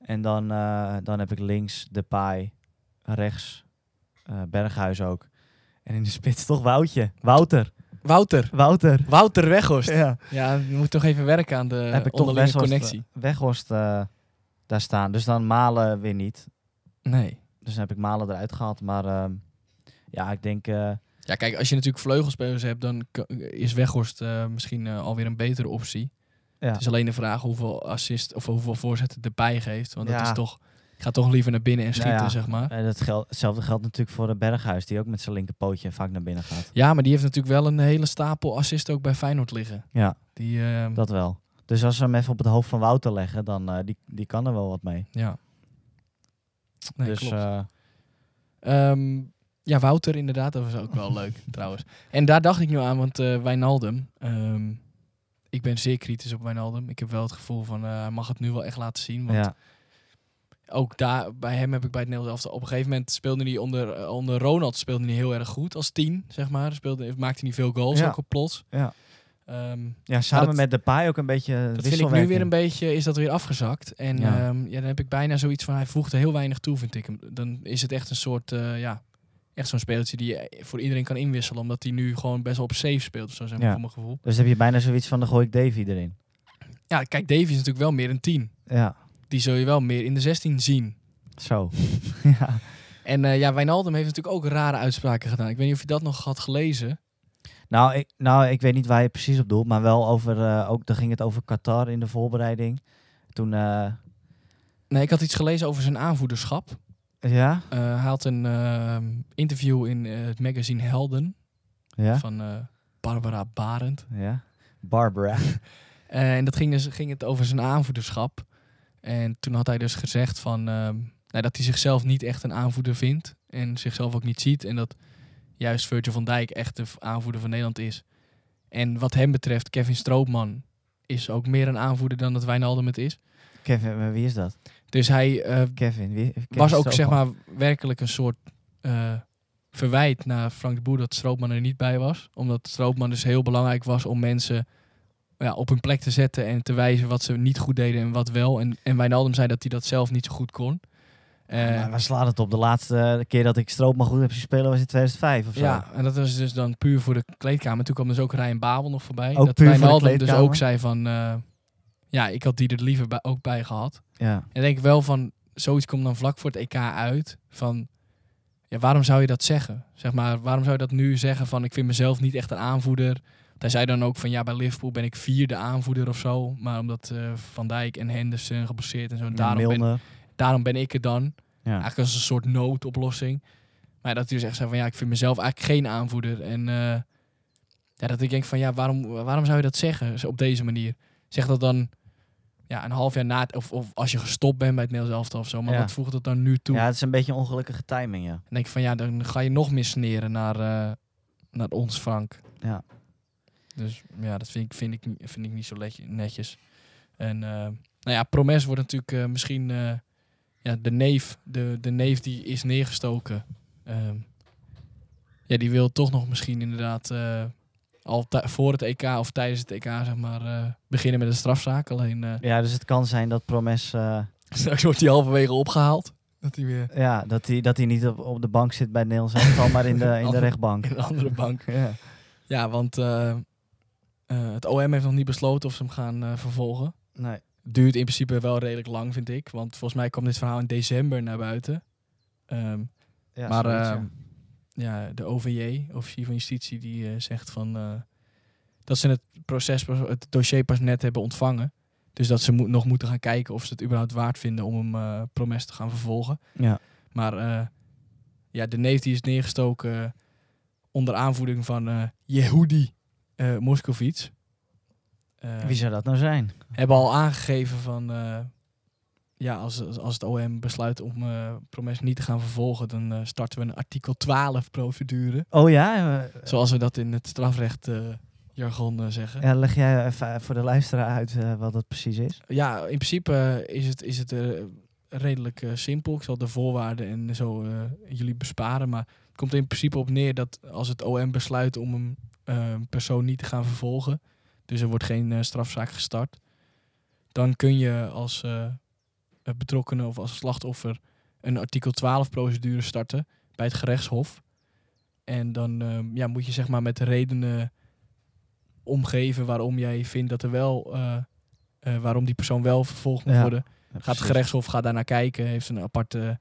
En dan, eh, dan heb ik links Depay, rechts eh, Berghuis ook. En in de spits toch Woutje. Wouter.
Wouter.
Wouter.
Wouter Weghorst.
Ja.
Ja, je moet toch even werken aan de
heb ik toch
onderlinge
Weghorst,
connectie.
Weghorst eh, daar staan. Dus dan Malen weer niet.
Nee.
Dus dan heb ik Malen eruit gehaald. Maar ehm, ja, ik denk... eh,
Ja, kijk, als je natuurlijk vleugelspelers hebt, dan k- is Weghorst eh, misschien eh, alweer een betere optie.
ja.
Het is alleen de vraag hoeveel assist of hoeveel voorzetten de pij geeft. Want dat
Ja.
is toch. Ik ga toch liever naar binnen en
Nou
schieten,
ja.
zeg maar.
En dat geld, hetzelfde geldt natuurlijk voor eh, Berghuis, die ook met zijn linkerpootje vaak naar binnen gaat.
Ja, maar die heeft natuurlijk wel een hele stapel assist ook bij Feyenoord liggen.
Ja,
Die, eh,
dat wel. Dus als we hem even op het hoofd van Wouter leggen, dan eh, die, die kan er wel wat mee.
ja. Nee,
dus
klopt.
eh,
Ehm, ja, Wouter inderdaad, dat was ook wel leuk trouwens. En daar dacht ik nu aan, want eh Wijnaldum... ehm, ik ben zeer kritisch op Wijnaldum. Ik heb wel het gevoel van, eh, hij mag het nu wel echt laten zien. Want
ja,
ook daar, bij hem heb ik bij het Nederlands elftal... Op een gegeven moment speelde hij onder, eh, onder Ronald speelde hij heel erg goed als tien, zeg maar. Speelde, maakte hij niet veel goals,
Ja.
ook op plots.
Ja.
Ehm,
ja, samen
dat-
met Depay ook een beetje eh,
dat vind ik
wisselwerking.
nu weer een beetje, is dat weer afgezakt. En
Ja.
ja. ja, dan heb ik bijna zoiets van, hij voegt er heel weinig toe, vind ik hem. Dan is het echt een soort, eh, ja, echt zo'n speeltje die je voor iedereen kan inwisselen. Omdat hij nu gewoon best wel op safe speelt, of zo zeg maar,
Ja.
voor mijn gevoel.
Dus heb je bijna zoiets van, dan gooi ik Davy erin.
Ja, kijk, Davy is natuurlijk wel meer een 10.
Ja,
Die zul je wel meer in de 16 zien.
zo. ja.
En eh, ja, Wijnaldum heeft natuurlijk ook rare uitspraken gedaan. Ik weet niet of je dat nog had gelezen.
Nou ik, nou, ik weet niet waar je precies op doelt, maar wel over, eh, ook, dan ging het over Qatar in de voorbereiding. Toen, eh,
Nee, ik had iets gelezen over zijn aanvoederschap.
Ja?
Eh, hij had een ehm, interview in eh, het magazine Helden
Ja?
van eh, Barbara Barend.
Ja. Barbara.
Eh, en dat ging, dus, ging het over zijn aanvoederschap. En toen had hij dus gezegd van, ehm, nou, dat hij zichzelf niet echt een aanvoerder vindt. En zichzelf ook niet ziet. En dat juist Virgil van Dijk echt de v- aanvoerder van Nederland is. En wat hem betreft, Kevin Stroopman is ook meer een aanvoerder dan dat Wijnaldum het is.
Kevin, maar wie is dat?
Dus hij eh,
Kevin. Wie, Kevin
was ook
Strootman.
zeg maar werkelijk een soort eh, verwijt naar Frank de Boer dat Stroopman er niet bij was. Omdat Stroopman dus heel belangrijk was om mensen ja, op hun plek te zetten en te wijzen wat ze niet goed deden en wat wel. En, en Wijnaldum zei dat hij dat zelf niet zo goed kon. Eh,
Maar waar slaat het op? De laatste keer dat ik Stroopman goed heb zien spelen was in 2005 of zo.
ja, en dat was dus dan puur voor de kleedkamer. Toen kwam dus ook Ryan Babel nog voorbij.
Ook
dat
puur voor de
Wijnaldum dus
kleedkamer?
ook zei van... eh, ja, ik had die er liever bij, ook bij gehad.
Ja.
En denk ik wel van, zoiets komt dan vlak voor het EK uit. Van, ja, waarom zou je dat zeggen? Zeg maar, waarom zou je dat nu zeggen van, ik vind mezelf niet echt een aanvoerder? Want hij zei dan ook van, ja, bij Liverpool ben ik vierde aanvoerder of zo. Maar omdat eh, Van Dijk en Henderson geblesseerd en zo, daarom ben,
Milner.
daarom ben ik er dan.
Ja.
Eigenlijk als een soort noodoplossing. Maar dat hij dus echt zei van, ja, ik vind mezelf eigenlijk geen aanvoerder. En eh, ja, dat ik denk van, ja, waarom, waarom zou je dat zeggen zo op deze manier? Zeg dat dan ja, een half jaar na, het- of, of als je gestopt bent bij het Nederlands elftal of zo. Maar
Ja.
wat voegt dat dan nu toe?
ja, het is een beetje ongelukkige timing, ja.
En denk ik van, ja, dan ga je nog meer sneren naar, eh, naar ons Frank.
Ja.
Dus ja, dat vind ik, vind ik, niet- vind ik niet zo letje- netjes. En eh, nou ja, Promes wordt natuurlijk eh, misschien eh, ja, de neef. De, de neef die is neergestoken. Ehm, ja, die wil toch nog misschien inderdaad eh, al tij- voor het EK of tijdens het EK zeg maar eh, beginnen met een strafzaak. Alleen eh,
Ja, dus het kan zijn dat Promes... eh,
straks wordt hij halverwege opgehaald. Dat hij weer
ja, dat hij dat hij niet op, op de bank zit bij het Nederlands elftal, maar in de, in de
Andere-
rechtbank.
in een andere bank.
Ja.
Ja, want eh, eh, het OM heeft nog niet besloten of ze hem gaan eh, vervolgen.
Nee.
Duurt in principe wel redelijk lang, vind ik. Want volgens mij kwam dit verhaal in december naar buiten. Ehm,
Ja,
Maar,
zoiets,
eh,
ja.
ja, de OVJ, officier van justitie, die eh, zegt van, eh, dat ze het, proces, pas- het dossier pas net hebben ontvangen. Dus dat ze moet- nog moeten gaan kijken of ze het überhaupt waard vinden om hem eh, promes te gaan vervolgen.
ja.
Maar eh, ja, de neef die is neergestoken eh, onder aanvoering van eh Yehudi eh Moskovits. Eh,
Wie zou dat nou zijn?
hebben al aangegeven van... eh, ja, als, als- als het OM besluit om eh Promes niet te gaan vervolgen... dan eh, starten we een artikel 12-procedure.
Oh ja, eh,
Zoals we dat in het strafrecht eh, jargon eh, zeggen.
ja, leg jij even voor de luisteraar uit eh, wat dat precies is.
Ja, in principe eh, is het, is het eh, redelijk eh, simpel. Ik zal de voorwaarden en zo eh, jullie besparen. Maar het komt in principe op neer dat als het OM besluit om een eh, persoon niet te gaan vervolgen, dus er wordt geen eh, strafzaak gestart, dan kun je als eh, eh, betrokkene of als slachtoffer een artikel 12 procedure starten bij het gerechtshof. En dan eh, ja, moet je zeg maar met redenen omgeven waarom jij vindt dat er wel eh, eh, waarom die persoon wel vervolgd moet
Ja.
worden. Gaat
precies.
het gerechtshof gaat daarnaar kijken. Heeft een aparte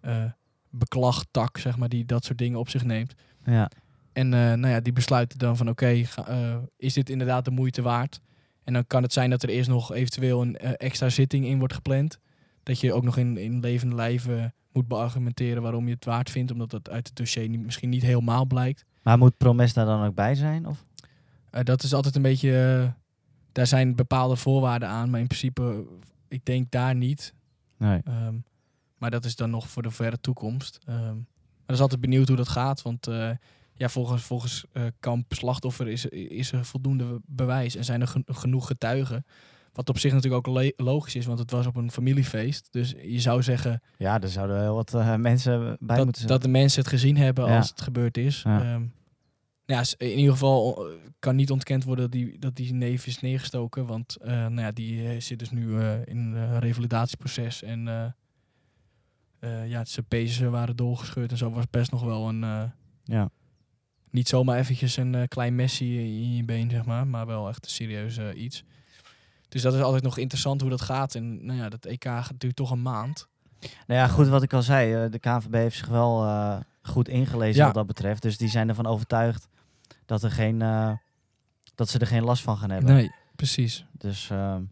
eh beklagtak, zeg maar, die dat soort dingen op zich neemt.
Ja.
En eh, nou ja, die besluiten dan van oké, ga- eh, is dit inderdaad de moeite waard? En dan kan het zijn dat er eerst nog eventueel een eh, extra zitting in wordt gepland. Dat je ook nog in, in levende lijven moet beargumenteren waarom je het waard vindt. Omdat dat uit het dossier niet, misschien niet helemaal blijkt.
Maar moet Promes daar dan ook bij zijn? Of?
Eh, dat is altijd een beetje. eh, daar zijn bepaalde voorwaarden aan, maar in principe, eh, ik denk daar niet.
Nee.
Ehm, maar dat is dan nog voor de verre toekomst. Ehm, maar dat is altijd benieuwd hoe dat gaat. Want eh, ja, volgens, volgens eh, kamp slachtoffer is, is er voldoende bewijs en zijn er gen- genoeg getuigen. Wat op zich natuurlijk ook le- logisch is, want het was op een familiefeest. Dus je zou zeggen
Ja, er zouden heel wat eh, mensen bij
dat,
moeten zijn.
dat de mensen het gezien hebben
dus Ja.
als het gebeurd is.
Ja.
Ehm, nou ja, s- in ieder geval eh, kan niet ontkend worden dat die, dat die neef is neergestoken. Want eh, nou ja, die eh, zit dus nu eh, in een eh, revalidatieproces. En eh, eh, ja, zijn pezen waren doorgescheurd en zo was best nog wel een... eh,
Ja.
niet zomaar eventjes een eh, klein messie in je been, zeg maar. Maar wel echt een serieus eh, iets. Dus dat is altijd nog interessant hoe dat gaat. En nou ja, dat EK duurt toch een maand.
Nou ja, goed, wat ik al zei. eh, de KNVB heeft zich wel eh, goed ingelezen
Ja.
wat dat betreft. Dus die zijn ervan overtuigd dat, er geen, eh, dat ze er geen last van gaan hebben.
Nee, precies.
Dus, ehm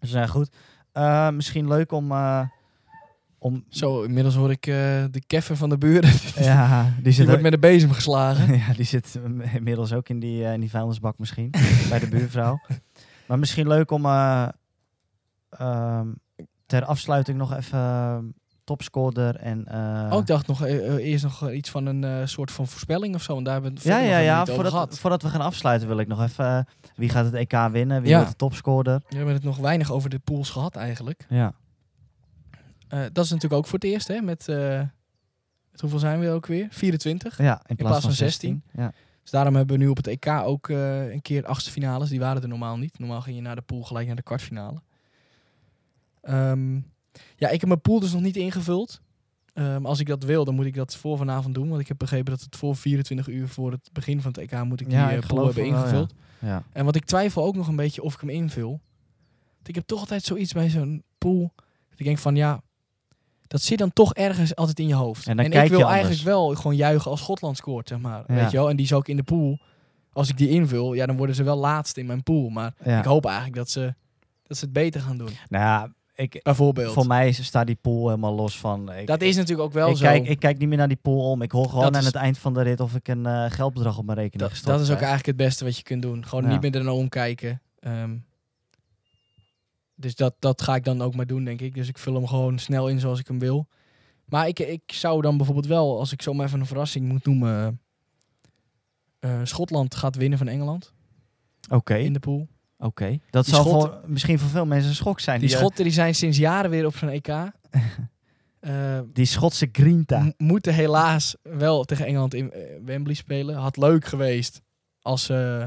dus nou ja, goed. Eh, misschien leuk om eh, Om,
Zo, inmiddels hoor ik eh, de keffer van de buren. Die,
ja, die zit,
wordt
ook-
met een bezem geslagen.
ja, die zit inmiddels ook in die, eh in die vuilnisbak misschien. bij de buurvrouw. Maar misschien leuk om eh, ehm, ter afsluiting nog even eh, topscorer en... eh,
Oh, ik dacht nog eh, eh, eerst nog iets van een eh, soort van voorspelling of zo. Want daar hebben we het
Ja,
verder
ja,
nog helemaal
ja.
niet over
Voordat,
gehad.
voordat we gaan afsluiten wil ik nog even... eh, wie gaat het EK winnen? Wie
Ja.
wordt de topscorer?
We hebben het nog weinig over de pools gehad eigenlijk.
Ja.
Eh, dat is natuurlijk ook voor het eerst, hè? Met, eh, met hoeveel zijn we ook weer? 24.
ja in, plaats van 16. Ja.
Dus daarom hebben we nu op het EK ook eh, een keer achtste finales. Die waren er normaal niet. Normaal ging je naar de pool gelijk naar de kwartfinale. Ehm, ja, ik heb mijn pool dus nog niet ingevuld. Ehm, als ik dat wil, dan moet ik dat voor vanavond doen. Want ik heb begrepen dat het voor 24 uur voor het begin van het EK moet ik die
Ja,
eh,
ik
pool
geloof
hebben
van wel, ja.
ingevuld.
Ja.
En want ik twijfel ook nog een beetje of ik hem invul. Want ik heb toch altijd zoiets bij zo'n pool. Dat ik denk van ja, dat zit dan toch ergens altijd in je hoofd.
En dan kijk
ik
je
wil
anders.
eigenlijk wel gewoon juichen als Schotland scoort, zeg maar.
Ja.
Weet je wel? En die is ook in de pool. Als ik die invul, ja, dan worden ze wel laatst in mijn pool. Maar
Ja.
ik hoop eigenlijk dat ze, dat ze het beter gaan doen.
Nou ja, ik,
Bijvoorbeeld.
voor mij staat die pool helemaal los van... Ik,
dat is natuurlijk ook wel
ik
zo.
kijk, ik kijk niet meer naar die pool om. Ik hoor gewoon
Dat
aan
is-
het eind van de rit of ik een eh, geldbedrag op mijn rekening
dat,
gestort
dat is ook
krijg.
eigenlijk het beste wat je kunt doen. Gewoon
Ja.
niet meer ernaar omkijken. Ehm, dus dat, dat ga ik dan ook maar doen, denk ik. Dus ik vul hem gewoon snel in zoals ik hem wil. Maar ik, ik zou dan bijvoorbeeld wel, als ik zomaar even een verrassing moet noemen... eh, Schotland gaat winnen van Engeland
Oké,
in de pool.
oké. Dat
Die
zal
Schotten-
voor, misschien voor veel mensen een schok zijn.
Die
eh,
Schotten die zijn sinds jaren weer op zo'n EK. Eh,
die Schotse grinta.
m- moeten helaas wel tegen Engeland in eh, Wembley spelen. Had leuk geweest als... eh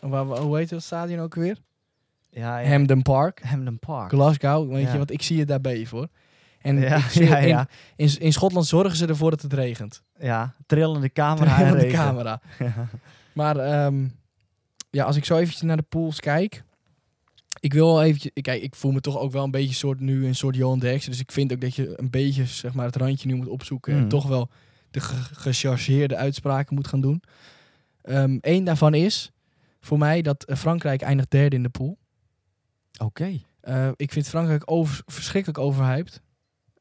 waar, waar- hoe heet dat stadion ook weer?
Ja, ja.
Hampden Park.
Hamden Park.
Glasgow, weet je,
Ja.
want ik zie het daar beven hoor. En
ja,
ik zie-
ja, ja.
In, in, in Schotland zorgen ze ervoor dat het regent.
Ja, trillende camera. en
Helemaal de
regen.
camera. Maar ehm, ja, als ik zo eventjes naar de pools kijk. Ik wil wel eventjes... ik- Kijk, ik voel me toch ook wel een beetje soort, nu een soort Johan Derksen. Dus ik vind ook dat je een beetje zeg maar, het randje nu moet opzoeken. En
Mm.
toch wel de ge- gechargeerde uitspraken moet gaan doen. Eén daarvan is voor mij dat eh, Frankrijk eindigt derde in de pool.
Oké.
Eh, ik vind Frankrijk over, verschrikkelijk overhyped.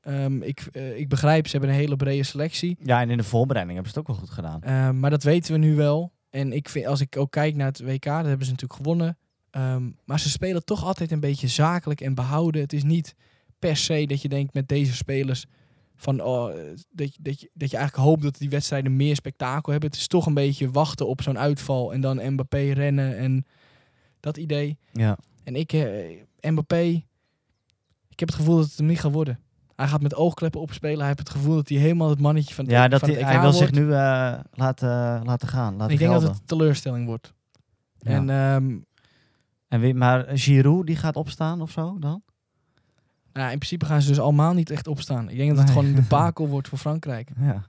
Ehm, ik, eh, ik begrijp, ze hebben een hele brede selectie.
Ja, en in de voorbereiding hebben ze het ook wel goed gedaan.
Ehm, maar dat weten we nu wel. En ik vind, als ik ook kijk naar het WK, dat hebben ze natuurlijk gewonnen. Ehm, maar ze spelen toch altijd een beetje zakelijk en behouden. Het is niet per se dat je denkt met deze spelers van, oh, eh, dat, je- dat, je, dat je eigenlijk hoopt dat die wedstrijden meer spektakel hebben. Het is toch een beetje wachten op zo'n uitval en dan Mbappé rennen en dat idee.
Ja.
En ik, eh, Mbappé, ik heb het gevoel dat het hem niet gaat worden. Hij gaat met oogkleppen opspelen. Hij heeft het gevoel dat hij helemaal het mannetje van het, E-
Ja, dat
van
hij,
het EK
hij wil
wordt.
zich nu eh, laten, laten gaan. Laten
ik denk dat
gelden.
het een teleurstelling wordt.
Ja.
En ehm, nou
en wie, maar Giroud, die gaat opstaan of zo dan?
ja, in principe gaan ze dus allemaal niet echt opstaan. Ik denk dat het
Nee.
gewoon een debakel wordt voor Frankrijk.
Ja.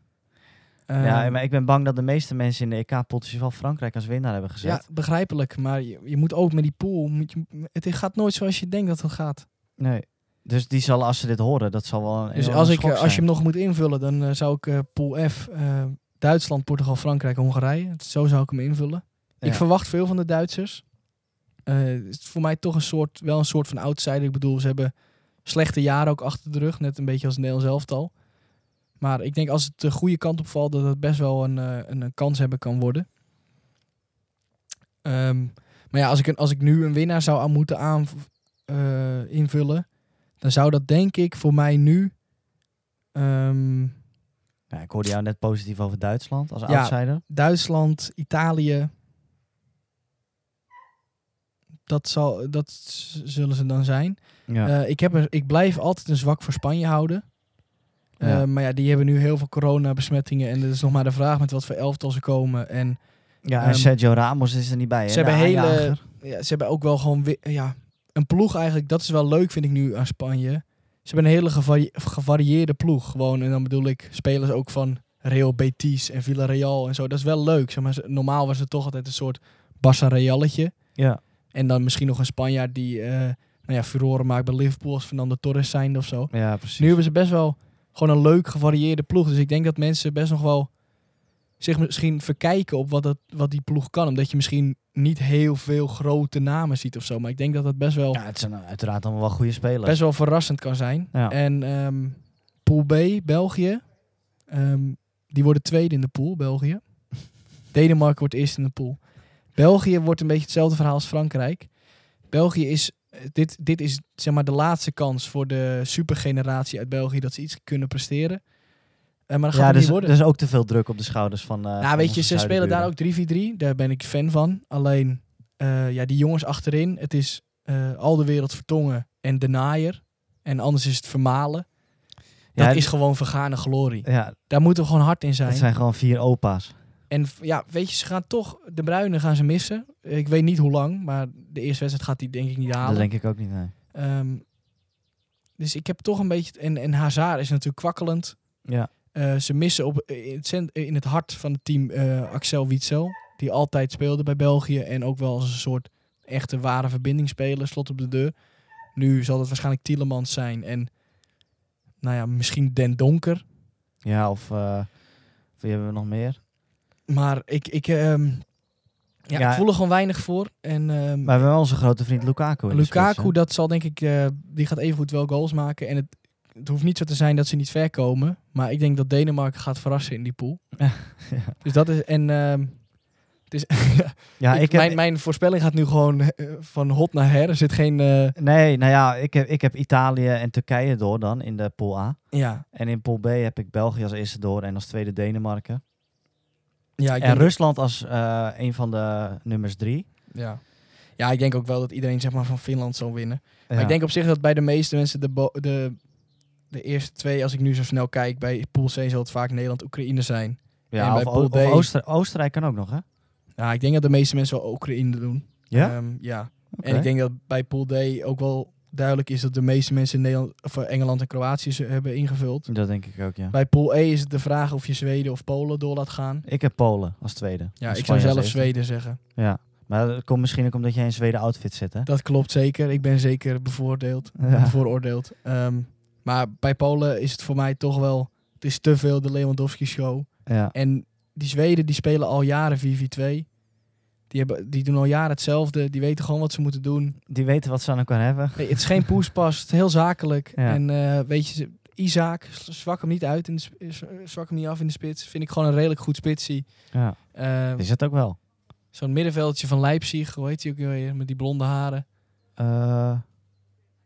Ehm,
ja, maar ik ben bang dat de meeste mensen in de EK-potjes wel Frankrijk als winnaar hebben gezet.
ja, begrijpelijk. Maar je, je moet ook met die pool... Moet je, het gaat nooit zoals je denkt dat het gaat.
Nee. Dus die zal, als ze dit horen, dat zal wel een
Dus
enorme
als, ik,
schok
eh, als je
zijn.
hem nog moet invullen, dan eh, zou ik eh, pool F... eh, Duitsland, Portugal, Frankrijk, Hongarije. Zo zou ik hem invullen. Ik
Ja.
verwacht veel van de Duitsers. Eh, het is voor mij toch een soort, wel een soort van outsider. Ik bedoel, ze hebben slechte jaren ook achter de rug. Net een beetje als het Nederlands elftal. Maar ik denk als het de goede kant op valt, dat het best wel een, eh, een, een kans hebben kan worden. Ehm, maar ja, als ik, een, als ik nu een winnaar zou aan moeten aan, eh, invullen, dan zou dat denk ik voor mij nu... ehm,
Ja, ik hoorde jou net positief over Duitsland als
Ja.
outsider.
Duitsland, Italië. Dat, zal, dat z- zullen ze dan zijn.
Ja.
Eh, ik, heb een, ik blijf altijd een zwak voor Spanje houden. Eh,
Ja.
Maar ja, die hebben nu heel veel coronabesmettingen. En het is nog maar de vraag met wat voor elftal ze komen. En
ja, en
ehm,
Sergio Ramos is er niet bij. hè,
ze
de
hebben hele,
aanjager.
ja, ze hebben ook wel gewoon wi- ja, een ploeg eigenlijk. Dat is wel leuk, vind ik nu aan Spanje. Ze hebben een hele gevari- gevarieerde ploeg. Gewoon, en dan bedoel ik spelers ook van Real Betis en Villarreal en zo. Dat is wel leuk. Zeg maar, ze- normaal was het toch altijd een soort Barça Realletje.
Ja.
En dan misschien nog een Spanjaard die eh nou ja, furoren maakt bij Liverpool als Fernando Torres zijn of zo.
ja, precies.
Nu hebben ze best wel gewoon een leuk gevarieerde ploeg. Dus ik denk dat mensen best nog wel zich misschien verkijken op wat, dat, wat die ploeg kan. Omdat je misschien niet heel veel grote namen ziet of zo. Maar ik denk dat dat best wel,
eh, ja, het zijn uiteraard allemaal wel goede spelers.
best wel verrassend kan zijn.
Ja.
En ehm, Pool B, België. Ehm, die worden tweede in de pool, België. Denemarken wordt eerst in de pool. België wordt een beetje hetzelfde verhaal als Frankrijk. België is, eh, dit, dit is zeg maar de laatste kans voor de supergeneratie uit België dat ze iets kunnen presteren. Eh, maar dat gaat
Ja,
het
dus,
niet worden.
dus ook te veel druk op de schouders van. eh,
Nou,
van
weet
onze
je, ze spelen daar
zuidenburen.
ook 3-4-3. Daar ben ik fan van. Alleen, eh, ja, die jongens achterin. Het is eh, al de wereld vertongen en de naaier. En anders is het vermalen. Dat
Ja,
is gewoon vergane glorie.
Ja,
Daar moeten we gewoon hard in zijn.
het zijn gewoon vier opa's.
En v- ja, weet je, ze gaan toch... De Bruinen gaan ze missen. Eh, Ik weet niet hoe lang, maar de eerste wedstrijd gaat die denk ik niet halen.
Dat denk ik ook niet. Nee.
Ehm, dus ik heb toch een beetje... En, en Hazard is natuurlijk kwakkelend.
Ja.
Eh, ze missen op, in, het cent- eh, in het hart van het team eh, Axel Witsel. Die altijd speelde bij België. En ook wel als een soort echte ware verbindingsspeler. Slot op de deur. Nu zal dat waarschijnlijk Tielemans zijn. En nou ja, misschien Den Donker.
Ja, of eh, wie hebben we nog meer?
Maar ik, ik, ehm, ja,
Ja.
ik voel er gewoon weinig voor. En ehm,
Maar we hebben wel onze grote vriend Lukaku. in de spits, hè?
Lukaku, dat zal denk ik, eh, die gaat evengoed wel goals maken. En het, het hoeft niet zo te zijn dat ze niet ver komen. Maar ik denk dat Denemarken gaat verrassen in die pool.
Ja.
Dus dat is. En ehm, het is,
Ja,
ik-
ik heb,
mijn, mijn voorspelling gaat nu gewoon eh, van hot naar her. Er zit geen. eh,
Nee, nou ja, ik heb, ik heb Italië en Turkije door dan in de pool A.
ja,
En in pool B heb ik België als eerste door en als tweede Denemarken.
ja, ik
en
denk,
Rusland als eh, een van de nummers drie.
ja. ja, ik denk ook wel dat iedereen zeg maar, van Finland zal winnen.
Ja.
Maar ik denk op zich dat bij de meeste mensen de, bo- de, de eerste twee, als ik nu zo snel kijk, bij Pool C zal het vaak Nederland-Oekraïne zijn. en
ja,
bij
of,
pool
of
D-
Oostenrijk- Oostenrijk kan ook nog, hè?
Ja, ik denk dat de meeste mensen wel Oekraïne doen.
Ja?
Ehm, ja.
Oké.
En ik denk dat bij Pool D ook wel duidelijk is dat de meeste mensen in Nederland, of eh, Engeland en Kroatië ze hebben ingevuld.
Dat denk ik ook, ja.
Bij Pool E is het de vraag of je Zweden of Polen door laat gaan.
Ik heb Polen als tweede.
Ja,
En
ik zou
Spanje als
zelf
eerste.
Zweden zeggen.
Ja, maar dat komt misschien ook omdat jij in een Zweden outfit zit, hè?
Dat klopt zeker. Ik ben zeker bevoordeeld.
Ja.
bevooroordeeld. Ehm, maar bij Polen is het voor mij toch wel... Het is te veel de Lewandowski-show.
Ja.
En die Zweden die spelen al jaren 4v2. Die, hebben, die doen al jaren hetzelfde. Die weten gewoon wat ze moeten doen.
Die weten wat ze aan elkaar hebben.
Nee, het is geen poespas. Het is heel zakelijk.
Ja.
En eh, weet je, ze- Isaac, z- zwak hem niet, uit in de, sp- z- zwak hem niet af in de spits. Vind ik gewoon een redelijk goed spitsie.
Ja.
Ehm,
Is het ook wel?
Zo'n middenveldje van Leipzig. Hoe heet die ook weer? Met die blonde haren.
Eh,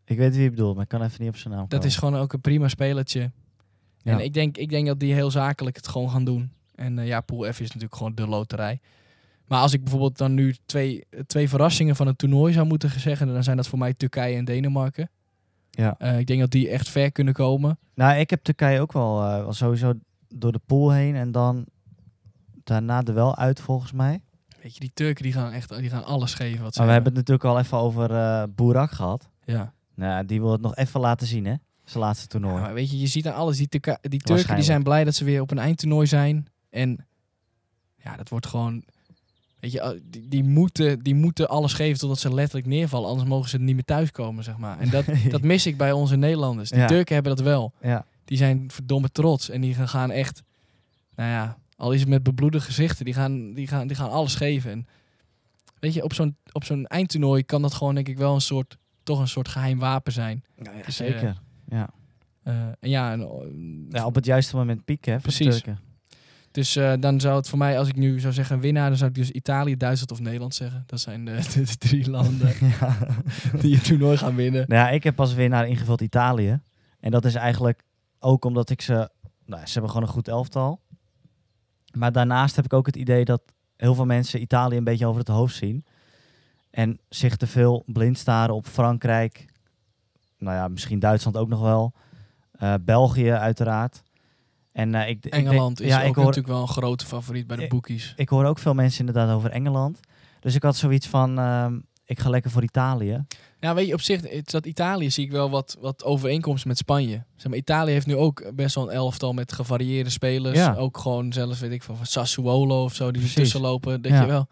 ik weet wie je bedoelt, maar ik kan even niet op zijn naam
Dat
komen.
is gewoon ook een prima spelertje.
Ja.
En ik denk, ik denk dat die heel zakelijk het gewoon gaan doen. En eh, ja, Pool F is natuurlijk gewoon de loterij. Maar als ik bijvoorbeeld dan nu twee, twee verrassingen van het toernooi zou moeten zeggen, dan zijn dat voor mij Turkije en Denemarken.
Ja.
Eh, ik denk dat die echt ver kunnen komen.
Nou, ik heb Turkije ook wel, eh, wel sowieso door de pool heen en dan daarna er wel uit volgens mij.
Weet je, die Turken die gaan echt die gaan alles geven wat ze
Maar we hebben het natuurlijk al even over eh Boerak gehad.
Ja.
Nou, die wil het nog even laten zien, hè? Zijn laatste toernooi.
Ja, maar weet je, je ziet aan alles. Die, Turka- die Turken die zijn
Waarschijnlijk.
blij dat ze weer op een eindtoernooi zijn. En ja, dat wordt gewoon... Weet je, ah, die, die, moeten, die moeten alles geven totdat ze letterlijk neervallen. Anders mogen ze niet meer thuiskomen, zeg maar. En dat, dat mis ik bij onze Nederlanders. Die
Ja.
Turken hebben dat wel.
Ja.
Die zijn verdomme trots. En die gaan- gaan echt... Nou ja, al is het met bebloede gezichten. Die gaan, die gaan, die gaan alles geven. En weet je, op zo'n, op zo'n eindtoernooi kan dat gewoon denk ik wel een soort... Toch een soort geheim wapen zijn. Dus, eh,
zeker. ja.
eh, en ja, en, oh,
ja, op het juiste moment pieken, hè? voor de
Precies.
Turken.
Dus eh, dan zou het voor mij, als ik nu zou zeggen winnaar, dan zou ik dus Italië, Duitsland of Nederland zeggen. Dat zijn de, de- de drie landen
ja.
die het toernooi gaan winnen.
Nou ja, ik heb pas weer naar ingevuld Italië. En dat is eigenlijk ook omdat ik ze... Nou, ze hebben gewoon een goed elftal. Maar daarnaast heb ik ook het idee dat heel veel mensen Italië een beetje over het hoofd zien. En zich te veel blind staren op Frankrijk. Nou ja, misschien Duitsland ook nog wel. Eh, België uiteraard. En, eh, ik, ik denk-
Engeland is
ja,
ook
ik hoor,
natuurlijk wel een grote favoriet bij de
Ik-
boekies.
ik hoor ook veel mensen inderdaad over Engeland. Dus ik had zoiets van, ehm, ik ga lekker voor Italië.
Nou, weet je, op zich, het, dat Italië zie ik wel wat, wat overeenkomsten met Spanje. Zeg maar, Italië heeft nu ook best wel een elftal met gevarieerde spelers.
Ja.
Ook gewoon zelfs, weet ik van, van Sassuolo of zo, die
Precies.
ertussen lopen. Dat
Ja.
je wel.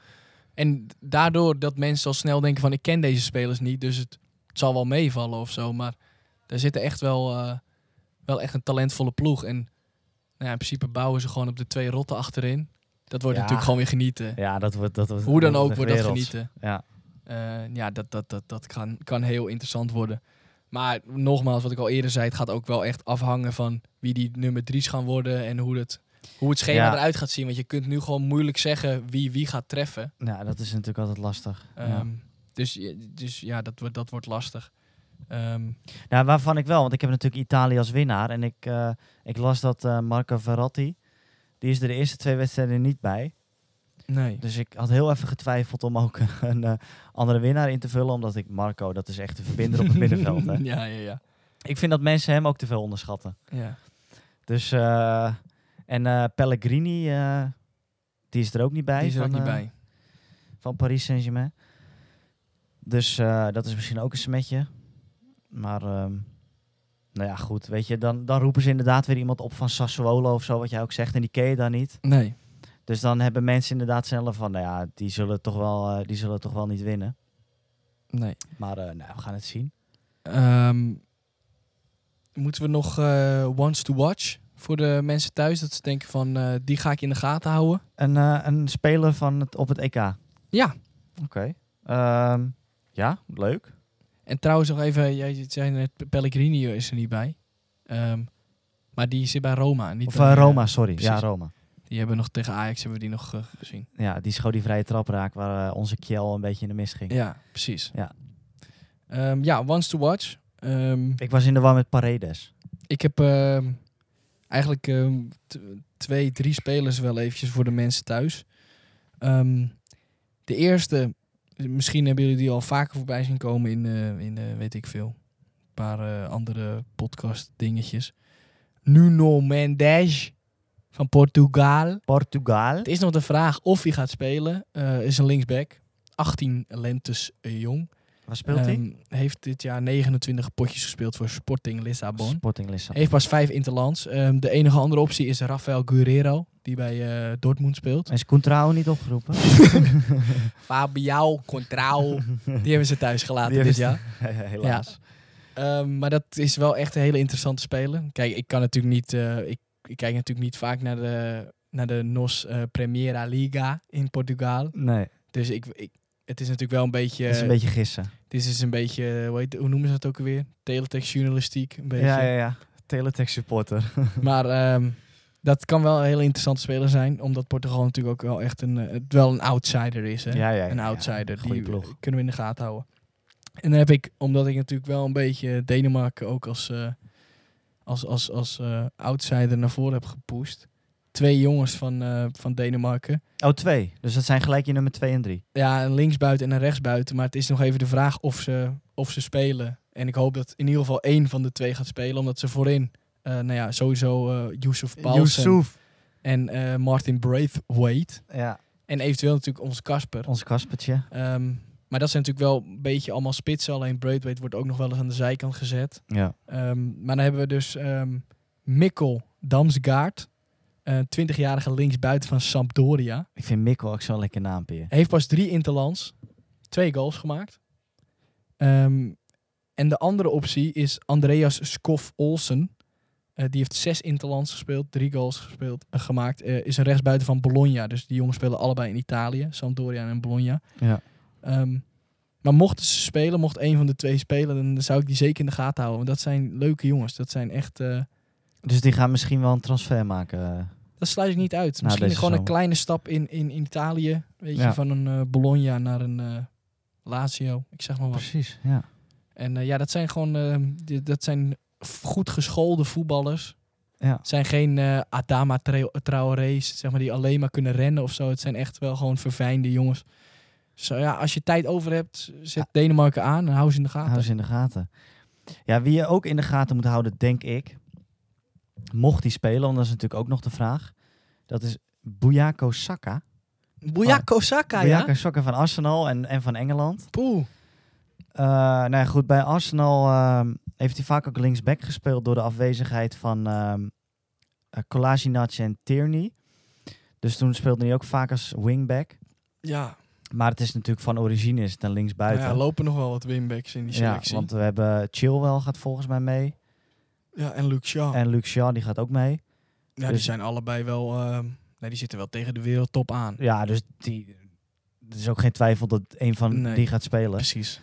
En daardoor dat mensen al snel denken van, ik ken deze spelers niet, dus het, het zal wel meevallen of zo. Maar daar zitten echt wel, eh, wel echt een talentvolle ploeg. En nou ja, in principe bouwen ze gewoon op de twee rotten achterin. Dat wordt
Ja.
natuurlijk gewoon weer genieten.
Ja, dat wordt... Dat wordt
Hoe dan
dat
ook wordt dat
werelds.
genieten.
Ja.
Eh, ja, dat, dat, dat, dat kan, kan heel interessant worden. Maar nogmaals, wat ik al eerder zei, het gaat ook wel echt afhangen van wie die nummer drie's gaan worden en hoe het, hoe het schema
Ja.
eruit gaat zien. Want je kunt nu gewoon moeilijk zeggen wie wie gaat treffen.
Ja, Nou, dat is natuurlijk altijd lastig. ja.
Ehm, dus, je- dus ja, dat, wordt- dat wordt lastig. Ehm,
Nou, waarvan ik wel, want ik heb natuurlijk Italië als winnaar. En ik, eh, ik las dat eh, Marco Verratti, die is er de eerste twee wedstrijden niet bij.
nee.
Dus ik had heel even getwijfeld om ook een eh, andere winnaar in te vullen. Omdat ik Marco, dat is echt de verbinder op het middenveld. Hè.
Ja, ja, ja.
Ik vind dat mensen hem ook te veel onderschatten.
ja.
Dus, eh, en eh, Pellegrini, eh, die is er ook niet bij.
Die is er ook
van,
niet
eh,
bij.
Van Paris Saint-Germain. Dus eh, dat is misschien ook een smetje. Maar, ehm, nou ja, goed. Weet je, dan, dan roepen ze inderdaad weer iemand op van Sassuolo of zo, wat jij ook zegt. En die ken je dan niet.
Nee.
Dus dan hebben mensen inderdaad zelf van, nou ja, die zullen toch wel, eh, die zullen toch wel niet winnen.
Nee.
Maar eh, nou, we gaan het zien.
Ehm, moeten we nog eh ones to watch voor de mensen thuis? Dat ze denken van, eh, die ga ik in de gaten houden.
Een, eh, een speler van het, op het EK. Oké.
Ja.
Ehm, ja, leuk.
En trouwens nog even, jij zei net, Pe- Pellegrini is er niet bij. Ehm, maar die zit bij Roma. Niet
Of
bij,
eh,
eh,
Roma, sorry. Ja,
precies.
Roma.
Die hebben nog tegen Ajax hebben we die nog eh, gezien.
Ja, die schoot die vrije trap raak waar eh, onze Kjell een beetje in de mis ging.
Ja, precies.
Ja.
Ehm, ja, ones to watch. Ehm,
Ik was in de war met Paredes.
ik heb ehm, eigenlijk ehm, t- twee, drie spelers wel eventjes voor de mensen thuis. Ehm, de eerste, misschien hebben jullie die al vaker voorbij zien komen in, eh, in eh, weet ik veel, een paar eh, andere podcast dingetjes. Nuno Mendes van Portugal.
Portugal.
Het is nog de vraag of hij gaat spelen. Eh, is een linksback, 18 lentes eh, jong.
Waar speelt hij?
Ehm, heeft dit jaar 29 potjes gespeeld voor Sporting Lissabon.
Sporting Lissabon.
Heeft pas vijf interlands. Ehm, de enige andere optie is Rafael Guerrero, die bij eh, Dortmund speelt.
Is Contrao niet opgeroepen?
Fabiao Contrao, die hebben ze thuis gelaten
Die
dit
hebben
jaar.
Helaas.
Ehm, maar dat is wel echt een hele interessante speler. Kijk, ik kan natuurlijk niet. eh, ik, ik kijk natuurlijk niet vaak naar de, naar de NOS eh Primera Liga in Portugal.
Nee,
Dus ik, ik, het is natuurlijk wel een beetje.
dat is een beetje gissen.
Dit is een beetje. Hoe, heet- hoe noemen ze dat ook weer? Teletext journalistiek. Een beetje.
Ja, ja, ja. Teletext supporter.
Maar ehm, dat kan wel een hele interessante speler zijn. Omdat Portugal natuurlijk ook wel echt een, eh, het wel een outsider is. Hè?
ja,
een outsider.
Goeie
die
ploeg.
kunnen we in de gaten houden. En dan heb ik, omdat ik natuurlijk wel een beetje Denemarken ook als, eh, als, als, als eh, outsider naar voren heb gepusht. Twee jongens van, eh, van Denemarken.
Oh, twee. Dus dat zijn gelijk je nummer twee en drie.
Ja, een linksbuiten en een rechtsbuiten. Maar het is nog even de vraag of ze, of ze spelen. En ik hoop dat in ieder geval één van de twee gaat spelen. Omdat ze voorin, eh, nou ja, sowieso eh Yusuf Paulsen
Yusuf.
en eh, Martin Braithwaite.
Ja,
En eventueel natuurlijk onze Kasper.
ons Kaspertje.
Ehm, maar dat zijn natuurlijk wel een beetje allemaal spitsen. Alleen Braithwaite wordt ook nog wel eens aan de zijkant gezet.
Ja.
Ehm, maar dan hebben we dus ehm, Mikkel Damsgaard. Een 20-jarige linksbuiten van Sampdoria.
Ik vind Mikkel ook zo'n lekker naampje.
Hij heeft pas drie interlands. Twee goals gemaakt. Ehm, en de andere optie is Andreas Skof Olsen. Eh, die heeft zes interlands gespeeld. Drie goals gespeeld, eh, gemaakt. Eh, is een rechtsbuiten van Bologna. Dus die jongens spelen allebei in Italië. Sampdoria en Bologna.
Ja.
Ehm, maar mochten ze spelen, mocht een van de twee spelen, dan zou ik die zeker in de gaten houden. Want dat zijn leuke jongens. Dat zijn echt. eh,
Dus die gaan misschien wel een transfer maken.
dat sluit ik niet uit. Misschien
deze
gewoon een
zomer.
kleine stap in, in, in Italië. Weet je,
Ja.
van een eh, Bologna naar een eh, Lazio. Ik zeg maar wat.
Precies, ja.
En eh, ja, dat zijn gewoon. ehm, die- dat zijn f- goed geschoolde voetballers.
Ja.
Het zijn geen eh, Adama Tra- Traoré's, zeg maar, die alleen maar kunnen rennen of zo. Het zijn echt wel gewoon verfijnde jongens. Zo ja, als je tijd over hebt, zet Denemarken aan en hou ze in de gaten.
Hou ze in de gaten. Ja, wie je ook in de gaten moet houden, denk ik. Mocht hij spelen, want dat is natuurlijk ook nog de vraag. Dat is Buyako Saka.
Bujako Saka,
Buyako
ja?
Saka van Arsenal en, en van Engeland.
Poeh.
Eh, nou ja, goed, bij Arsenal ehm, heeft hij vaak ook linksback gespeeld door de afwezigheid van ehm eh, Kolasinac en Tierney. Dus toen speelde hij ook vaak als wingback.
Ja, nou
Maar het is natuurlijk van origine is het een linksbuiten.
ja, lopen nog wel wat winbacks in die
Ja,
selectie. Ja,
want we hebben Chilwell gaat volgens mij mee.
en Luke Shaw.
En Luke Shaw, die gaat ook mee.
ja, die
dus-
zijn allebei wel... ehm, nee, die zitten wel tegen de wereldtop aan.
Ja, dus die, er is ook geen twijfel dat een van
Nee.
die gaat spelen.
Precies.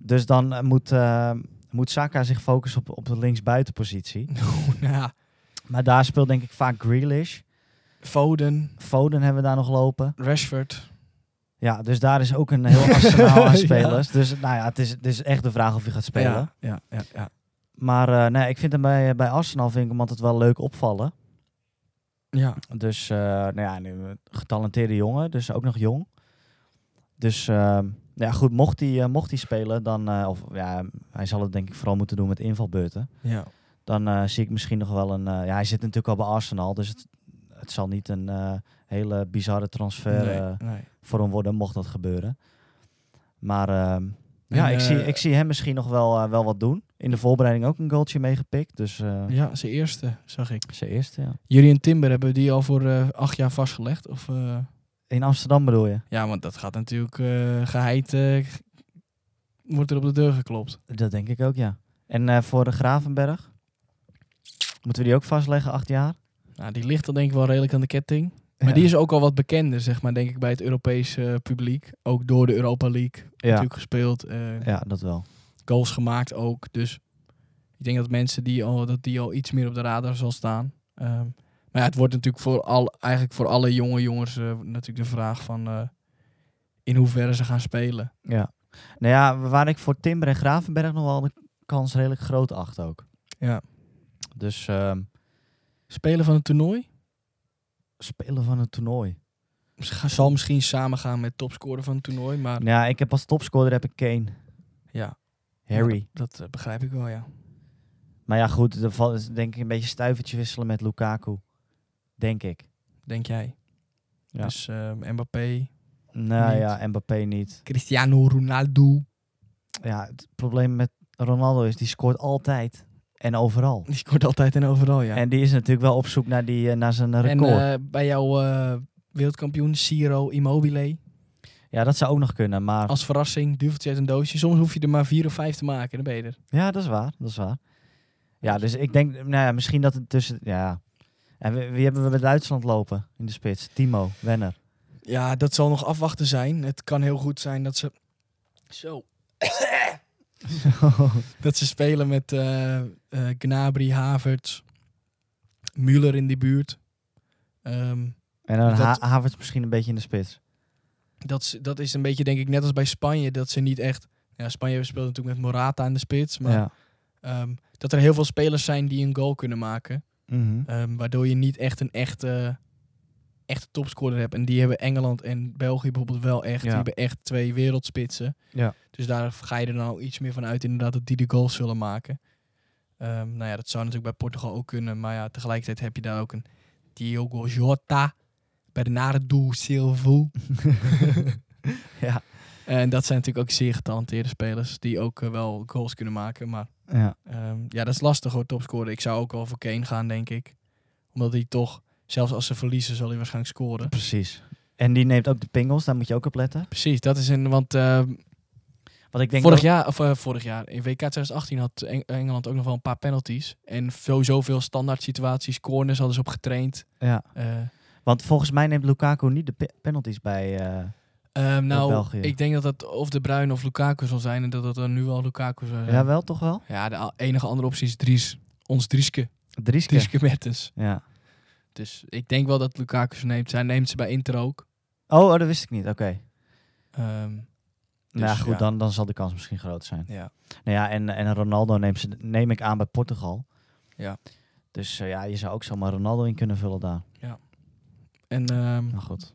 Dus dan eh, moet eh, moet Saka zich focussen op, op de linksbuitenpositie.
ja,
Maar daar speelt denk ik vaak Grealish.
Foden,
Foden hebben we daar nog lopen.
Rashford.
Ja, dus daar is ook een heel arsenaal aan spelers. Dus nou ja, het is, het is echt de vraag of hij gaat spelen.
Ja, ja, ja, ja.
Maar eh, nee, ik vind hem bij, bij Arsenal vind ik hem altijd wel leuk opvallen.
ja.
Dus, eh, nou ja, nu, een getalenteerde jongen, dus ook nog jong. Dus, eh, ja goed, mocht hij, eh, mocht hij spelen, dan, eh, of ja, hij zal het denk ik vooral moeten doen met invalbeurten.
ja.
Dan eh, zie ik misschien nog wel een, eh, ja, hij zit natuurlijk al bij Arsenal, dus het, het zal niet een eh, hele bizarre transfer eh,
nee, nee.
voor hem worden, mocht dat gebeuren. Maar ehm, ja,
En,
ik,
eh,
zie, ik zie hem misschien nog wel, eh, wel wat doen. In de voorbereiding ook een goaltje meegepikt, dus eh
Ja, zijn eerste, zag ik.
zijn eerste, ja.
Jullie en Timber hebben die al voor eh, acht jaar vastgelegd? Of, eh?
In Amsterdam bedoel je?
Ja, want dat gaat natuurlijk eh, geheid. eh, g- wordt er op de deur geklopt.
Dat denk ik ook, ja. En eh, voor de Gravenberg? Moeten we die ook vastleggen, acht jaar?
Nou, die ligt dan denk ik wel redelijk aan de ketting. Maar die is ook al wat bekender, zeg maar, denk ik, bij het Europese eh, publiek. Ook door de Europa League
ja.
natuurlijk gespeeld. eh,
ja, dat wel.
Goals gemaakt ook. Dus ik denk dat mensen die al, dat die al iets meer op de radar zal staan. Ehm, maar ja, het wordt natuurlijk voor al, eigenlijk voor alle jonge jongens eh, natuurlijk de vraag van eh, in hoeverre ze gaan spelen.
Ja. Nou ja, waar ik voor Timber en Gravenberg nog wel de kans redelijk groot acht ook.
Ja.
Dus ehm,
Spelen van het toernooi?
spelen van het toernooi.
Ze gaan- zal misschien samengaan met topscorer van het toernooi, maar
Nou Ja, ik heb als topscorer heb ik Kane,
ja,
Harry.
dat eh, begrijp ik wel, ja.
Maar ja, goed, er valt is denk ik een beetje stuivertje wisselen met Lukaku. Denk ik.
Denk jij?
Ja.
Dus eh, Mbappé,
Nou
Niet.
ja, Mbappé niet.
Cristiano Ronaldo,
Ja, het probleem met Ronaldo is, die scoort altijd en overal.
die scoort altijd en overal, ja.
En die is natuurlijk wel op zoek naar, die, eh, naar zijn
En,
record.
eh, bij jouw eh, wereldkampioen Ciro Immobile,
ja, dat zou ook nog kunnen. Maar
als verrassing, duveltje uit een doosje. Soms hoef je er maar vier of vijf te maken, dan ben je er.
ja, dat is waar. Dat is waar. Ja, dus ik denk, nou ja, misschien dat het tussen. Ja. En wie, wie hebben we bij Duitsland lopen in de spits? Timo, Wenner.
Ja, dat zal nog afwachten zijn. Het kan heel goed zijn dat ze... Zo. Dat ze spelen met eh eh, Gnabry, Havertz, Müller in die buurt. Ehm,
en dan
Dat-
Ha- Havertz misschien een beetje in de spits.
dat, is- dat is een beetje, denk ik, net als bij Spanje. Dat ze niet echt... Ja, Spanje speelt natuurlijk met Morata in de spits. Maar
Ja.
ehm, dat er heel veel spelers zijn die een goal kunnen maken.
Mhm.
Ehm, waardoor je niet echt een echte, echte topscorer hebt. En die hebben Engeland en België bijvoorbeeld wel echt. Die
Ja.
hebben echt twee wereldspitsen.
Ja.
Dus daar ga je er nou iets meer van uit inderdaad dat die de goals zullen maken. Ehm, nou ja, dat zou natuurlijk bij Portugal ook kunnen. Maar ja, tegelijkertijd heb je daar ook een Diogo Jota. Bernardo Silva.
Ja.
En dat zijn natuurlijk ook zeer getalenteerde spelers. Die ook eh, wel goals kunnen maken. Maar
ja.
Ehm, ja, dat is lastig hoor, topscorer. Ik zou ook wel voor Kane gaan, denk ik. Omdat hij toch, zelfs als ze verliezen, zal hij waarschijnlijk scoren.
Precies. En die neemt ook de pingels, daar moet je ook op letten.
Precies, dat is een... Want ehm,
Want ik denk
vorig,
dat-
jaar, of, eh, vorig jaar, in WK 2018 had Eng- Engeland ook nog wel een paar penalties. En veel, zoveel standaard situaties, corners hadden ze op getraind.
Ja.
Eh,
Want volgens mij neemt Lukaku niet de pe- penalties bij. eh,
ehm, nou,
België.
ik denk dat dat of De Bruyne of Lukaku zal zijn. En dat dat dan nu al Lukaku zal zijn.
ja, wel toch wel?
Ja, de a- enige andere optie is Dries. Ons Drieske.
Drieske.
Drieske Mertens.
Ja.
Dus ik denk wel dat Lukaku ze neemt. Zij neemt ze bij Inter ook.
Oh, oh, dat wist ik niet. Oké.
Ehm,
Nou ja,
Dus,
goed,
ja.
Dan, dan zal de kans misschien groot zijn.
ja.
Nou ja, en, en Ronaldo neem, ze, neem ik aan bij Portugal.
Ja.
Dus eh, ja, je zou ook zomaar Ronaldo in kunnen vullen daar.
En ehm,
Maar goed.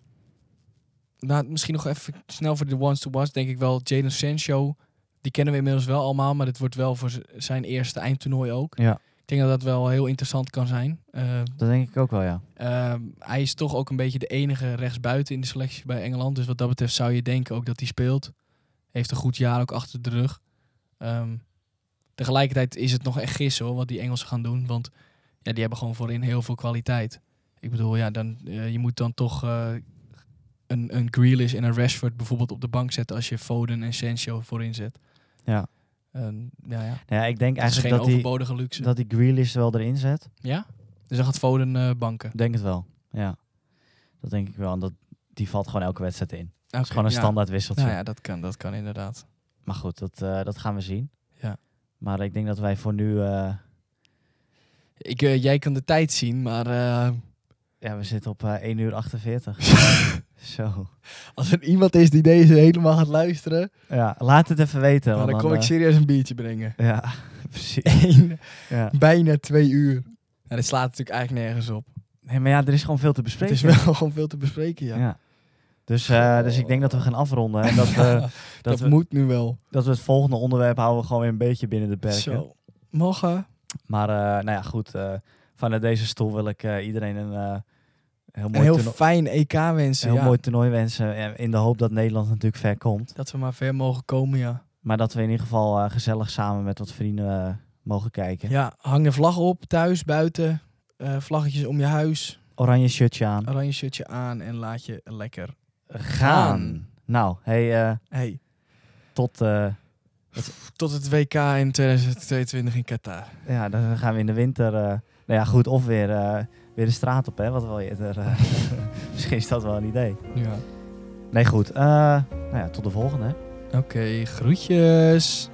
nou, misschien nog even snel voor de ones to watch. Denk ik wel Jadon Sancho. Die kennen we inmiddels wel allemaal. Maar dit wordt wel voor z- zijn eerste eindtoernooi ook.
Ja.
Ik denk dat dat wel heel interessant kan zijn. Eh,
Dat denk ik ook wel, ja.
ehm, hij is toch ook een beetje de enige rechtsbuiten in de selectie bij Engeland. Dus wat dat betreft zou je denken ook dat hij speelt. Heeft een goed jaar ook achter de rug. Ehm, tegelijkertijd is het nog echt gissen hoor, wat die Engelsen gaan doen. Want ja, die hebben gewoon voorin heel veel kwaliteit. Ik bedoel, ja, dan, eh, je moet dan toch eh, een, een Grealish en een Rashford bijvoorbeeld op de bank zetten als je Foden en Sancho voorin zet.
Ja.
Ehm, nou ja,
Nou ja ik denk
dat is geen
eigenlijk dat die,
overbodige luxe.
dat die Grealish er wel erin zet.
Ja? Dus dan gaat Foden eh, banken.
Ik denk het wel, ja. Dat denk ik wel. En dat, die valt gewoon elke wedstrijd in. Het
Dat
is gewoon een standaard wisseltje.
Nou ja, dat kan, dat kan inderdaad.
Maar goed, dat, eh, dat gaan we zien.
Ja.
Maar ik denk dat wij voor nu... eh,
Ik, eh, jij kan de tijd zien, maar eh,
ja, we zitten op eh, 1 uur 48. Zo.
als er iemand is die deze helemaal gaat luisteren,
Ja, laat het even weten.
nou,
want
dan kom ik
eh,
serieus een biertje brengen.
Ja, precies. Ja.
Bijna twee uur. Nou, dit slaat natuurlijk eigenlijk nergens op.
Nee, maar ja, er is gewoon veel te
Het
bespreken.
is wel gewoon veel te bespreken, ja.
Ja. Dus, eh, dus ik denk dat we gaan afronden. En dat we, dat
dat
we,
moet nu wel.
dat we het volgende onderwerp houden we gewoon weer een beetje binnen de perken.
Zo. Mogen.
Maar eh, nou ja, goed. eh, vanuit deze stoel wil ik eh, iedereen een eh, heel,
Een
mooi,
heel
toerno-
fijn EK wensen,
heel
ja.
mooi toernooi wensen. En In de hoop dat Nederland natuurlijk ver komt.
Dat we maar ver mogen komen, ja.
Maar dat we in ieder geval eh, gezellig samen met wat vrienden eh, mogen kijken.
Ja, hang de vlag op, thuis, buiten. eh, vlaggetjes om je huis.
Oranje shirtje aan.
Oranje shirtje aan en laat je lekker.
Gaan. Nou, hey, eh,
Hey,
tot... eh,
tot het WK in 2022 in Qatar.
Ja, dan gaan we in de winter. eh, nou ja, goed, of weer, eh, weer de straat op, hè? Wat wil je er? eh, misschien is dat wel een idee.
Ja.
Nee, goed. eh, nou ja, tot de volgende. hè.
Oké, groetjes.